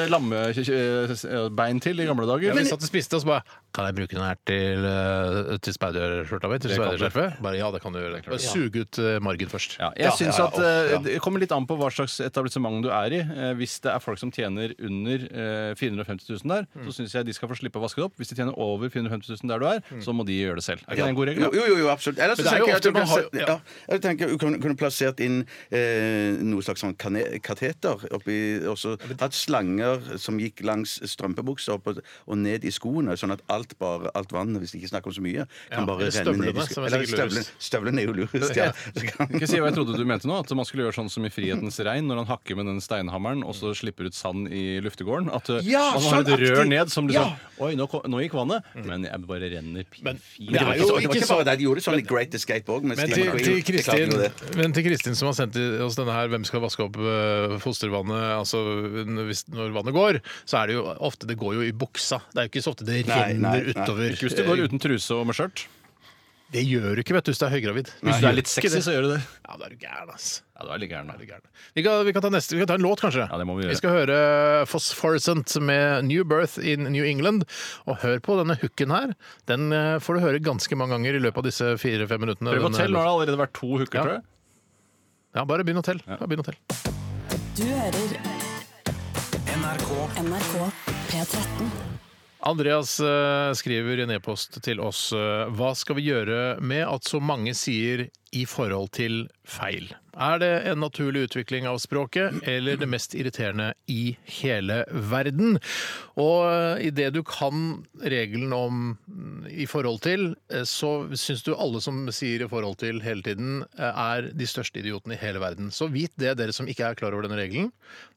S5: lammebein til i gamle dager.
S4: Ja, vi satt og spiste, og så bare Kan jeg bruke den her til, eh, til speiderskjorta mi? Til
S5: Det kan du.
S4: speiderskjerfet? Bare ja, det kan du gjøre. Bare Sug ut eh, margen først.
S5: Ja, jeg synes at eh, Det kommer litt an på hva slags etablissement du er i. Eh, hvis det er folk som tjener under eh, 450 000 der, så syns jeg de skal få slippe å vaske det opp. Hvis de tjener over 450 000 der du er, så må de gjøre det selv. Er ikke det en god regel?
S6: Jo,
S5: da?
S6: jo, jo, absolutt. Ellers
S4: Men
S6: så
S4: det er jo
S6: tenker jeg at du
S4: ofte man har-
S6: plasser- ja. jeg tenker du kunne, kunne plassert inn eh, noe slags sånn kane- kateter oppi og så hatt slanger som gikk langs strømpebuksa opp og, og ned i skoene, sånn at alt bare, alt vannet, hvis de ikke snakker om så mye, kan
S4: Ja,
S6: bare
S4: eller
S6: renne ned
S4: støvlene,
S6: i
S4: som
S6: skoene.
S4: er
S6: Eller
S4: sikkert lurest.
S6: støvlene. Støvlene er jo lurest, ja. Så kan-
S5: Ikke si hva jeg trodde du mente nå, at man skulle gjøre sånn som i Frihetens regn, når han hakker med den steinhammeren og så slipper ut sand i luftegården. At eh,
S6: Ja,
S5: man har et rør
S6: sånn aktig.
S5: ned som liksom
S6: Ja.
S5: Oi, nå, kom- nå gikk vannet, men jeg bare
S4: Men-
S5: renner fint.
S4: men det
S6: Det var
S4: jo
S6: ikke, det var
S4: ikke
S6: ikke bare det. De gjorde sånn i Great Escape òg.
S4: Men til, til, Kristin, men til Kristin som har sendt i- oss denne her 'Hvem skal vaske opp eh, fostervannet?' Altså n- hvis, når vannet går, så er det jo ofte Det går jo i buksa. Det er jo ikke så ofte det
S6: Nei,
S4: renner
S6: nei, nei.
S4: utover.
S5: Ikke hvis du går uten truse og med skjørt.
S4: Det gjør du ikke, vet du, hvis du er høygravid.
S5: Hvis du er litt sexy, så gjør du det.
S4: Ja, da er du gæren, ass.
S5: Ja, du er litt gæren. da.
S4: Vi kan, vi, kan ta neste, vi kan ta en låt, kanskje.
S5: Ja, det må vi gjøre.
S4: skal høre Phosphorescent med New Birth in New England. Og hør på denne hooken her. Den eh, får du høre ganske mange ganger i løpet av disse fire-fem minuttene.
S5: Prøv å
S4: Den, eh,
S5: telle, nå har det allerede vært to hooker,
S4: Ja.
S5: tror jeg.
S4: Ja, bare begynn å telle. Ja, begynn å telle.
S7: Du hører
S3: NRK
S7: NRK P13.
S4: Andreas eh, skriver i en e-post til oss eh, Hva skal vi gjøre med at så mange sier i forhold til feil? Er det en naturlig utvikling av språket, eller det mest irriterende i hele verden? Og eh, i det du kan regelen om mm, i forhold til, eh, så syns du alle som sier i forhold til hele tiden, eh, er de største idiotene i hele verden. Så vit det, dere som ikke er klar over denne regelen.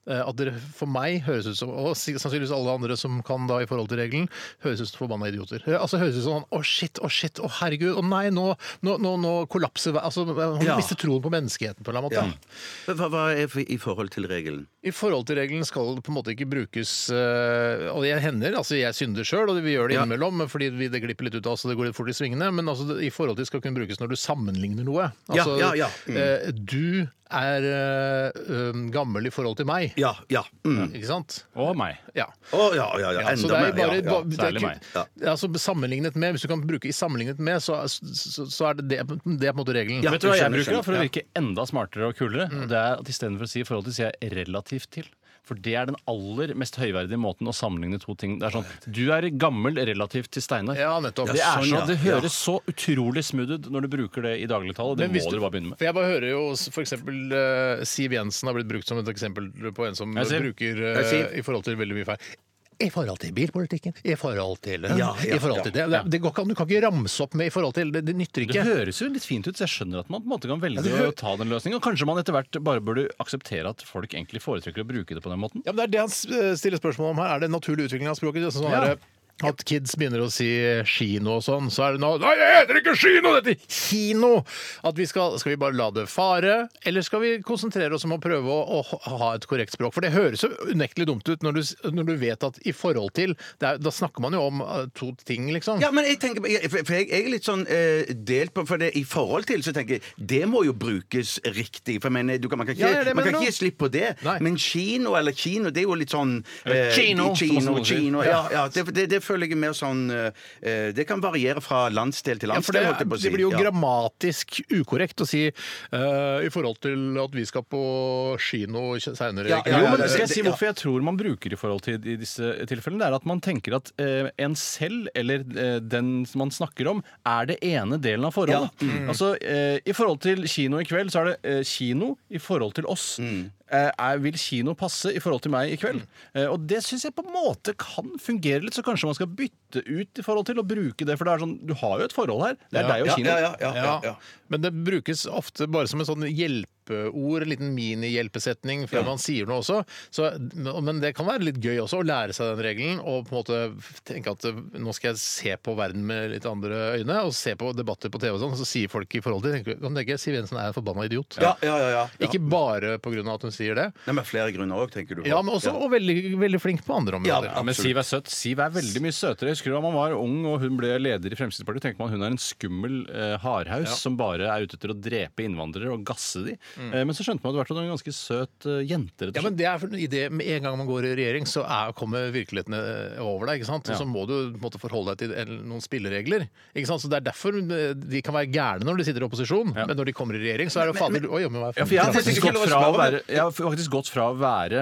S4: Eh, At dere for meg høres ut som, og si- sannsynligvis alle andre som kan da i forhold til regelen, høres ut som forbanna idioter. Eh, Altså høres ut som sånn å shit, å shit, å herregud, å nei, nå, nå, nå, nå kollapser ver- Altså hun
S6: Ja.
S4: mister troen på menneskeheten på en eller annen måte.
S6: Hva, er i forhold til regelen?
S4: I forhold til regelen skal det på en måte ikke brukes eh, Og det hender, altså jeg synder sjøl, og vi gjør det
S6: Ja.
S4: innimellom fordi vi, det glipper litt ut av oss, og det går litt fort i svingene, men altså, det, i forhold til skal kunne brukes når du sammenligner noe.
S6: Ja,
S4: Altså,
S6: ja, ja. Mm.
S4: eh, du er eh, um, gammel i forhold til meg,
S6: Ja, ja. Mm.
S4: ikke sant?
S5: Og meg.
S4: Ja.
S6: Å, ja, ja, ja.
S4: Ja, så det
S6: Enda
S4: er
S6: mer.
S4: jo bare,
S6: Ja, ja.
S4: det er
S5: Særlig
S4: ikke-
S5: meg.
S6: Ja.
S4: det er Altså, sammenlignet med, hvis du kan bruke i sammenlignet med, så, så, så er det, det, det er på en måte regelen.
S6: Ja.
S5: Vet du hva jeg
S6: skjønner,
S5: bruker da, for å
S4: Mm.
S6: skjønner.
S5: virke enda smartere og kulere? Det er at Istedenfor å si i forhold til, sier jeg relativt til. For det er den aller mest høyverdige måten å sammenligne to ting Det er sånn Du er gammel relativt til Steinar.
S4: Ja, nettopp.
S5: Det, er
S6: sånn,
S5: så,
S6: ja.
S5: det høres så utrolig smooth ut når du bruker det i dagligtale. Det
S4: Men hvis
S5: må
S4: du-
S5: du bare begynne med.
S4: For jeg bare hører jo f.eks. Uh, Siv Jensen har blitt brukt som et eksempel på en som
S5: Ja, Siv.
S4: bruker
S6: Ja, Siv.
S4: eh, i forhold til veldig mye feil. I forhold til bilpolitikken, i forhold til den,
S6: Ja, ja,
S4: i forhold til det. Det, det går ikke an, Du kan ikke ramse opp med 'i forhold til'. Det, det nytter
S5: Det
S4: ikke.
S5: høres jo litt fint ut, så jeg skjønner at man på en måte kan velge
S4: det hø-
S5: å ta den løsningen. Og kanskje man etter hvert bare burde akseptere at folk egentlig foretrekker å bruke det på den måten.
S4: Ja, men Det er det han s- eh, stiller spørsmål om her. Er det en naturlig utvikling av språket? Sånn
S5: Ja.
S4: er det at kids begynner å si kino og sånn, så er det nå Nei, det heter ikke kino! Det heter kino! At vi skal, skal vi bare la det fare, eller skal vi konsentrere oss om å prøve å, å ha et korrekt språk? For det høres jo unektelig dumt ut når du, s- når du vet at i forhold til det er, Da snakker man jo om eh, to ting, liksom.
S6: Ja, men jeg tenker, jeg- for for jeg jeg er litt sånn eh, delt på For det, i forhold til så tenker jeg det må jo brukes riktig. For jeg mener, du kan, man kan ikke,
S4: Ja, ja, det
S6: man
S4: mener
S6: kan ikke
S4: du.
S6: gi slipp på det.
S4: Nei.
S6: Men kino eller kino, det er jo litt sånn eh,
S5: kino, som
S6: kino,
S5: noen sier.
S6: kino ja, ja, det, det, det føler jeg er mer sånn eh, Det kan variere fra landsdel til
S4: Ja, for det,
S6: landsdel, holdt jeg på å si.
S4: det blir jo
S6: Ja.
S4: grammatisk ukorrekt å si eh, i forhold til at vi skal på kino seinere.
S6: Ja, ja,
S5: jo, men
S6: det-
S5: skal jeg
S6: det-
S5: si
S6: ja.
S5: hvorfor jeg tror man bruker i forhold til i disse tilfellene? Det er at man tenker at eh, en selv, eller eh, den som man snakker om, er det ene delen av forholdet.
S6: Mm.
S5: Altså, eh, I forhold til kino i kveld, så er det eh, kino i forhold til oss.
S6: Mm.
S5: Eh, er, vil kino passe i forhold til meg i kveld? Eh, og det syns jeg på en måte kan fungere litt, så kanskje man skal bytte ut i forhold til å bruke det. For det er sånn, du har jo et forhold her. Det er deg og
S6: ja,
S5: kino.
S6: ja, ja, ja, ja,
S4: Ja,
S6: ja.
S4: men det brukes ofte bare som en sånn hjelpeord, en liten minihjelpesetning før man sier noe også. Så, men det kan være litt gøy også å lære seg den regelen og på en måte tenke at eh, nå skal jeg se på verden med litt andre øyne, og se på debatter på TV og sånn, så sier folk i forhold til tenker, Kan du tenke Siv Jensen er en forbanna idiot?
S6: Ja, ja, ja, ja.
S4: Ikke bare på grunn av at hun sier det,
S6: Nei, men flere grunner òg, tenker du. på.
S4: ja, men også og veldig, veldig flink på andre
S6: Ja,
S4: områder.
S5: Ja, men Siv er søt. Siv er veldig mye søtere. Jeg husker da man var ung og hun ble leder i Fremskrittspartiet, tenkte man hun er en skummel eh, hardhaus som bare er ute etter å drepe innvandrere og gasse de. Eh, men så skjønte man etter hvert at hun var en ganske søt eh, jente. rett
S4: Mm. Ja,
S5: og
S4: men
S5: slett.
S4: det er for- i det Med en gang man går i regjering, så er, kommer virkeligheten eh, over deg. ikke sant? Og så må du på en måte forholde deg til en- noen spilleregler. ikke sant? Så Det er derfor eh, de kan være gærne når de sitter i opposisjon, men når de kommer i regjering, så er det fader Oi, jammen meg
S5: Ja, for jeg har
S6: Det er
S5: faktisk
S6: ikke
S5: gått
S6: lov å
S5: fra å
S6: spørre,
S5: være, jeg har faktisk gått fra å være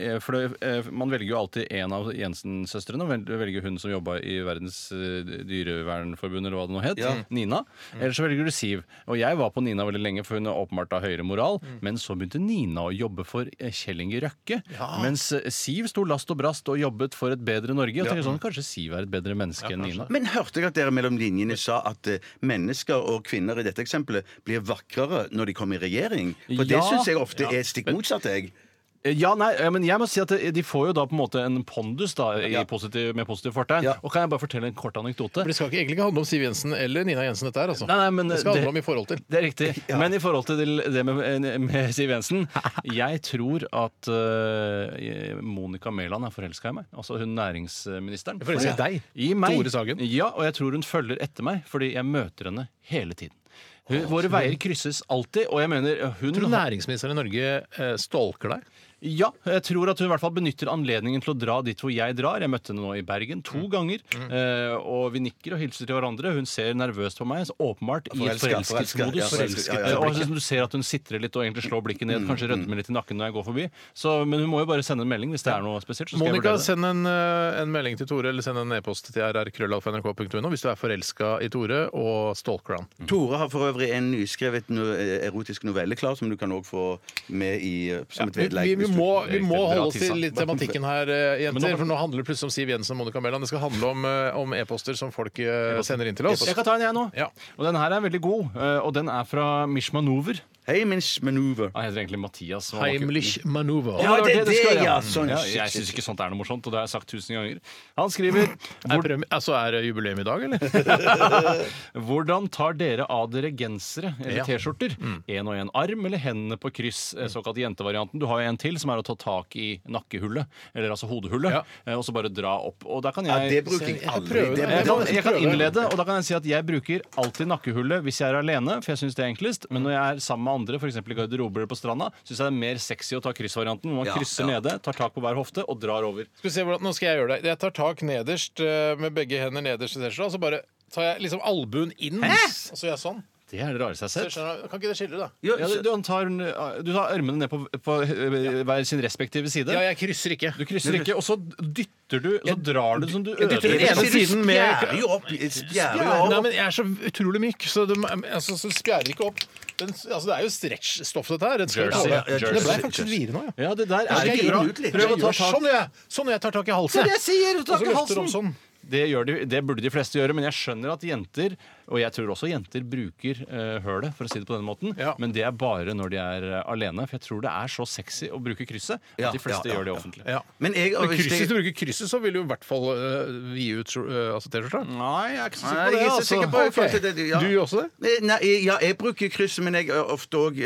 S5: eh, For det, eh, man velger jo alltid en av Jensen-søstrene. og vel- velger hun som jobba i Verdens eh, dyrevernforbund, eller hva det nå het. Nina. Eller så velger du Siv. Og jeg var på Nina veldig lenge, for hun er åpenbart av høyere moral. Men så begynte Nina å jobbe for eh, Kjell Inge Røkke. Mens eh, Siv sto last og brast og jobbet for et bedre Norge. Og tenker sånn, kanskje Siv er et bedre menneske enn Nina.
S6: Men hørte jeg at dere mellom linjene sa at eh, mennesker og kvinner i dette eksempelet blir vakrere når de kommer i regjering? For det
S5: Ja.
S6: syns jeg ofte er stikk motsatt, jeg.
S5: Eh, Ja, nei, ja, men jeg må si at eh, De får jo da på en måte en pondus da, i positiv, med positiv fortegn.
S6: Ja.
S5: Og Kan jeg bare fortelle en kort anekdote?
S4: For Det skal ikke, egentlig ikke handle om Siv Jensen eller Nina Jensen, dette her. altså.
S5: Nei, nei, men
S4: det skal
S5: det-
S4: handle om i forhold til.
S5: Det er riktig. Men i forhold til det med, eh, med Siv Jensen Jeg tror at eh, Monica Mæland er forelska i meg. Altså hun næringsministeren.
S4: Forelska i
S5: Fordi-
S4: deg?
S5: I meg.
S4: Tore Sagen?
S5: Ja, og jeg tror hun følger etter meg, fordi jeg møter henne hele tiden. Hun, våre veier krysses alltid, og jeg mener eh, hun
S4: Tror du
S5: har-
S4: næringsministeren i Norge eh, stalker deg?
S5: Ja, jeg tror at hun i hvert fall benytter anledningen til å dra dit hvor jeg drar. Jeg møtte henne nå i Bergen
S6: Mm.
S5: to ganger. eh, Og vi nikker og hilser til hverandre. Hun ser nervøst på meg, så åpenbart i et
S6: Forelsket, forelsket, ja,
S5: forelskelsesmodus.
S6: forelsket, ja, Mm, ja,
S5: Eh,
S6: ja.
S5: Og jeg synes du ser at hun sitrer litt og egentlig slår blikket ned, kanskje rødmer litt i nakken når jeg går forbi. Så, men hun må jo bare sende en melding hvis det er noe spesielt. Så skal
S4: Monica,
S5: jeg vurdere det.
S4: send en, eh, en melding til Tore, eller send en e-post til rrkrøllalfa.nrk.no hvis du er forelska i Tore og stalker han.
S6: Tore har for øvrig en nyskrevet no eh, erotisk novelle klar, som du kan òg få med i, eh, som et
S4: Vi,
S6: vedlegg.
S4: vi, vi,
S6: hvis du-
S4: må, vi
S5: Riktig,
S4: må
S5: bra
S4: holde oss
S5: tissa.
S4: til litt tematikken her, eh,
S5: Men nå-
S4: jenter. For nå handler det plutselig om Siv Jensen og Monica Mæland. Det skal handle om, eh, om e-poster som folk eh, sender inn til oss.
S5: Jeg kan ta en, jeg nå.
S4: Ja.
S5: Og den her er veldig god. eh, Og den er fra Mishmanover.
S6: Hei, Miss Maneuver.
S5: Han heter egentlig Mathias. men han var ikke-
S4: Heimlich maneuver.
S5: Ja, det,
S6: det
S5: det,
S6: er
S5: det skal
S6: det,
S5: jeg.
S6: ja, sånn,
S5: ja,
S6: shit,
S5: jeg
S6: shit,
S5: syns ikke sånt er noe morsomt, og det har jeg sagt tusen ganger. Han skriver
S4: Er premi- altså, er det jubileum i dag, eller?
S5: Hvordan tar dere av dere gensere eller
S4: Ja.
S5: T-skjorter? Én og én arm eller hendene på kryss? eh, Såkalt jentevarianten. Du har jo en til som er å ta tak i nakkehullet, eller altså hodehullet,
S4: Ja.
S5: eh, og så bare dra opp. Og der kan
S6: Ja,
S5: jeg
S6: det bruker jeg aldri.
S4: prøve
S6: Det
S4: det.
S5: jeg
S6: bruker
S5: kan,
S6: jeg
S5: jeg kan innlede, og da kan jeg si at jeg bruker alltid nakkehullet hvis jeg er alene, for jeg syns det er enklest. Men når jeg er sammen med andre, f.eks. i garderober eller på stranda, syns jeg det er mer sexy å ta kryssvarianten, hvor man
S6: Ja,
S5: krysser
S6: ja.
S5: nede, tar tak på hver hofte og drar over.
S4: Skal vi se hvordan, nå skal jeg gjøre det. Jeg tar tak nederst eh, med begge hender nederst i T-skjorta, og så bare tar jeg liksom albuen inn, og så gjør jeg sånn.
S5: Det er det rareste jeg
S4: Så
S5: har
S4: jeg
S5: sett.
S4: skjønner, kan ikke det skille, da?
S5: Ja, du, du tar, du tar armene ned på, på eh, hver sin respektive side.
S4: Ja, jeg krysser ikke.
S5: Du krysser ikke, og så dytter du, så drar du som du
S4: dytter
S5: øver.
S4: den ene
S6: Sier du
S4: siden med-
S6: spjærer altså jo opp, spjærer jo
S4: Nei,
S6: opp.
S4: men jeg er så utrolig myk, så det altså, så spjærer ikke opp. Den, altså, det er jo stretchstoff, dette her. Den skal jo
S5: Jersey,
S4: tåle.
S5: ja,
S4: Det
S6: ja,
S4: ble
S6: jersey,
S4: faktisk videre nå, ja.
S5: Ja, det der
S4: Skal
S5: er
S4: jeg
S5: ikke bra.
S4: gjøre
S6: ut litt?
S5: Prøv å ta
S4: Jeg gjør
S5: tak.
S4: Sånn gjør jeg! Sånn gjør jeg tar tak i halsen.
S5: Det er det jeg sier, du tar
S4: Og så
S5: tak i
S4: løfter
S5: halsen.
S4: opp sånn.
S5: Det, gjør de, det burde de fleste gjøre, men jeg skjønner at jenter, og jeg tror også jenter, bruker eh, hølet, for å si det på den måten,
S4: Ja.
S5: men det er bare når de er eh, alene. For jeg tror det er så sexy å bruke krysset at
S6: Ja,
S5: de fleste
S6: ja, ja,
S5: gjør det
S6: ja.
S5: offentlig.
S4: Ja.
S6: Men jeg,
S4: Men
S6: hvis
S4: krysset,
S6: jeg-
S4: Hvis du bruker krysset, så vil du i hvert fall øh, vie ut øh, altså, T-skjorta.
S5: Nei, Mm. jeg er ikke så
S6: Nei,
S5: sikker på
S6: jeg
S5: det.
S6: er ikke
S5: Altså.
S6: sikker på i forhold
S4: Ok.
S6: til det. ja.
S4: Du gjør også det?
S6: Eh, Nei, ja, jeg bruker kryss, men jeg eh, ofte òg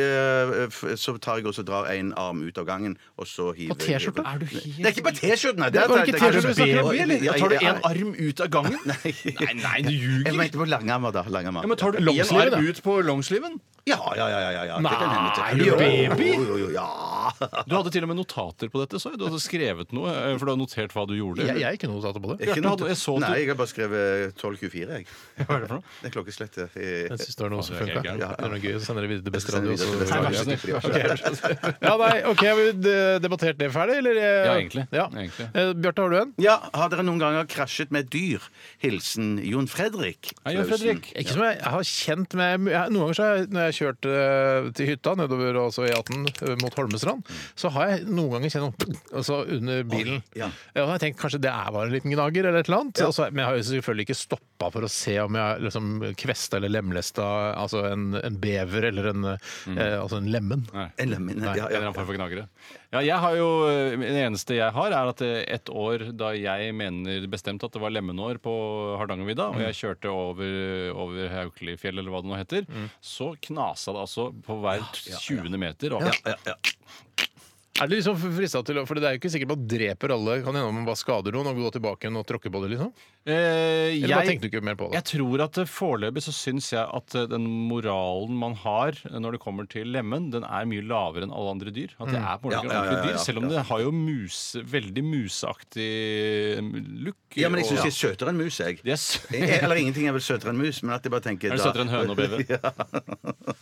S6: Så tar jeg også og drar en arm ut av gangen, og så hiver
S4: På T-skjorta?
S6: hiver-
S5: Er du helt-
S6: Det er ikke på T-skjorten, nei.
S4: Det var ikke
S5: Er du
S4: T-skjorte vi snakker om,
S5: baby, eller?
S6: Ja,
S5: tar du
S6: ja,
S5: en arm ut av gangen?
S6: Nei.
S5: Nei, nei, du ljuger.
S6: Jeg mente på langarmer, da. Langarmer.
S5: Ja, men tar du
S4: I en arm
S5: longslivet ut på longsliven?
S6: Ja, ja, ja. ja, ja, ja.
S5: Nei, er du
S6: jo,
S5: baby?
S6: Jo, jo, jo, ja.
S5: Du hadde til og med notater på dette, så jeg. Du hadde skrevet noe, eh, for du hadde notert hva du gjorde.
S4: Jeg, jeg er ikke noe tatt på det.
S5: Bjarte,
S6: Ikke noe-
S5: hadde- jeg så at du-
S6: Nei, jeg har bare skrevet 12.24, jeg.
S5: Hva er det for noe?
S6: Det er klokkeslettet. Jeg-
S4: Jeg syns det var noe som
S5: det er
S4: funka.
S5: helt
S4: Det er noe gøy, så sender det videre til beste
S6: sender
S4: radio.
S6: det videre
S4: så-
S6: til beste
S4: Ja,
S6: radio.
S4: vær så snill. Ja, nei, OK, har vi de- debattert det ferdig, eller? eh,
S5: Ja, egentlig.
S4: Ja.
S5: Egentlig.
S4: Eh, Bjarte, har du en?
S6: Ja, Har dere noen ganger krasjet med dyr? Hilsen Jon Fredrik.
S5: Hei, Jon
S6: Klausen.
S5: Fredrik.
S4: Ikke som jeg, jeg har kjent med jeg, Noen ganger så har jeg, når jeg har kjørt eh, til hytta nedover altså E18 eh, mot Holmestrand, så har jeg noen ganger kjent noe altså under bilen.
S6: ja.
S4: Ja, og jeg har tenkt kanskje det er bare en liten gnager eller et eller annet. Altså, men jeg har jo selvfølgelig ikke stoppa for å se om jeg har liksom kvesta eller lemlesta altså en, en bever eller en,
S6: Mm.
S4: eh, altså en lemmen.
S6: En lamin, ja,
S5: En eller
S6: ja.
S5: annen form for gnagere. Ja, jeg har jo, det eneste jeg har, er at eh, et år da jeg mener bestemt at det var lemenår på Hardangervidda, og jeg kjørte over, over Haukelifjell, eller hva det nå heter, så knasa det altså på hver 20. meter. Og,
S6: Ja, ja.
S4: Er det liksom frista til å For det er jo ikke sikkert man dreper alle. Kan hende man bare skader noen og går tilbake igjen og tråkker på det, liksom.
S5: Eh,
S4: Eller bare
S5: jeg,
S4: tenkte du ikke mer på det?
S5: jeg tror at eh, foreløpig så syns jeg at eh, den moralen man har eh, når det kommer til lemmen, den er mye lavere enn alle andre dyr. At det er på en måte ikke
S6: Mm. Ja, ja, ja,
S5: ordentlig
S6: ja,
S5: dyr,
S6: ja.
S5: selv om det har jo muse, veldig museaktig eh, look.
S6: ja, men jeg syns
S5: og-
S6: de er søtere enn mus, jeg.
S5: De er s-
S6: Jeg- Eller ingenting er vel søtere enn mus, men at jeg bare tenker
S5: Er det
S6: da-
S5: søtere enn høne og bever?
S6: ja.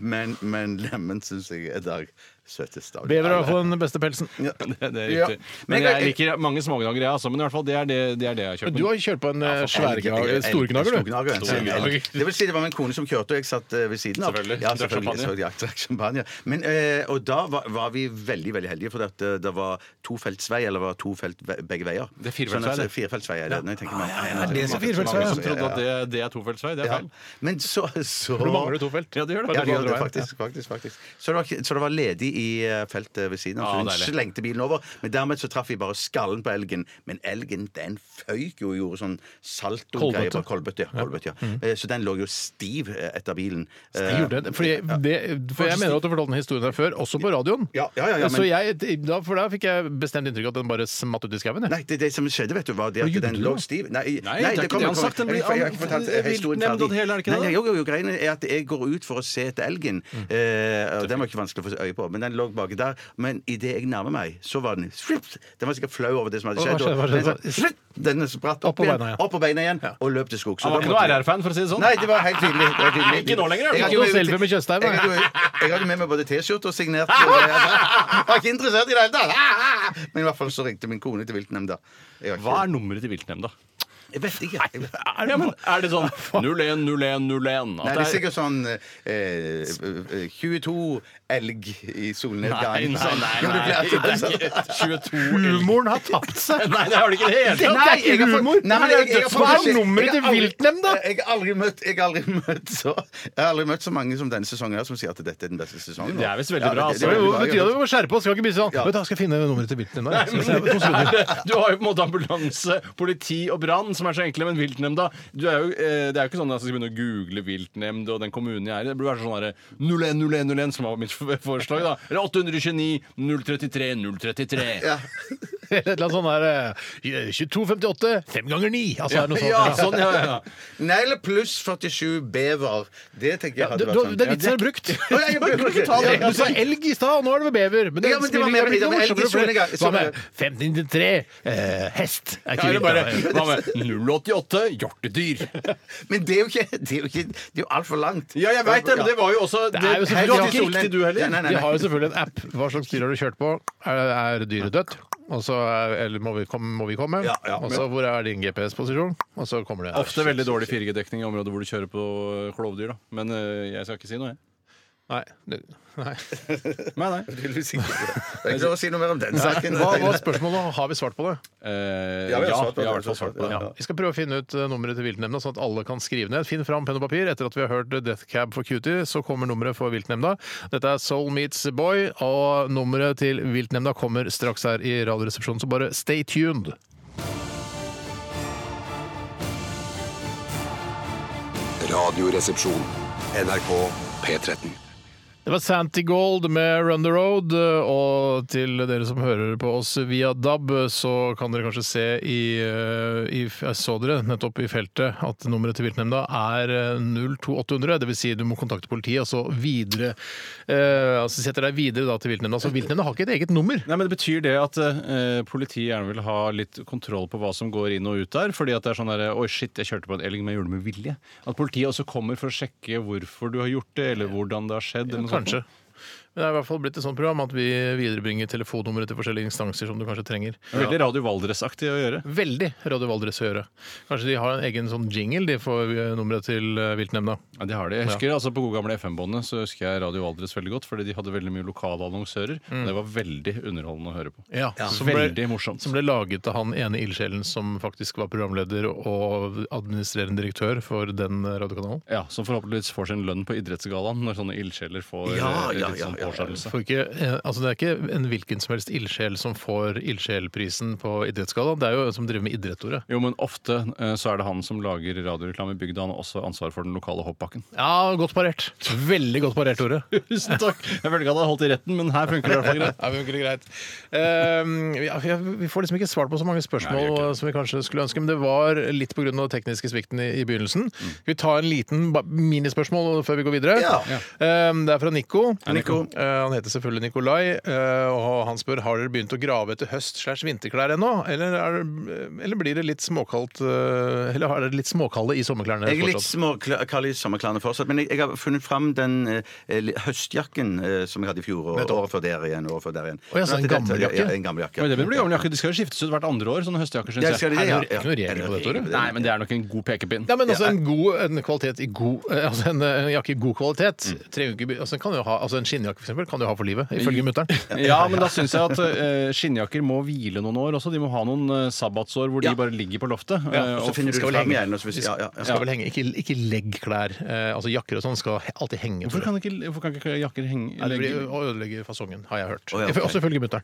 S6: Men, men lemen syns jeg er dag søtest av.
S4: Bever har fått den beste pelsen.
S5: Det er
S6: Ja.
S5: riktig.
S6: Men
S5: Men
S6: jeg-
S5: jeg liker mange smågnager, jeg, altså. Men i hvert fall, det er det, det, er det jeg har kjøpt.
S4: Men du har kjørt på en eh, svær
S6: En-
S4: storgnager,
S6: en-
S4: du.
S6: storgnager, en-
S4: Storgnager.
S6: Det vil si det var min kone som kjørte, og jeg satt eh, ved siden av.
S5: Selvfølgelig.
S6: Ja,
S5: Drakk
S6: selvfølgelig.
S5: champagne.
S6: Så, ja, drakk champagne. Men, eh, og da var, var vi veldig veldig heldige, for at eh, det var tofeltsvei, eller var to felt ve- begge veier.
S5: Det er firefeltsvei,
S6: Sånn at,
S5: det.
S6: Firefeltsvei er det. når jeg tenker meg om.
S4: det som er firefeltsvei,
S5: Mange som trodde at det, det er tofeltsvei. Det er
S6: Ja.
S5: feil.
S6: Men så, så
S4: For du mangler to felt.
S5: Ja, det gjør det.
S6: Ja,
S4: Bare dra
S6: det gjør
S4: andre
S6: det,
S4: veien.
S6: faktisk, faktisk, faktisk. Så, det var, ikke- så det var ledig i eh, feltet ved siden av, så
S5: Ja,
S6: hun
S5: deilig.
S6: slengte bilen over. Men dermed så traff vi bare skallen på elgen. Men elgen den føyk jo og gjorde sånn saltogreier på kolbøtte. Ja, kolbøtte ja. Eh, Så den lå jo stiv eh, etter bilen.
S4: Jeg
S6: Eh,
S4: Mm. gjorde det, fordi det, for jeg mener at du fortalte den historien her før, også på radioen.
S6: Ja, ja, ja, ja,
S4: Så
S6: men-
S4: jeg, da, for da fikk jeg bestemt inntrykk av at den bare smatt ut i skauen. jeg.
S6: Nei, det, det som skjedde, vet du, var det
S4: Hva
S6: at
S4: gjorde du
S6: den lå
S4: da?
S6: stiv Nei,
S5: Nei, det er ikke det han sagt, den blir-
S6: Jeg har ikke fortalt
S5: han-
S6: historien
S5: viltnemnd og det hele, er det ikke det?
S6: Nei, jo, jo, jo, greiene er at jeg går ut for å se etter elgen.
S4: Mm.
S6: Eh, og den var ikke vanskelig å få øye på, men den lå baki der. Men idet jeg nærmer meg, så var den slipp, Den var sikkert flau over det som hadde
S4: Hva- hva
S6: skjedd. og
S4: skjedde? Hva skjedde?
S6: den sa, slipp, Den spratt
S4: Opp
S6: opp,
S4: på
S6: igjen,
S4: beina igjen.
S6: opp på beina igjen og løp til skogs.
S5: Han var ikke noe RR-fan, for å si det sånn.
S6: Nei, det var helt tydelig. Det var tydelig.
S5: Ikke nå lenger, i hvert fall.
S6: Jeg hadde
S4: Ikke noe
S6: med-
S4: selfie med Tjøstheim, nei.
S6: Jeg, hadde jo- jeg hadde med meg både T-skjorte og signert. Jeg var ikke interessert i det hele tatt! Men i hvert fall så ringte min kone til viltnemnda. Jeg var ikke-
S5: Hva er nummeret til viltnemnda?
S6: Jeg vet ikke. Jeg vet.
S5: Ja, men er det sånn 01, 01, 01?
S6: Nei,
S5: At
S6: det er
S5: det er
S6: sikkert sånn eh, eh, 22 elg i
S5: Nei,
S6: solnedgang.
S5: nei, nei.
S6: Jo, det sånn.
S5: nei. sånn.
S6: ble-
S5: Det er ikke 22
S4: Humoren har tapt seg!
S5: Nei, det har det ikke i det hele tatt!
S6: Nei, jeg har fått-
S4: humor.
S6: Nei, jeg- jeg har fått-
S4: Hva er nummeret
S6: jeg
S4: til
S6: har aldri-
S4: viltnemnda?
S6: Jeg har aldri møtt, jeg har aldri møtt så Jeg har aldri møtt så mange som denne sesongen her, som sier at dette er den beste sesongen.
S5: Det er visst veldig bra,
S6: det-
S5: altså.
S6: det er
S4: Jo,
S6: veldig
S4: det
S6: bra.
S4: betyr at vi må skjerpe oss. Skal ikke bli sånn
S6: Ja.
S4: Vet du, hva, skal jeg finne nummeret til viltnemnda? Skal jeg se på to
S5: Er
S4: sekunder?
S5: det, du har jo på en måte ambulanse, politi og brann, som er så enkle, men viltnemnda du er jo, eh, Det er jo ikke sånn at jeg skal begynne å google viltnemnd og den kommunen jeg er i. Det burde være sånn derre 010101, som var mitt forslag. da Eller 829 033 033.
S6: Ja.
S4: Eller et eller annet sånt der eh, 22,58 fem ganger ni! Altså, er det noe sånt.
S6: Ja,
S4: Ja.
S5: Sånn, ja, ja.
S6: Negle pluss 47 bever. Det tenker jeg
S4: Ja, du,
S6: hadde
S4: du,
S6: vært
S4: det er
S6: sånn.
S4: litt som er brukt.
S6: Å, jeg bruker ikke ta det.
S4: Ja, Du sa elg i stad, og nå er det med bever. Men det,
S6: Ja, men det var med-
S4: spiller-
S6: det var elg i
S4: morsommere, for
S6: solinga.
S4: Hva med 1593? Eh, hest. Er ikke
S5: Ja, eller
S4: vilt,
S5: bare
S4: da.
S5: Hva med 088 hjortedyr?
S4: sånn-
S6: Men det er jo ikke Det er jo, ikke, det er jo altfor langt.
S5: Ja, jeg veit det, men det var jo også
S4: Det er jo selvfølgelig-
S5: Du hadde ikke
S6: Solveig.
S5: riktig, du heller.
S6: Ja, nei, nei,
S4: De
S6: nei.
S4: har jo selvfølgelig en app. Hva slags dyr har du kjørt på? Er, er dyret dødt? Og så er, eller må vi komme? Må vi komme?
S6: Ja, ja.
S4: og så hvor er din GPS-posisjon? Og så kommer det
S5: Ofte veldig dårlig 4G-dekning i områder hvor du kjører på øh, klovdyr, da. Men øh, jeg skal ikke si noe, jeg.
S4: Nei. du- Nei.
S5: Nei, nei.
S6: Tydeligvis ikke. Det er ikke lov å si noe mer om den saken.
S4: Hva var spørsmålet? Har vi svart på det?
S5: Eh, ja,
S6: Ja, vi har
S5: vi har i
S6: svart på det,
S5: hvert
S6: vi
S5: fall
S6: har
S5: svart på det.
S6: svart
S5: Ja.
S6: på
S4: Vi skal prøve å finne ut eh, nummeret til viltnemnda, sånn at alle kan skrive ned. Finn fram penn og papir. Etter at vi har hørt Death Cab for Cutie, så kommer nummeret for viltnemnda. Dette er Soul Meets Boy, og nummeret til viltnemnda kommer straks her i Radioresepsjonen, så bare stay tuned.
S1: Radioresepsjon. NRK P13.
S4: Det var Santi Gold med Run the Road, og til dere som hører på oss via DAB, så kan dere kanskje se i, eh, i Jeg så dere nettopp i feltet at nummeret til viltnemnda er eh, 02800, dvs. Si du må kontakte politiet, og så videre eh, Altså setter deg videre da til viltnemnda. Så viltnemnda har ikke et eget nummer.
S5: Nei, men det Betyr det at eh, politiet gjerne vil ha litt kontroll på hva som går inn og ut der? Fordi at det er sånn der, Oi, shit, jeg kjørte på en elg, men jeg gjorde det med vilje. At politiet også kommer for å sjekke hvorfor du har gjort det, eller hvordan det har skjedd. eller noe sånt.
S4: Kanskje. Men det er i hvert fall blitt et sånt program at vi viderebringer telefonnummeret til forskjellige instanser som du kanskje trenger.
S5: Veldig Radio Valdres-aktig å gjøre.
S4: Veldig Radio Valdres å gjøre. Kanskje de har en egen sånn jingle de får eh, nummeret til eh, viltnemnda.
S5: Ja, det har de. Jeg husker altså På gode gamle FM-båndet så husker jeg Radio Valdres veldig godt, fordi de hadde veldig mye lokale annonsører. Og det var veldig underholdende å høre på.
S4: Ja, som,
S5: Veldig
S4: ble,
S5: morsomt.
S4: som ble laget av han ene ildsjelen som faktisk var programleder og administrerende direktør for den eh, radiokanalen.
S5: Ja, Som forhåpentligvis får sin lønn på idrettsgallaen når sånne ildsjeler får
S6: Ja,
S5: eh,
S6: ja,
S5: litt
S6: ja,
S5: sånn
S6: ja, ja.
S5: påskjønnelse.
S4: For ikke, eh, altså det er ikke en hvilken som helst ildsjel som får ildsjelprisen på idrettsgallaen. Det er jo en som driver med idrett, Tore.
S5: Jo, men ofte eh, så er det han som lager radioreklame i bygda. Han har også ansvar for den lokale hoppbakken.
S4: Ja, godt parert. Veldig godt parert, Tore.
S5: Tusen takk! Jeg følte ikke at jeg hadde holdt i retten, men her funker det i hvert fall greit.
S4: Ja, men ikke greit. Ehm, ja, vi- vi får liksom ikke svart på så mange
S5: Nei, vi
S4: spørsmål
S5: gjør ikke
S4: som vi kanskje skulle ønske, men det var litt pga. den tekniske svikten i, i begynnelsen.
S5: Mm.
S4: Skal vi ta en liten ba- minispørsmål før vi går videre?
S6: Ja.
S4: Ehm, det er fra Nico.
S6: Nico.
S4: Eh, han heter selvfølgelig Nikolai, eh, og han spør har dere begynt å grave etter høst- slash vinterklær ennå, eller, er det, eller blir det litt småkaldt eh, Eller har dere litt småkalde i sommerklærne?
S6: Jeg er litt
S4: fortsatt?
S6: småkald i sommerklærne fortsatt, men jeg, jeg har funnet fram den eh, li- høstjakken eh, som jeg hadde i fjor, og året før der igjen. Året før der igjen.
S4: Å, ja, så
S6: Sånn at
S4: en
S6: det-
S4: gammel jakke?
S6: Ja, en gammel jakke.
S5: Men det blir gammel jakke. De skal jo skiftes ut hvert andre år, sånne høstjakker,
S6: Ja,
S5: syns
S6: skal
S5: jeg.
S6: de det? Ja,
S4: Er det
S6: ja.
S4: ikke noe regel på dette, Tore?
S5: Nei, men det er nok en god pekepinn.
S4: Ja, men altså en, god, en kvalitet i god eh, Altså en, en jakke i god kvalitet
S6: Mm.
S4: trenger jo ikke by- altså, en kan jo ha, altså En skinnjakke, for eksempel, kan du ha for livet, ifølge mutter'n.
S5: Ja, men da syns jeg at eh, skinnjakker må hvile noen år også. De må ha noen eh, sabbatsår hvor
S6: Ja.
S5: de bare ligger på loftet. eh,
S6: Og
S5: og
S6: så finner du
S4: skal
S6: det
S4: vel
S6: fram
S4: henge.
S6: igjen. Og så, hvis- ja, ja, ja.
S4: Skal vel henge. Ikke, ikke legg klær. Eh, altså Jakker og sånn skal he- alltid henge.
S5: Hvorfor
S4: Tore.
S5: kan ikke, hvorfor kan ikke jakker henge
S4: Nei, det blir
S5: legge-
S4: å ødelegge fasongen, har jeg hørt.
S6: Å, ja, ok.
S4: Også ifølge mutter'n.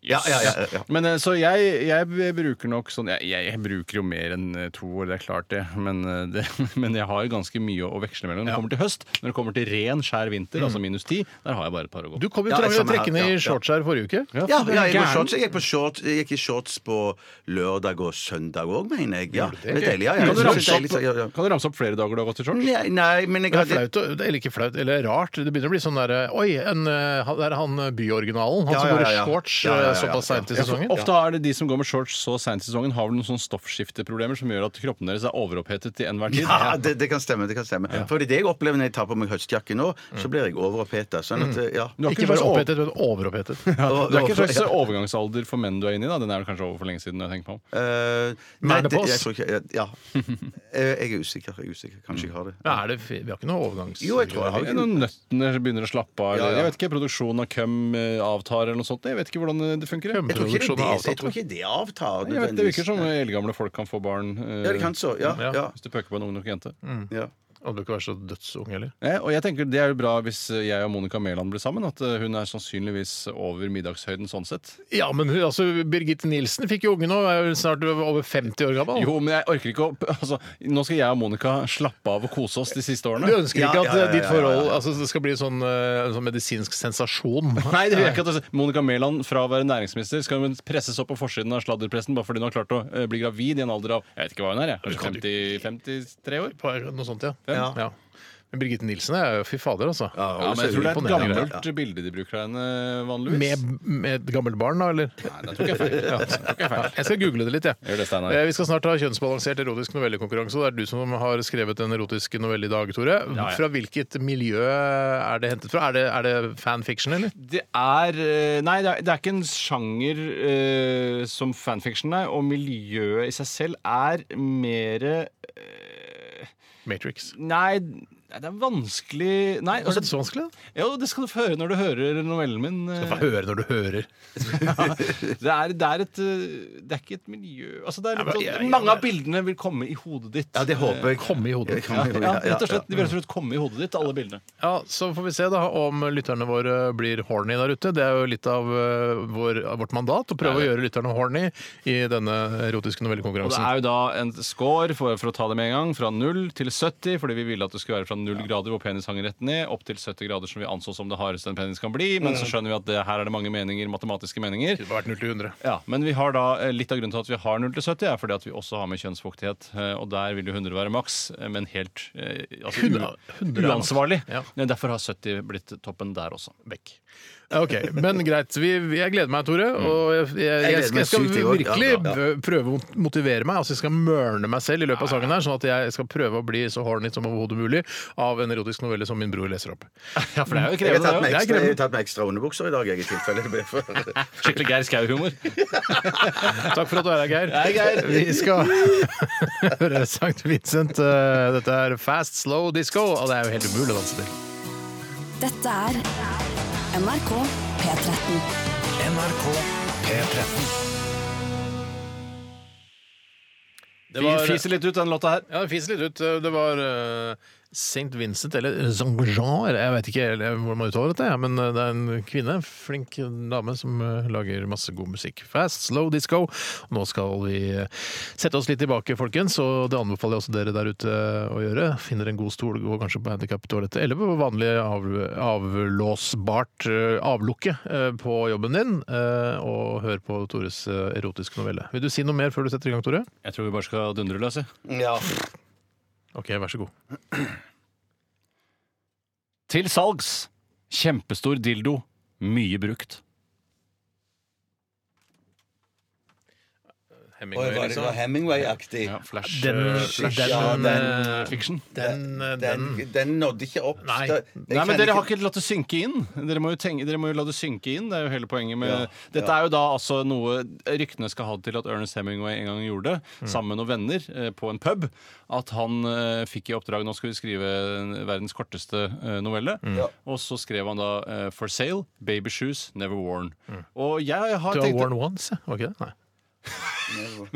S6: Ja, ja, ja, ja.
S5: Men eh, så jeg, jeg bruker nok sånn jeg, jeg, jeg bruker jo mer enn eh, to år, det er klart det. Men, eh, det, men jeg har ganske mye å veksle mellom. Når det kommer til høst, når det kommer til ren, skjær vinter, altså minus ti, der har jeg bare et par å gå.
S4: Du kom jo
S6: Mm. Ja,
S4: ja,
S6: samme her.
S4: trekkende
S6: Ja, ja.
S4: i shorts her forrige uke.
S5: Ja,
S6: Ja,
S5: for
S6: ja, jeg,
S5: gæren.
S6: gikk på shorts. jeg, gikk på shorts, jeg gikk i shorts på lørdag og søndag òg, mener jeg. Ja, det er deilig. Ja, ja.
S5: Kan du,
S6: Jeg
S5: ramse
S6: synes det er
S5: opp,
S6: deilig, så- ja, ja.
S5: kan du ramse opp flere dager du har gått i shorts?
S6: Nei, nei, men jeg
S4: Det er
S6: hadde
S4: flaut, og- eller ikke flaut, eller rart. Det begynner å bli sånn derre Oi, en, eh, han- der er han eh, byoriginalen. Han
S6: Ja,
S4: som
S6: ja,
S4: går
S6: ja,
S4: i
S6: ja.
S4: shorts
S6: Ja, ja, ja,
S4: eh, såpass
S6: ja.
S4: seint i
S6: Ja,
S4: sesongen.
S5: Ofte er det de som går med shorts så seint i sesongen, har vel noen sånne stoffskifteproblemer som gjør at kroppen deres er overopphetet til enhver tid.
S6: Ja, det, det kan stemme. det kan stemme For det jeg opplever når jeg tar på meg høstjakke nå, så blir jeg overopphetet. Sånn at, ja.
S5: Mm. Du har
S4: Ikke
S5: ikke,
S4: bare
S5: slags over-
S4: opphetet, men overopphetet.
S6: Og-
S5: det er ikke en
S6: og-
S5: slags overgangsalder for menn du er inne i, da. Den er vel kanskje over for lenge siden. når Jeg tenker på. den.
S6: Eh, nei, det,
S4: Menopause?
S6: jeg tror ikke Ja. Eh, Jeg er usikker. Jeg er usikker. Kanskje jeg har det.
S4: Men er det, fi- vi har ikke noe overgangs...
S6: Jo, jeg tror jeg har
S5: Mm. Det
S6: det.
S5: er Når nøttene begynner å slappe av, eller
S6: Ja, ja.
S5: jeg vet ikke, produksjonen av køm eh, avtar eller noe sånt. Jeg vet ikke hvordan eh, det funker. Jeg,
S6: Jeg tror ikke det,
S4: Produksjonen er
S6: jeg
S4: avtatt.
S6: tror ikke det avtar.
S5: jeg vet, Det virker
S6: nødvendigvis.
S5: som eh, eldgamle folk kan få barn. eh,
S6: Ja, det kan så. Ja, ja.
S5: Hvis du pøker på en ung nok jente.
S6: ja.
S4: Han bør ikke være så dødsung heller.
S5: Eh, og jeg tenker Det er jo bra hvis eh, jeg og Monica Mæland blir sammen. At eh, hun er sannsynligvis over middagshøyden sånn sett.
S4: Ja, men hun- altså, Birgitte Nilsen fikk jo unge nå, er jo snart over 50 år gammel.
S5: Jo, men jeg orker ikke å altså, Nå skal jeg og Monica slappe av og kose oss de
S4: Du
S5: siste årene.
S4: ønsker
S6: Ja,
S4: ikke at
S6: ja, ja, ja,
S4: ditt
S6: ja,
S4: forhold
S6: ja.
S4: altså, det skal bli sånn, eh, en sånn medisinsk sensasjon?
S5: Nei, det vil jeg ikke at altså, Monica Mæland, fra å være næringsminister, skal hun presses opp på forsiden av Sladderpressen bare fordi hun har klart å eh, bli gravid i en alder av Jeg vet ikke hva hun er, jeg.
S4: kan
S5: Kanskje 50, 53 år?
S4: På noe sånt, ja.
S5: Ja.
S4: ja. Men Birgitte Nilsen er jo fy fader, altså.
S5: Ja, men jeg tror det er et
S4: Imponerende.
S5: gammelt bilde de bruker av henne, vanligvis.
S4: Med, med et gammelt barn, da, eller?
S5: Nei, da tok jeg feil.
S4: Ja. Jeg skal google det litt, jeg.
S5: Gjør det, Steinar.
S4: Eh, Vi skal snart ha kjønnsbalansert erotisk novellekonkurranse. og Det er du som har skrevet en erotisk novelle i dag, Tore.
S5: Ja, ja.
S4: Fra hvilket miljø er det hentet fra? Er det, er det fanfiction, eller?
S5: Det er eh, Nei, det er, det er ikke en sjanger eh, som fanfiction er, og miljøet i seg selv er mer eh,
S4: Matrix.
S5: Nei, det er vanskelig Nei,
S4: Er
S5: altså,
S4: det så vanskelig? da?
S5: jo, det skal du få høre når du hører novellen min. eh.
S4: Få høre når du hører.
S5: Det er, det er et eh, Det er ikke et miljø Altså, det er litt
S4: men jeg-
S5: sånn Mange av bildene vil komme i hodet ditt.
S6: Ja, det håper jeg.
S4: Komme i hodet.
S6: Ja, ja,
S5: Ja,
S6: ja,
S5: rett og slett. De vil rett og slett komme i hodet ditt, alle bildene.
S4: Ja, Så får vi se da om lytterne våre blir horny der ute. Det er jo litt av eh, vår, av vårt mandat å prøve å gjøre lytterne horny i denne erotiske
S5: Og det
S4: novellekonkurransen.
S5: er jo da en score, for, for å ta det med en gang, fra 0 til 70, fordi vi ville at det skulle være fra 0 grader hvor penis hang rett ned, opp til 70 grader som vi anså som det hardeste en penis kan bli. Men så skjønner vi at det, her er det mange meninger, matematiske meninger.
S4: Det har vært 0 til 100.
S5: Ja, Men vi har da eh, litt av grunnen til at vi har 0 til 70, er fordi at vi også har med kjønnsfuktighet. eh, Og der vil jo 100 være maks, eh, men helt eh, altså,
S4: Hundre- hundre
S5: u
S4: er maks.
S5: uansvarlig.
S4: Ja.
S5: Ja, Derfor har 70 blitt toppen der også.
S4: Vekk. Ok, Men greit. Vi, jeg gleder meg, Tore. Og jeg, jeg, jeg,
S6: Mm. gleder
S4: skal,
S6: meg
S4: jeg skal
S6: sykt i år. Ja,
S4: virkelig
S6: ja,
S4: b- prøve å motivere meg. Altså Jeg skal mørne meg selv i løpet av sangen, her sånn at jeg skal prøve å bli så horny som overhodet mulig av en erotisk novelle som min bror leser opp.
S5: Ja, for det er jo
S6: Jeg har
S5: krevende.
S6: tatt
S5: det
S6: med
S5: er jo.
S6: ekstra, jeg har tatt med ekstra underbukser i dag, jeg, i tilfelle det blir for
S5: Skikkelig Geir Skau-humor.
S4: Takk for at du er her, Geir.
S5: Hei, Geir.
S4: Vi skal høre St. Vincent. Eh, Dette er Fast Slow Disco, og det er jo helt umulig å danse til.
S7: Dette er NRK P13.
S3: NRK P13.
S4: Det var-
S5: Vi fiser litt ut den låta her.
S4: Ja, det fiser litt ut. Det var eh, St. Vincent, eller Zangejean, jeg vet ikke helt hvordan man uttaler dette, ja, men eh, det er en kvinne, flink dame, som eh, lager masse god musikk. Fast, slow disco. Nå skal vi eh, sette oss litt tilbake, folkens, og det anbefaler jeg også dere der ute eh, å gjøre. Finner en god stol, går kanskje på handikaptoalettet, eller på vanlig av, avlåsbart eh, avlukke eh, på jobben din, eh, og hør på Tores eh, erotiske novelle. Vil du si noe mer før du setter i gang, Tore?
S5: Jeg tror vi bare skal dundre løs. jeg.
S6: ja.
S4: Ok, vær så god.
S5: Til salgs. Kjempestor dildo. Mye brukt.
S4: Hemingway, liksom.
S6: Hemingway-aktig.
S5: Ja, flash,
S4: Den,
S5: eh,
S4: den,
S5: flash
S6: Ja,
S4: eh,
S5: fiction.
S4: den, eh,
S6: Den,
S4: den
S6: den nådde ikke opp.
S4: Nei.
S6: Jeg
S5: Nei, men
S6: kjenner
S5: Dere har ikke latt det synke inn. Dere må, jo tenke, dere må jo la det synke inn. Det er jo hele poenget med
S6: Ja,
S5: Dette er jo da altså noe ryktene skal ha det til at Ernest Hemingway en gang gjorde, sammen med noen venner eh, på en pub, at han eh, fikk i oppdrag Nå skal vi skrive verdens korteste eh, novelle. Og så skrev han da eh, For Sale, Baby Shoes, Never Worn. Og jeg har
S4: Du har
S5: tenkt
S4: worn once, ja? var ikke det? Nei.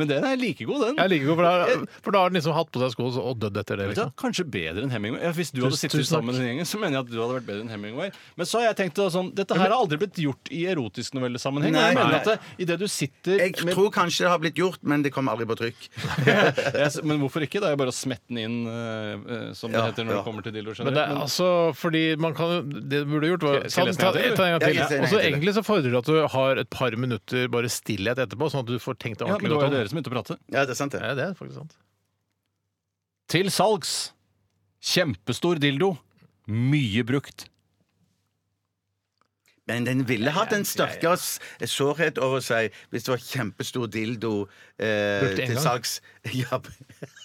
S5: Men den er like god, den.
S4: Jeg liker ikke, for da, har- for da har den liksom hatt på seg sko og dødd etter det.
S5: Vet du hva?
S4: Liksom.
S5: Kanskje bedre enn Hemingway. Ja, hvis du hadde
S4: Tusen-
S5: sittet
S4: tusen
S5: sammen med
S4: takk.
S5: den gjengen, så mener jeg at du hadde vært bedre enn Hemingway. Men så har jeg tenkt da sånn, dette her har aldri blitt gjort i erotisk novellesammenheng.
S6: Nei,
S5: jeg mener
S6: nei.
S5: at det, i det du sitter
S6: Jeg
S5: med,
S6: tror kanskje det har blitt gjort, men det kommer aldri på trykk.
S5: jeg, s- Men hvorfor ikke? Det er jo bare å smette den inn, eh, eh, som det
S6: Ja,
S5: heter når
S6: ja.
S5: det kommer til dildo
S4: Men det,
S5: generelt.
S4: er
S5: Men
S4: altså, fordi man kan jo- Det du burde gjort, var
S5: Skal jeg lese den en gang til?
S4: ta en gang til.
S6: Ja, jeg leser den en
S4: Og så
S6: gang til.
S4: egentlig så fordrer det at du har et par minutter bare stillhet etterpå, sånn at du får tenkt deg
S5: ja,
S4: ordentlig
S5: men det var jo
S4: godt om.
S5: dere som begynte å prate.
S6: Ja, det er sant, det.
S4: Ja, det er faktisk sant.
S5: Til salgs. Kjempestor dildo. Mye brukt.
S6: Men den ville hatt en sterkere s- sårhet over seg hvis det var kjempestor dildo eh,
S4: Brukt en
S6: til
S4: gang?
S6: salgs.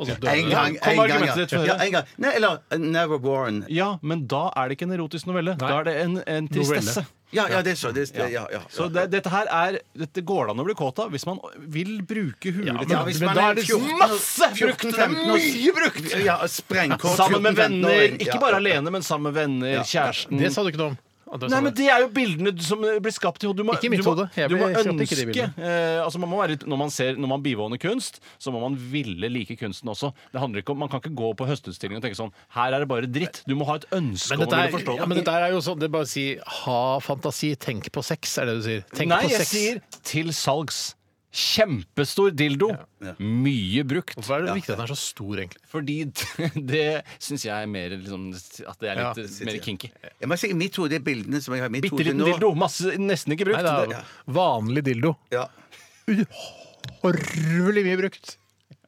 S6: Ja,
S4: Og så dør
S6: en
S4: det.
S6: gang.
S5: kom
S6: En gang,
S5: argumentet ditt
S6: ja.
S5: for
S6: ja
S5: det.
S6: en gang. Nei, eller uh, Never Born.
S5: Ja, men da er det ikke en erotisk novelle. Da er det en, en tristesse.
S6: Ja, ja, det er så. Det, er- ja, ja.
S5: Så det, dette her er Dette går det an å bli kåt av hvis man vil bruke huet litt.
S6: Ja, hvis
S4: Men
S6: man
S4: da
S6: er
S4: er det
S6: 14,
S5: masse brukt, det er
S6: 14-15 år-
S5: mye brukt.
S6: Ja, sprengkort.
S5: Sammen med
S6: 14-15
S5: venner.
S6: -åring.
S5: Ikke
S6: Ja.
S5: bare alene, men sammen med venner, kjæresten.
S4: Det sa du ikke noe om. At det er
S5: Nei,
S4: sånn
S5: men
S4: at-
S5: Det er jo bildene du- som blir skapt i hodet. Du må-
S4: Ikke i mitt
S5: du må-
S4: hode. Jeg
S5: Du må
S4: blir- kjøpte ikke de
S5: ønske eh, altså man må være, litt- når, man ser, når man bivåner kunst, så må man ville like kunsten også. Det handler ikke om, Man kan ikke gå på høstutstillingen og tenke sånn Her er det bare dritt. Du må ha et ønske
S4: men
S5: om å
S4: dette,
S5: ville
S4: er,
S5: forstå det.
S4: ja, men dette er jo sånn Det er bare å si ha fantasi, tenk på sex, er det du sier. Tenk
S5: Nei,
S4: på
S5: jeg
S4: sex.
S5: sier til salgs. Kjempestor dildo. Mye brukt.
S4: Hvorfor er det viktig at den er så stor, egentlig?
S5: Fordi det syns jeg er mer liksom, At det er litt
S6: Ja.
S5: mer kinky.
S6: Jeg må si, I mitt hode, bildene som jeg har i mitt
S5: Bitte
S6: hode
S5: liten
S6: nå
S5: dildo. Masse, nesten ikke
S4: Nei,
S5: brukt.
S4: det er jo vanlig dildo.
S6: Ja.
S4: Horvelig mye brukt.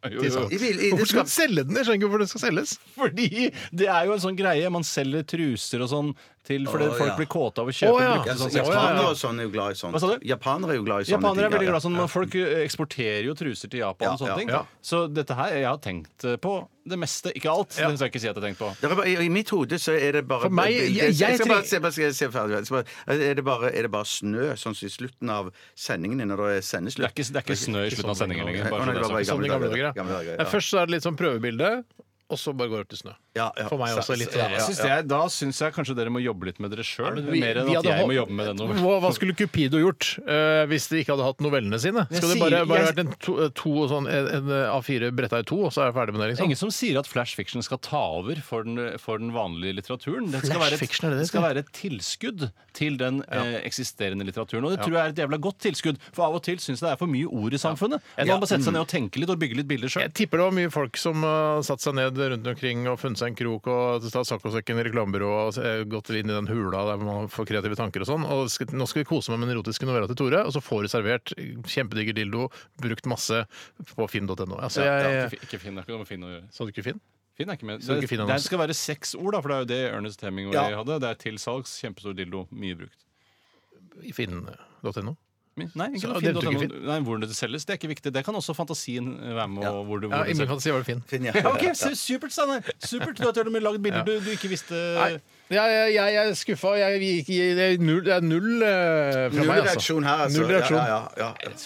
S5: Jo, jo, jo.
S6: I, bil- i,
S4: Hvorfor skal
S6: det,
S4: man selge den? Jeg skjønner ikke hvorfor den skal selges.
S5: Fordi det er jo en sånn greie. Man selger truser og sånn til fordi
S6: Å,
S5: folk
S6: ja.
S5: blir kåte av å kjøpe
S4: Å, ja.
S5: brukte
S6: ja, så,
S5: sånne
S4: Ja,
S5: sex-
S4: ja, ja.
S6: japanere og sånn er jo glad i sånt.
S5: Hva sa du?
S6: Japanere er jo glad i sånne
S5: Japanere er
S6: ting,
S5: veldig
S6: ja,
S5: glad i sånn,
S6: ja.
S5: men folk eksporterer jo truser til Japan og
S6: Ja,
S5: sånne
S6: ja,
S5: ting.
S4: ja.
S5: Så dette her, jeg har tenkt eh, på det meste. Ikke alt, det skal jeg ikke si at jeg har tenkt på.
S6: Det er bare, I mitt hode så er det bare
S4: For meg- jeg- jeg
S6: skal
S4: trenger-
S6: bare se, bare, skal jeg se ferdig. Jeg skal bare- Er det bare, er det bare snø, sånn som i slutten av sendingene, når det er
S5: Det er
S6: sendeslutt?
S5: ikke, det er ikke snø i slutten av sendingen lenger.
S6: Å,
S5: Bare
S6: nei,
S5: for
S6: det
S5: det
S6: var
S5: er
S6: bare i
S5: sagt.
S4: Sånn i gamle dager, ja.
S6: Gamle dager,
S4: Nei, Først så er det litt sånn prøvebilde, og så bare går det til snø.
S6: Ja, ja.
S4: For meg også
S6: Så-
S4: litt
S6: så-
S4: sånn.
S5: Jeg synes jeg, da syns jeg kanskje dere må jobbe litt med dere sjøl.
S4: Men vi-
S5: Mer enn
S4: vi
S5: at
S4: hadde
S5: jeg må
S4: hol-
S5: jobbe med det nå.
S4: Hva, hva skulle Cupido gjort eh, hvis de ikke hadde hatt novellene sine?
S5: Jeg
S4: Skal det
S5: sier-
S4: bare, bare
S5: jeg-
S4: vært en, to, to og sånn, en, en A4 bretta i to, og så er jeg ferdig med det?
S5: Det er
S4: liksom?
S5: ingen som sier at flash fiction skal ta over for den, for den vanlige litteraturen. Det skal,
S4: Flash
S5: være et,
S4: fiction, er det det
S5: det skal
S4: heter?
S5: være et tilskudd til den eh, eksisterende litteraturen. Og det tror jeg er et jævla godt tilskudd, for av og til syns jeg det er for mye ord i samfunnet. Man må bare sette seg ned og tenke litt og bygge litt bilder
S4: Mm.
S5: sjøl.
S4: Jeg tipper det var mye folk som uh, satt seg ned rundt omkring og funnet seg en krok og tatt saccosekken i reklamebyrået og eh, gått inn i den hula der man får kreative tanker og sånn. Og skal, nå skal vi kose meg med den erotiske novella til Tore, og så får du servert kjempedigger dildo, brukt masse på finn.no. Altså, jeg
S5: Ikke Finn, det har ikke noe med Finn å gjøre.
S4: Så du ikke Finn?
S5: Finn er ikke med.
S4: Så
S5: Det,
S4: ikke Finn er
S5: det
S4: med.
S5: skal være seks ord, da, for det er jo det Ernest Hemingway
S6: Ja.
S5: hadde. Det er til salgs, kjempestor dildo, mye brukt.
S4: I Finn.no?
S5: Nei, ikke
S4: Så
S5: noe
S4: det
S5: Finn.
S4: er ikke Finn.
S5: Nei, hvordan det selges, det er ikke viktig. Det kan også fantasien være med. Og hvor du,
S4: Ja,
S5: hvor
S4: I
S5: det
S4: min
S5: selges.
S4: fantasi var det Finn.
S6: Finn, ja.
S5: Ja, ok, su- Supert, Steinar. Supert. Du har til og med lagd bilder du, du ikke visste
S4: Nei, jeg, jeg, jeg er skuffa. Jeg, gikk i- det er null, det er null eh, fra
S6: Null
S4: meg, altså.
S6: reaksjon her, altså.
S4: Null reaksjon.
S6: Ja, ja, ja,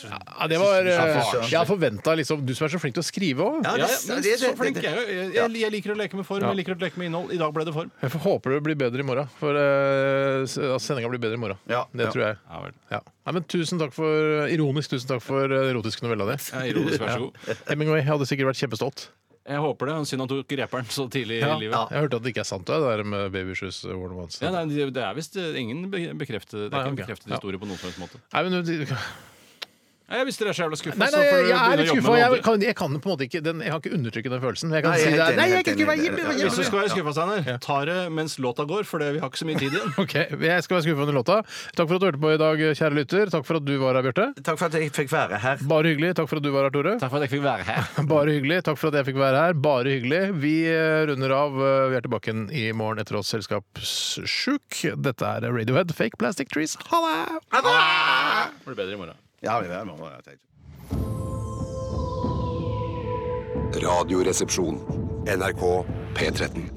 S6: ja.
S4: Ja, det var, eh,
S6: Ja, faen.
S4: jeg har forventa liksom Du som er så flink til å skrive òg.
S5: Ja, ja,
S6: Ja, det-
S5: men
S6: det-
S5: så
S6: det-
S5: flink
S6: det-
S5: jeg er jo. Jeg, jeg, jeg liker å leke med form, jeg liker å leke med innhold. I dag ble det form.
S4: Jeg får- håper det blir bedre i morgen. For uh, sendinga blir bedre i morgen.
S6: Ja,
S4: det
S6: ja.
S4: tror jeg.
S5: Ja vel.
S4: Ja. Nei, men tusen takk for Ironisk tusen takk for eh, erotiske novella di.
S5: Ja, ironisk, vær så god.
S4: Hemingway hadde sikkert vært kjempestolt.
S5: Jeg håper det. Synd han tok reperen så tidlig i livet.
S4: Jeg hørte at det ikke er sant, det der med eh, Babyshoes Worn Once.
S5: Ja, nei, det- det er visst eh, ingen be- bekreftet Det er
S4: Nei,
S5: ikke en
S4: ok.
S5: bekreftet
S4: Ja.
S5: historie på noen som helst måte.
S4: Nei, men du-
S5: Nei, Hvis dere er så jævla skuffa,
S4: Nei,
S5: så
S4: nei, jeg,
S5: får dere
S4: er
S5: begynne å
S4: litt
S5: jobbe
S4: skuffa.
S5: med noe
S4: Jeg,
S5: annet.
S4: kan, jeg kan på en måte ikke den, Jeg har ikke undertrykket den følelsen. Men jeg kan
S6: Nei, jeg
S4: si
S6: er
S4: det er-
S6: helt enig,
S4: Nei, jeg kan
S6: helt
S4: ikke
S6: enig.
S4: være
S6: Ja, ja,
S4: hjemme!
S6: ja.
S5: Hvis du skal være skuffa, Steinar, ta det mens låta går, for det- vi har ikke så mye tid igjen.
S4: Ok, Jeg skal være skuffa under låta. Takk for at du hørte på i dag, kjære lytter. Takk for at du var her, Bjarte.
S6: Takk for at jeg fikk være her.
S4: Bare hyggelig. Takk for at du var her, Tore.
S5: Takk for at jeg fikk være her.
S4: Bare hyggelig. Takk for at jeg fikk være her. Bare hyggelig. Vi eh, runder av. Eh, Vi er tilbake igjen i morgen etter oss Selskapssjuk. Dette er Radiohead, Fake Plastic Trees. Ha det!
S5: Blir bedre i morgen.
S6: Ja, vi er med, ja, takk.
S1: Radioresepsjon. NRK P13.